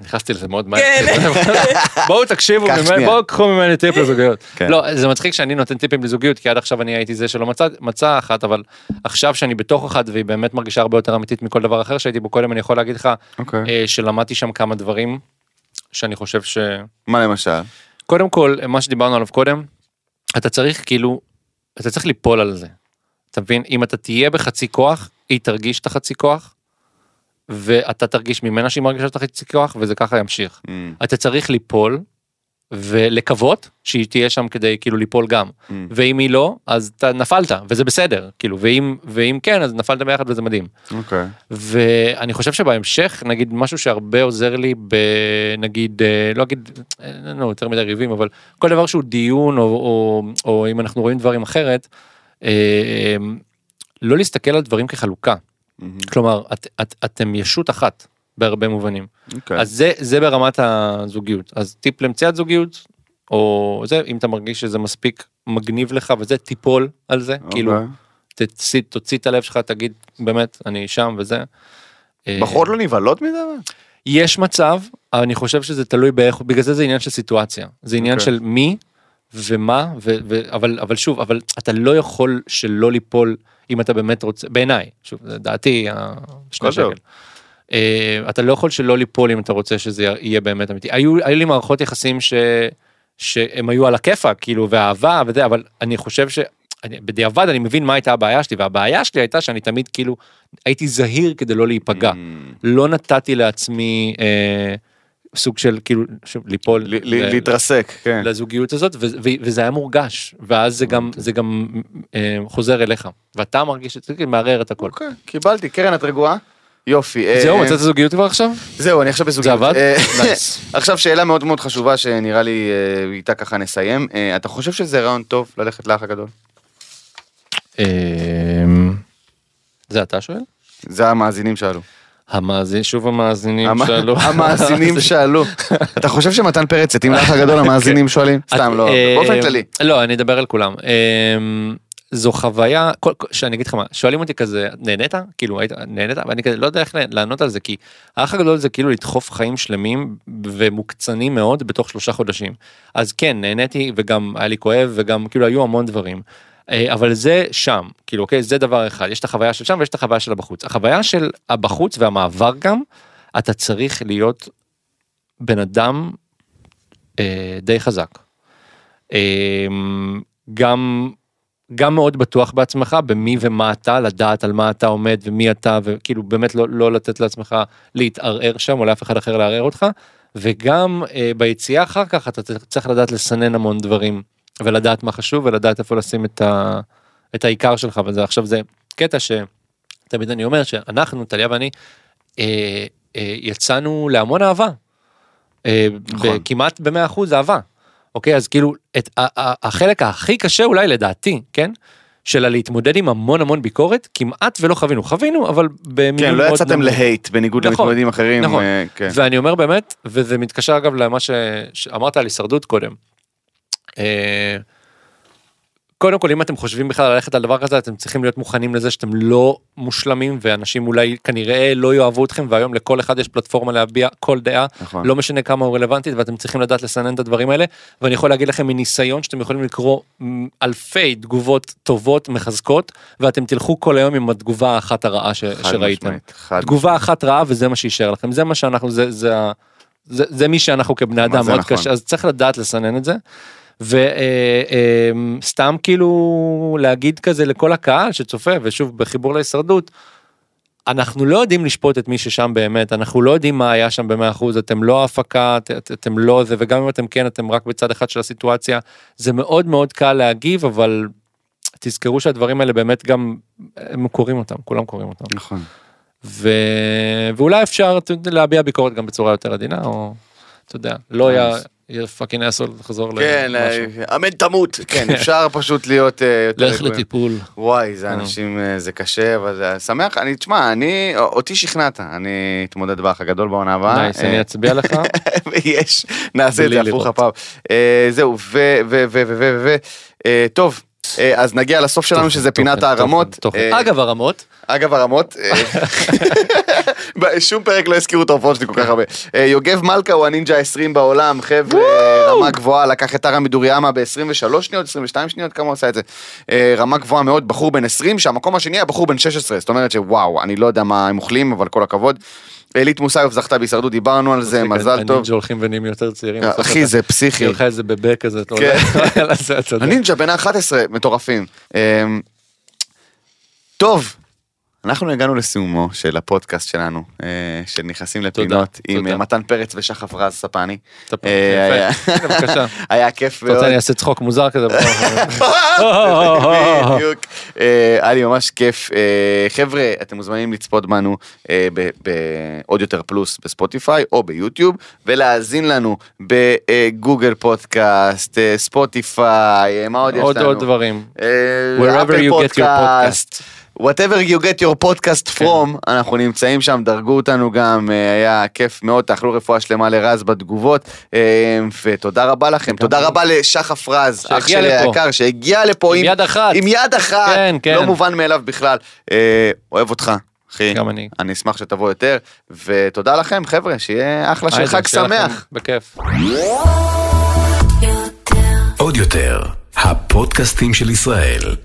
נכנסתי לזה מאוד מהר.
כן.
בואו תקשיבו,
קח
ממני-
שנייה.
בואו קחו ממני טיפ לזוגיות.
כן.
לא, זה מצחיק שאני נותן טיפים לזוגיות, כי עד עכשיו אני הייתי זה שלא מצא, מצא אחת, אבל עכשיו שאני בתוך אחת, והיא באמת מרגישה הרבה יותר אמיתית מכל דבר אחר שהייתי בו קודם, אני יכול להגיד לך
אוקיי.
אה, שלמדתי שם כמה דברים, שאני חושב ש...
מה למשל?
קודם כל, מה שדיברנו עליו קודם, אתה צריך כאילו, אתה צריך ליפול על זה. אתה מבין? אם אתה תהיה בחצי כוח, היא תרגיש את החצי כוח, ואתה תרגיש ממנה שהיא מרגישה את החצי כוח, וזה ככה ימשיך.
Mm,
אתה צריך ליפול, ולקוות שהיא תהיה שם כדי כאילו ליפול גם.
mm.
ואם היא לא, אז אתה נפלת, וזה בסדר. כאילו, ואם, ואם כן, אז נפלת ביחד וזה מדהים.
אוקיי.
ואני חושב שבהמשך נגיד משהו שהרבה עוזר לי בנגיד אה, לא אגיד אה, אין לנו יותר מדי ריבים אבל כל דבר שהוא דיון או, או, או אם אנחנו רואים דברים אחרת. אה, אה, לא להסתכל על דברים כחלוקה
מהמם.
כלומר את, את, אתם ישות אחת בהרבה מובנים
אוקיי.
אז זה זה ברמת הזוגיות אז טיפ למציאת זוגיות או זה אם אתה מרגיש שזה מספיק מגניב לך וזה תיפול על זה כאילו
אוקיי.
תוציא, תוציא את הלב שלך, תגיד, באמת, אני שם וזה. אה,
בחורות לא נבהלות מזה? אבל?
יש מצב, אבל אני חושב שזה תלוי באיך, בגלל זה זה עניין של סיטואציה. זה עניין
אוקיי.
של מי ומה, ו, ו, אבל, אבל שוב, אבל אתה לא יכול שלא ליפול אם אתה באמת רוצה, בעיניי, שוב, זה דעתי, ה- שני
הכל
שקל.
טוב.
אה, אתה לא יכול שלא ליפול אם אתה רוצה שזה יהיה באמת אמיתי. היו, היו לי מערכות יחסים ש... שהם היו על הכיפאק, כאילו, ואהבה וזה, אבל אני חושב ש... אני, בדיעבד אני מבין מה הייתה הבעיה שלי, והבעיה שלי הייתה שאני תמיד כאילו הייתי זהיר כדי לא להיפגע.
Mm.
לא נתתי לעצמי אה, סוג של כאילו שוב, ליפול
ל- ל-
ל-
להתרסק, כן.
לזוגיות הזאת ו- ו- וזה היה מורגש ואז זה גם זה גם אה, חוזר אליך ואתה מרגיש את זה כאילו, מערער את הכל.
אוקיי, קיבלתי, קרן את רגועה? יופי. אה,
זהו
אה,
מצאת זוגיות כבר עכשיו?
זהו, אני עכשיו בזוגיות.
זה עבד?
אה,
נייס.
עכשיו שאלה מאוד מאוד חשובה שנראה לי אה, איתה ככה נסיים. אה, אתה חושב שזה רעיון טוב ללכת לאח הגדול?
אמ, זה אתה שואל?
זה המאזינים שאלו.
המאזין שוב המאזינים
המ-
שאלו.
המאזינים שאלו. אתה חושב שמתן פרץ יתאים לאח הגדול המאזינים שואלים? סתם,
כן. את-
לא,
אה,
באופן
אה,
כללי.
לא, אני אדבר על כולם. אמ, זו חוויה, כל- כל- שאני אגיד לך מה, שואלים אותי כזה, נהנית? כאילו, היית, נהנית? ואני כזה לא יודע איך לענות על זה, כי האח הגדול זה כאילו לדחוף חיים שלמים ומוקצנים מאוד בתוך שלושה חודשים. אז כן, נהניתי וגם היה לי כואב וגם כאילו היו המון דברים. אה, אבל זה שם, כאילו, אוקיי, זה דבר אחד, יש את החוויה של שם ויש את החוויה של הבחוץ. החוויה של הבחוץ והמעבר גם, אתה צריך להיות בן אדם אה, די חזק. אה, גם, גם מאוד בטוח בעצמך, במי ומה אתה, לדעת על מה אתה עומד ומי אתה, וכאילו באמת לא, לא לתת לעצמך להתערער שם או לאף אחד אחר לערער אותך, וגם אה, ביציאה אחר כך אתה צריך- צריך לדעת לסנן המון דברים, ולדעת מה חשוב ולדעת איפה לשים את, ה, את העיקר שלך, וזה עכשיו זה קטע שתמיד אני אומר שאנחנו, טליה ואני, אה, אה, יצאנו להמון אהבה. אה,
נכון.
כמעט ב-100% אהבה. אוקיי, אז כאילו, את ה- ה- החלק הכי קשה אולי לדעתי, כן? של הלהתמודד עם המון המון ביקורת, כמעט ולא חווינו, חווינו, אבל במינון
כן, לא
מאוד
יצאתם
נמוך.
להייט בניגוד
נכון,
למתמודדים אחרים.
נכון.
אה, כן.
ואני אומר באמת, וזה מתקשר אגב למה ש... שאמרת על הישרדות קודם. אה, קודם כל, אם אתם חושבים בכלל ללכת על דבר כזה, אתם צריכים להיות מוכנים לזה שאתם לא מושלמים, ואנשים אולי כנראה לא יאהבו אתכם, והיום לכל אחד יש פלטפורמה להביע כל דעה,
נכון.
לא משנה כמה הוא רלוונטית, ואתם צריכים לדעת לסנן את הדברים האלה, ואני יכול להגיד לכם מניסיון שאתם יכולים לקרוא מ, אלפי תגובות טובות, מחזקות, ואתם תלכו כל היום עם התגובה האחת הרעה ש...
חד
שראיתם.
משמעית, חד
תגובה אחת רעה וזה מה שיישאר לכם זה מה שאנחנו זה זה ה- זה, זה מי שאנחנו כבני אדם
זה
מאוד
נכון.
קשה אז צריך לדעת לסנן את זה. וסתם כאילו להגיד כזה לכל הקהל שצופה ושוב בחיבור להישרדות. אנחנו לא יודעים לשפוט את מי ששם באמת אנחנו לא יודעים מה היה שם במאה אחוז אתם לא ההפקה את, את, אתם לא זה וגם אם אתם כן אתם רק בצד אחד של הסיטואציה זה מאוד מאוד קל להגיב אבל תזכרו שהדברים האלה באמת גם הם קוראים אותם כולם קוראים אותם.
נכון.
ו... ואולי אפשר אתה יודע, להביע ביקורת גם בצורה יותר עדינה, או אתה יודע, לא היה פאקינג אסול לחזור
כן,
למשהו.
אה, אמן תמות. כן, אפשר פשוט להיות אה, יותר
לך
רגועים.
לטיפול.
וואי, זה
אה.
אנשים, אה, זה קשה, אבל זה שמח. אני, תשמע, אני, אותי שכנעת, אני אתמודד באח הגדול בעונה הבאה.
נייס, אני
אה,
אצביע לך.
ויש, נעשה את
בלי
זה הפוך
לראות.
הפעם. אה, זהו, ו... ו... ו... ו... ו... ו... אה, טוב. אה, אז נגיע לסוף שלנו שזה
תוכן,
פינת
תוכן,
הערמות.
תוכן.
אה,
אגב הרמות,
אגב הרמות. אה, שום פרק לא הזכירו את ההופעות שלי כל כך הרבה. אה, יוגב מלכה הוא הנינג'ה ה-20 בעולם, חבר'ה, רמה גבוהה, לקח את הרה מדוריאמה ב-23 שניות, 22 שניות, כמה הוא עשה את זה. אה, רמה גבוהה מאוד, בחור בן 20, שהמקום השני היה בחור בן 16, זאת אומרת שוואו, אני לא יודע מה הם אוכלים, אבל כל הכבוד. אלית מוסאיוף זכתה בהישרדות, דיברנו על זה, מזל טוב. אה,
הנינג'ה הולכים כן, ונהיים יותר צעירים. בסוף
אחי,
אתה-
זה פסיכי.
יהיה לך איזה בבק כזה, אתה
כן.
עולה. זה אתה יודע.
הנינג'ה בן ה-11, מטורפים. אמ, טוב, אנחנו הגענו לסיומו של הפודקאסט שלנו, אה, של נכנסים לפינות עם
תודה.
אה, מתן פרץ ושחף רז ספני.
אתה פה.
אה, היה-
יפה. הנה, בבקשה.
היה כיף
אתה
מאוד.
רוצה אני אעשה צחוק מוזר כזה? בוא.
בדיוק. אה, היה לי ממש כיף. אה, חבר'ה, אתם מוזמנים לצפות בנו אה, ב- בעוד יותר פלוס בספוטיפיי או ביוטיוב, ולהאזין לנו בגוגל פודקאסט, אה, ספוטיפיי, אה, מה עוד יש לנו?
עוד עוד דברים.
אה,
Wherever
אפל
you get your
פודקאסט.
podcast. כן.
whatever you get your podcast from, אנחנו נמצאים שם, דרגו אותנו גם, אה, היה כיף מאוד, תאכלו רפואה שלמה לרז בתגובות, אה, ותודה רבה לכם, תודה רבה לשחף רז, אח
שהגיע
שלי
לפה.
היקר, שהגיע לפה
עם יד אחת.
עם יד אחת,
כן, כן.
לא מובן מאליו בכלל, אה, אוהב אותך. אחי,
גם אני.
אני אשמח שתבוא יותר, ותודה לכם חבר'ה, שיהיה אחלה של
היי,
חג
שיהיה לכם
שמח.
בכיף.
עוד יותר, הפודקאסטים של ישראל.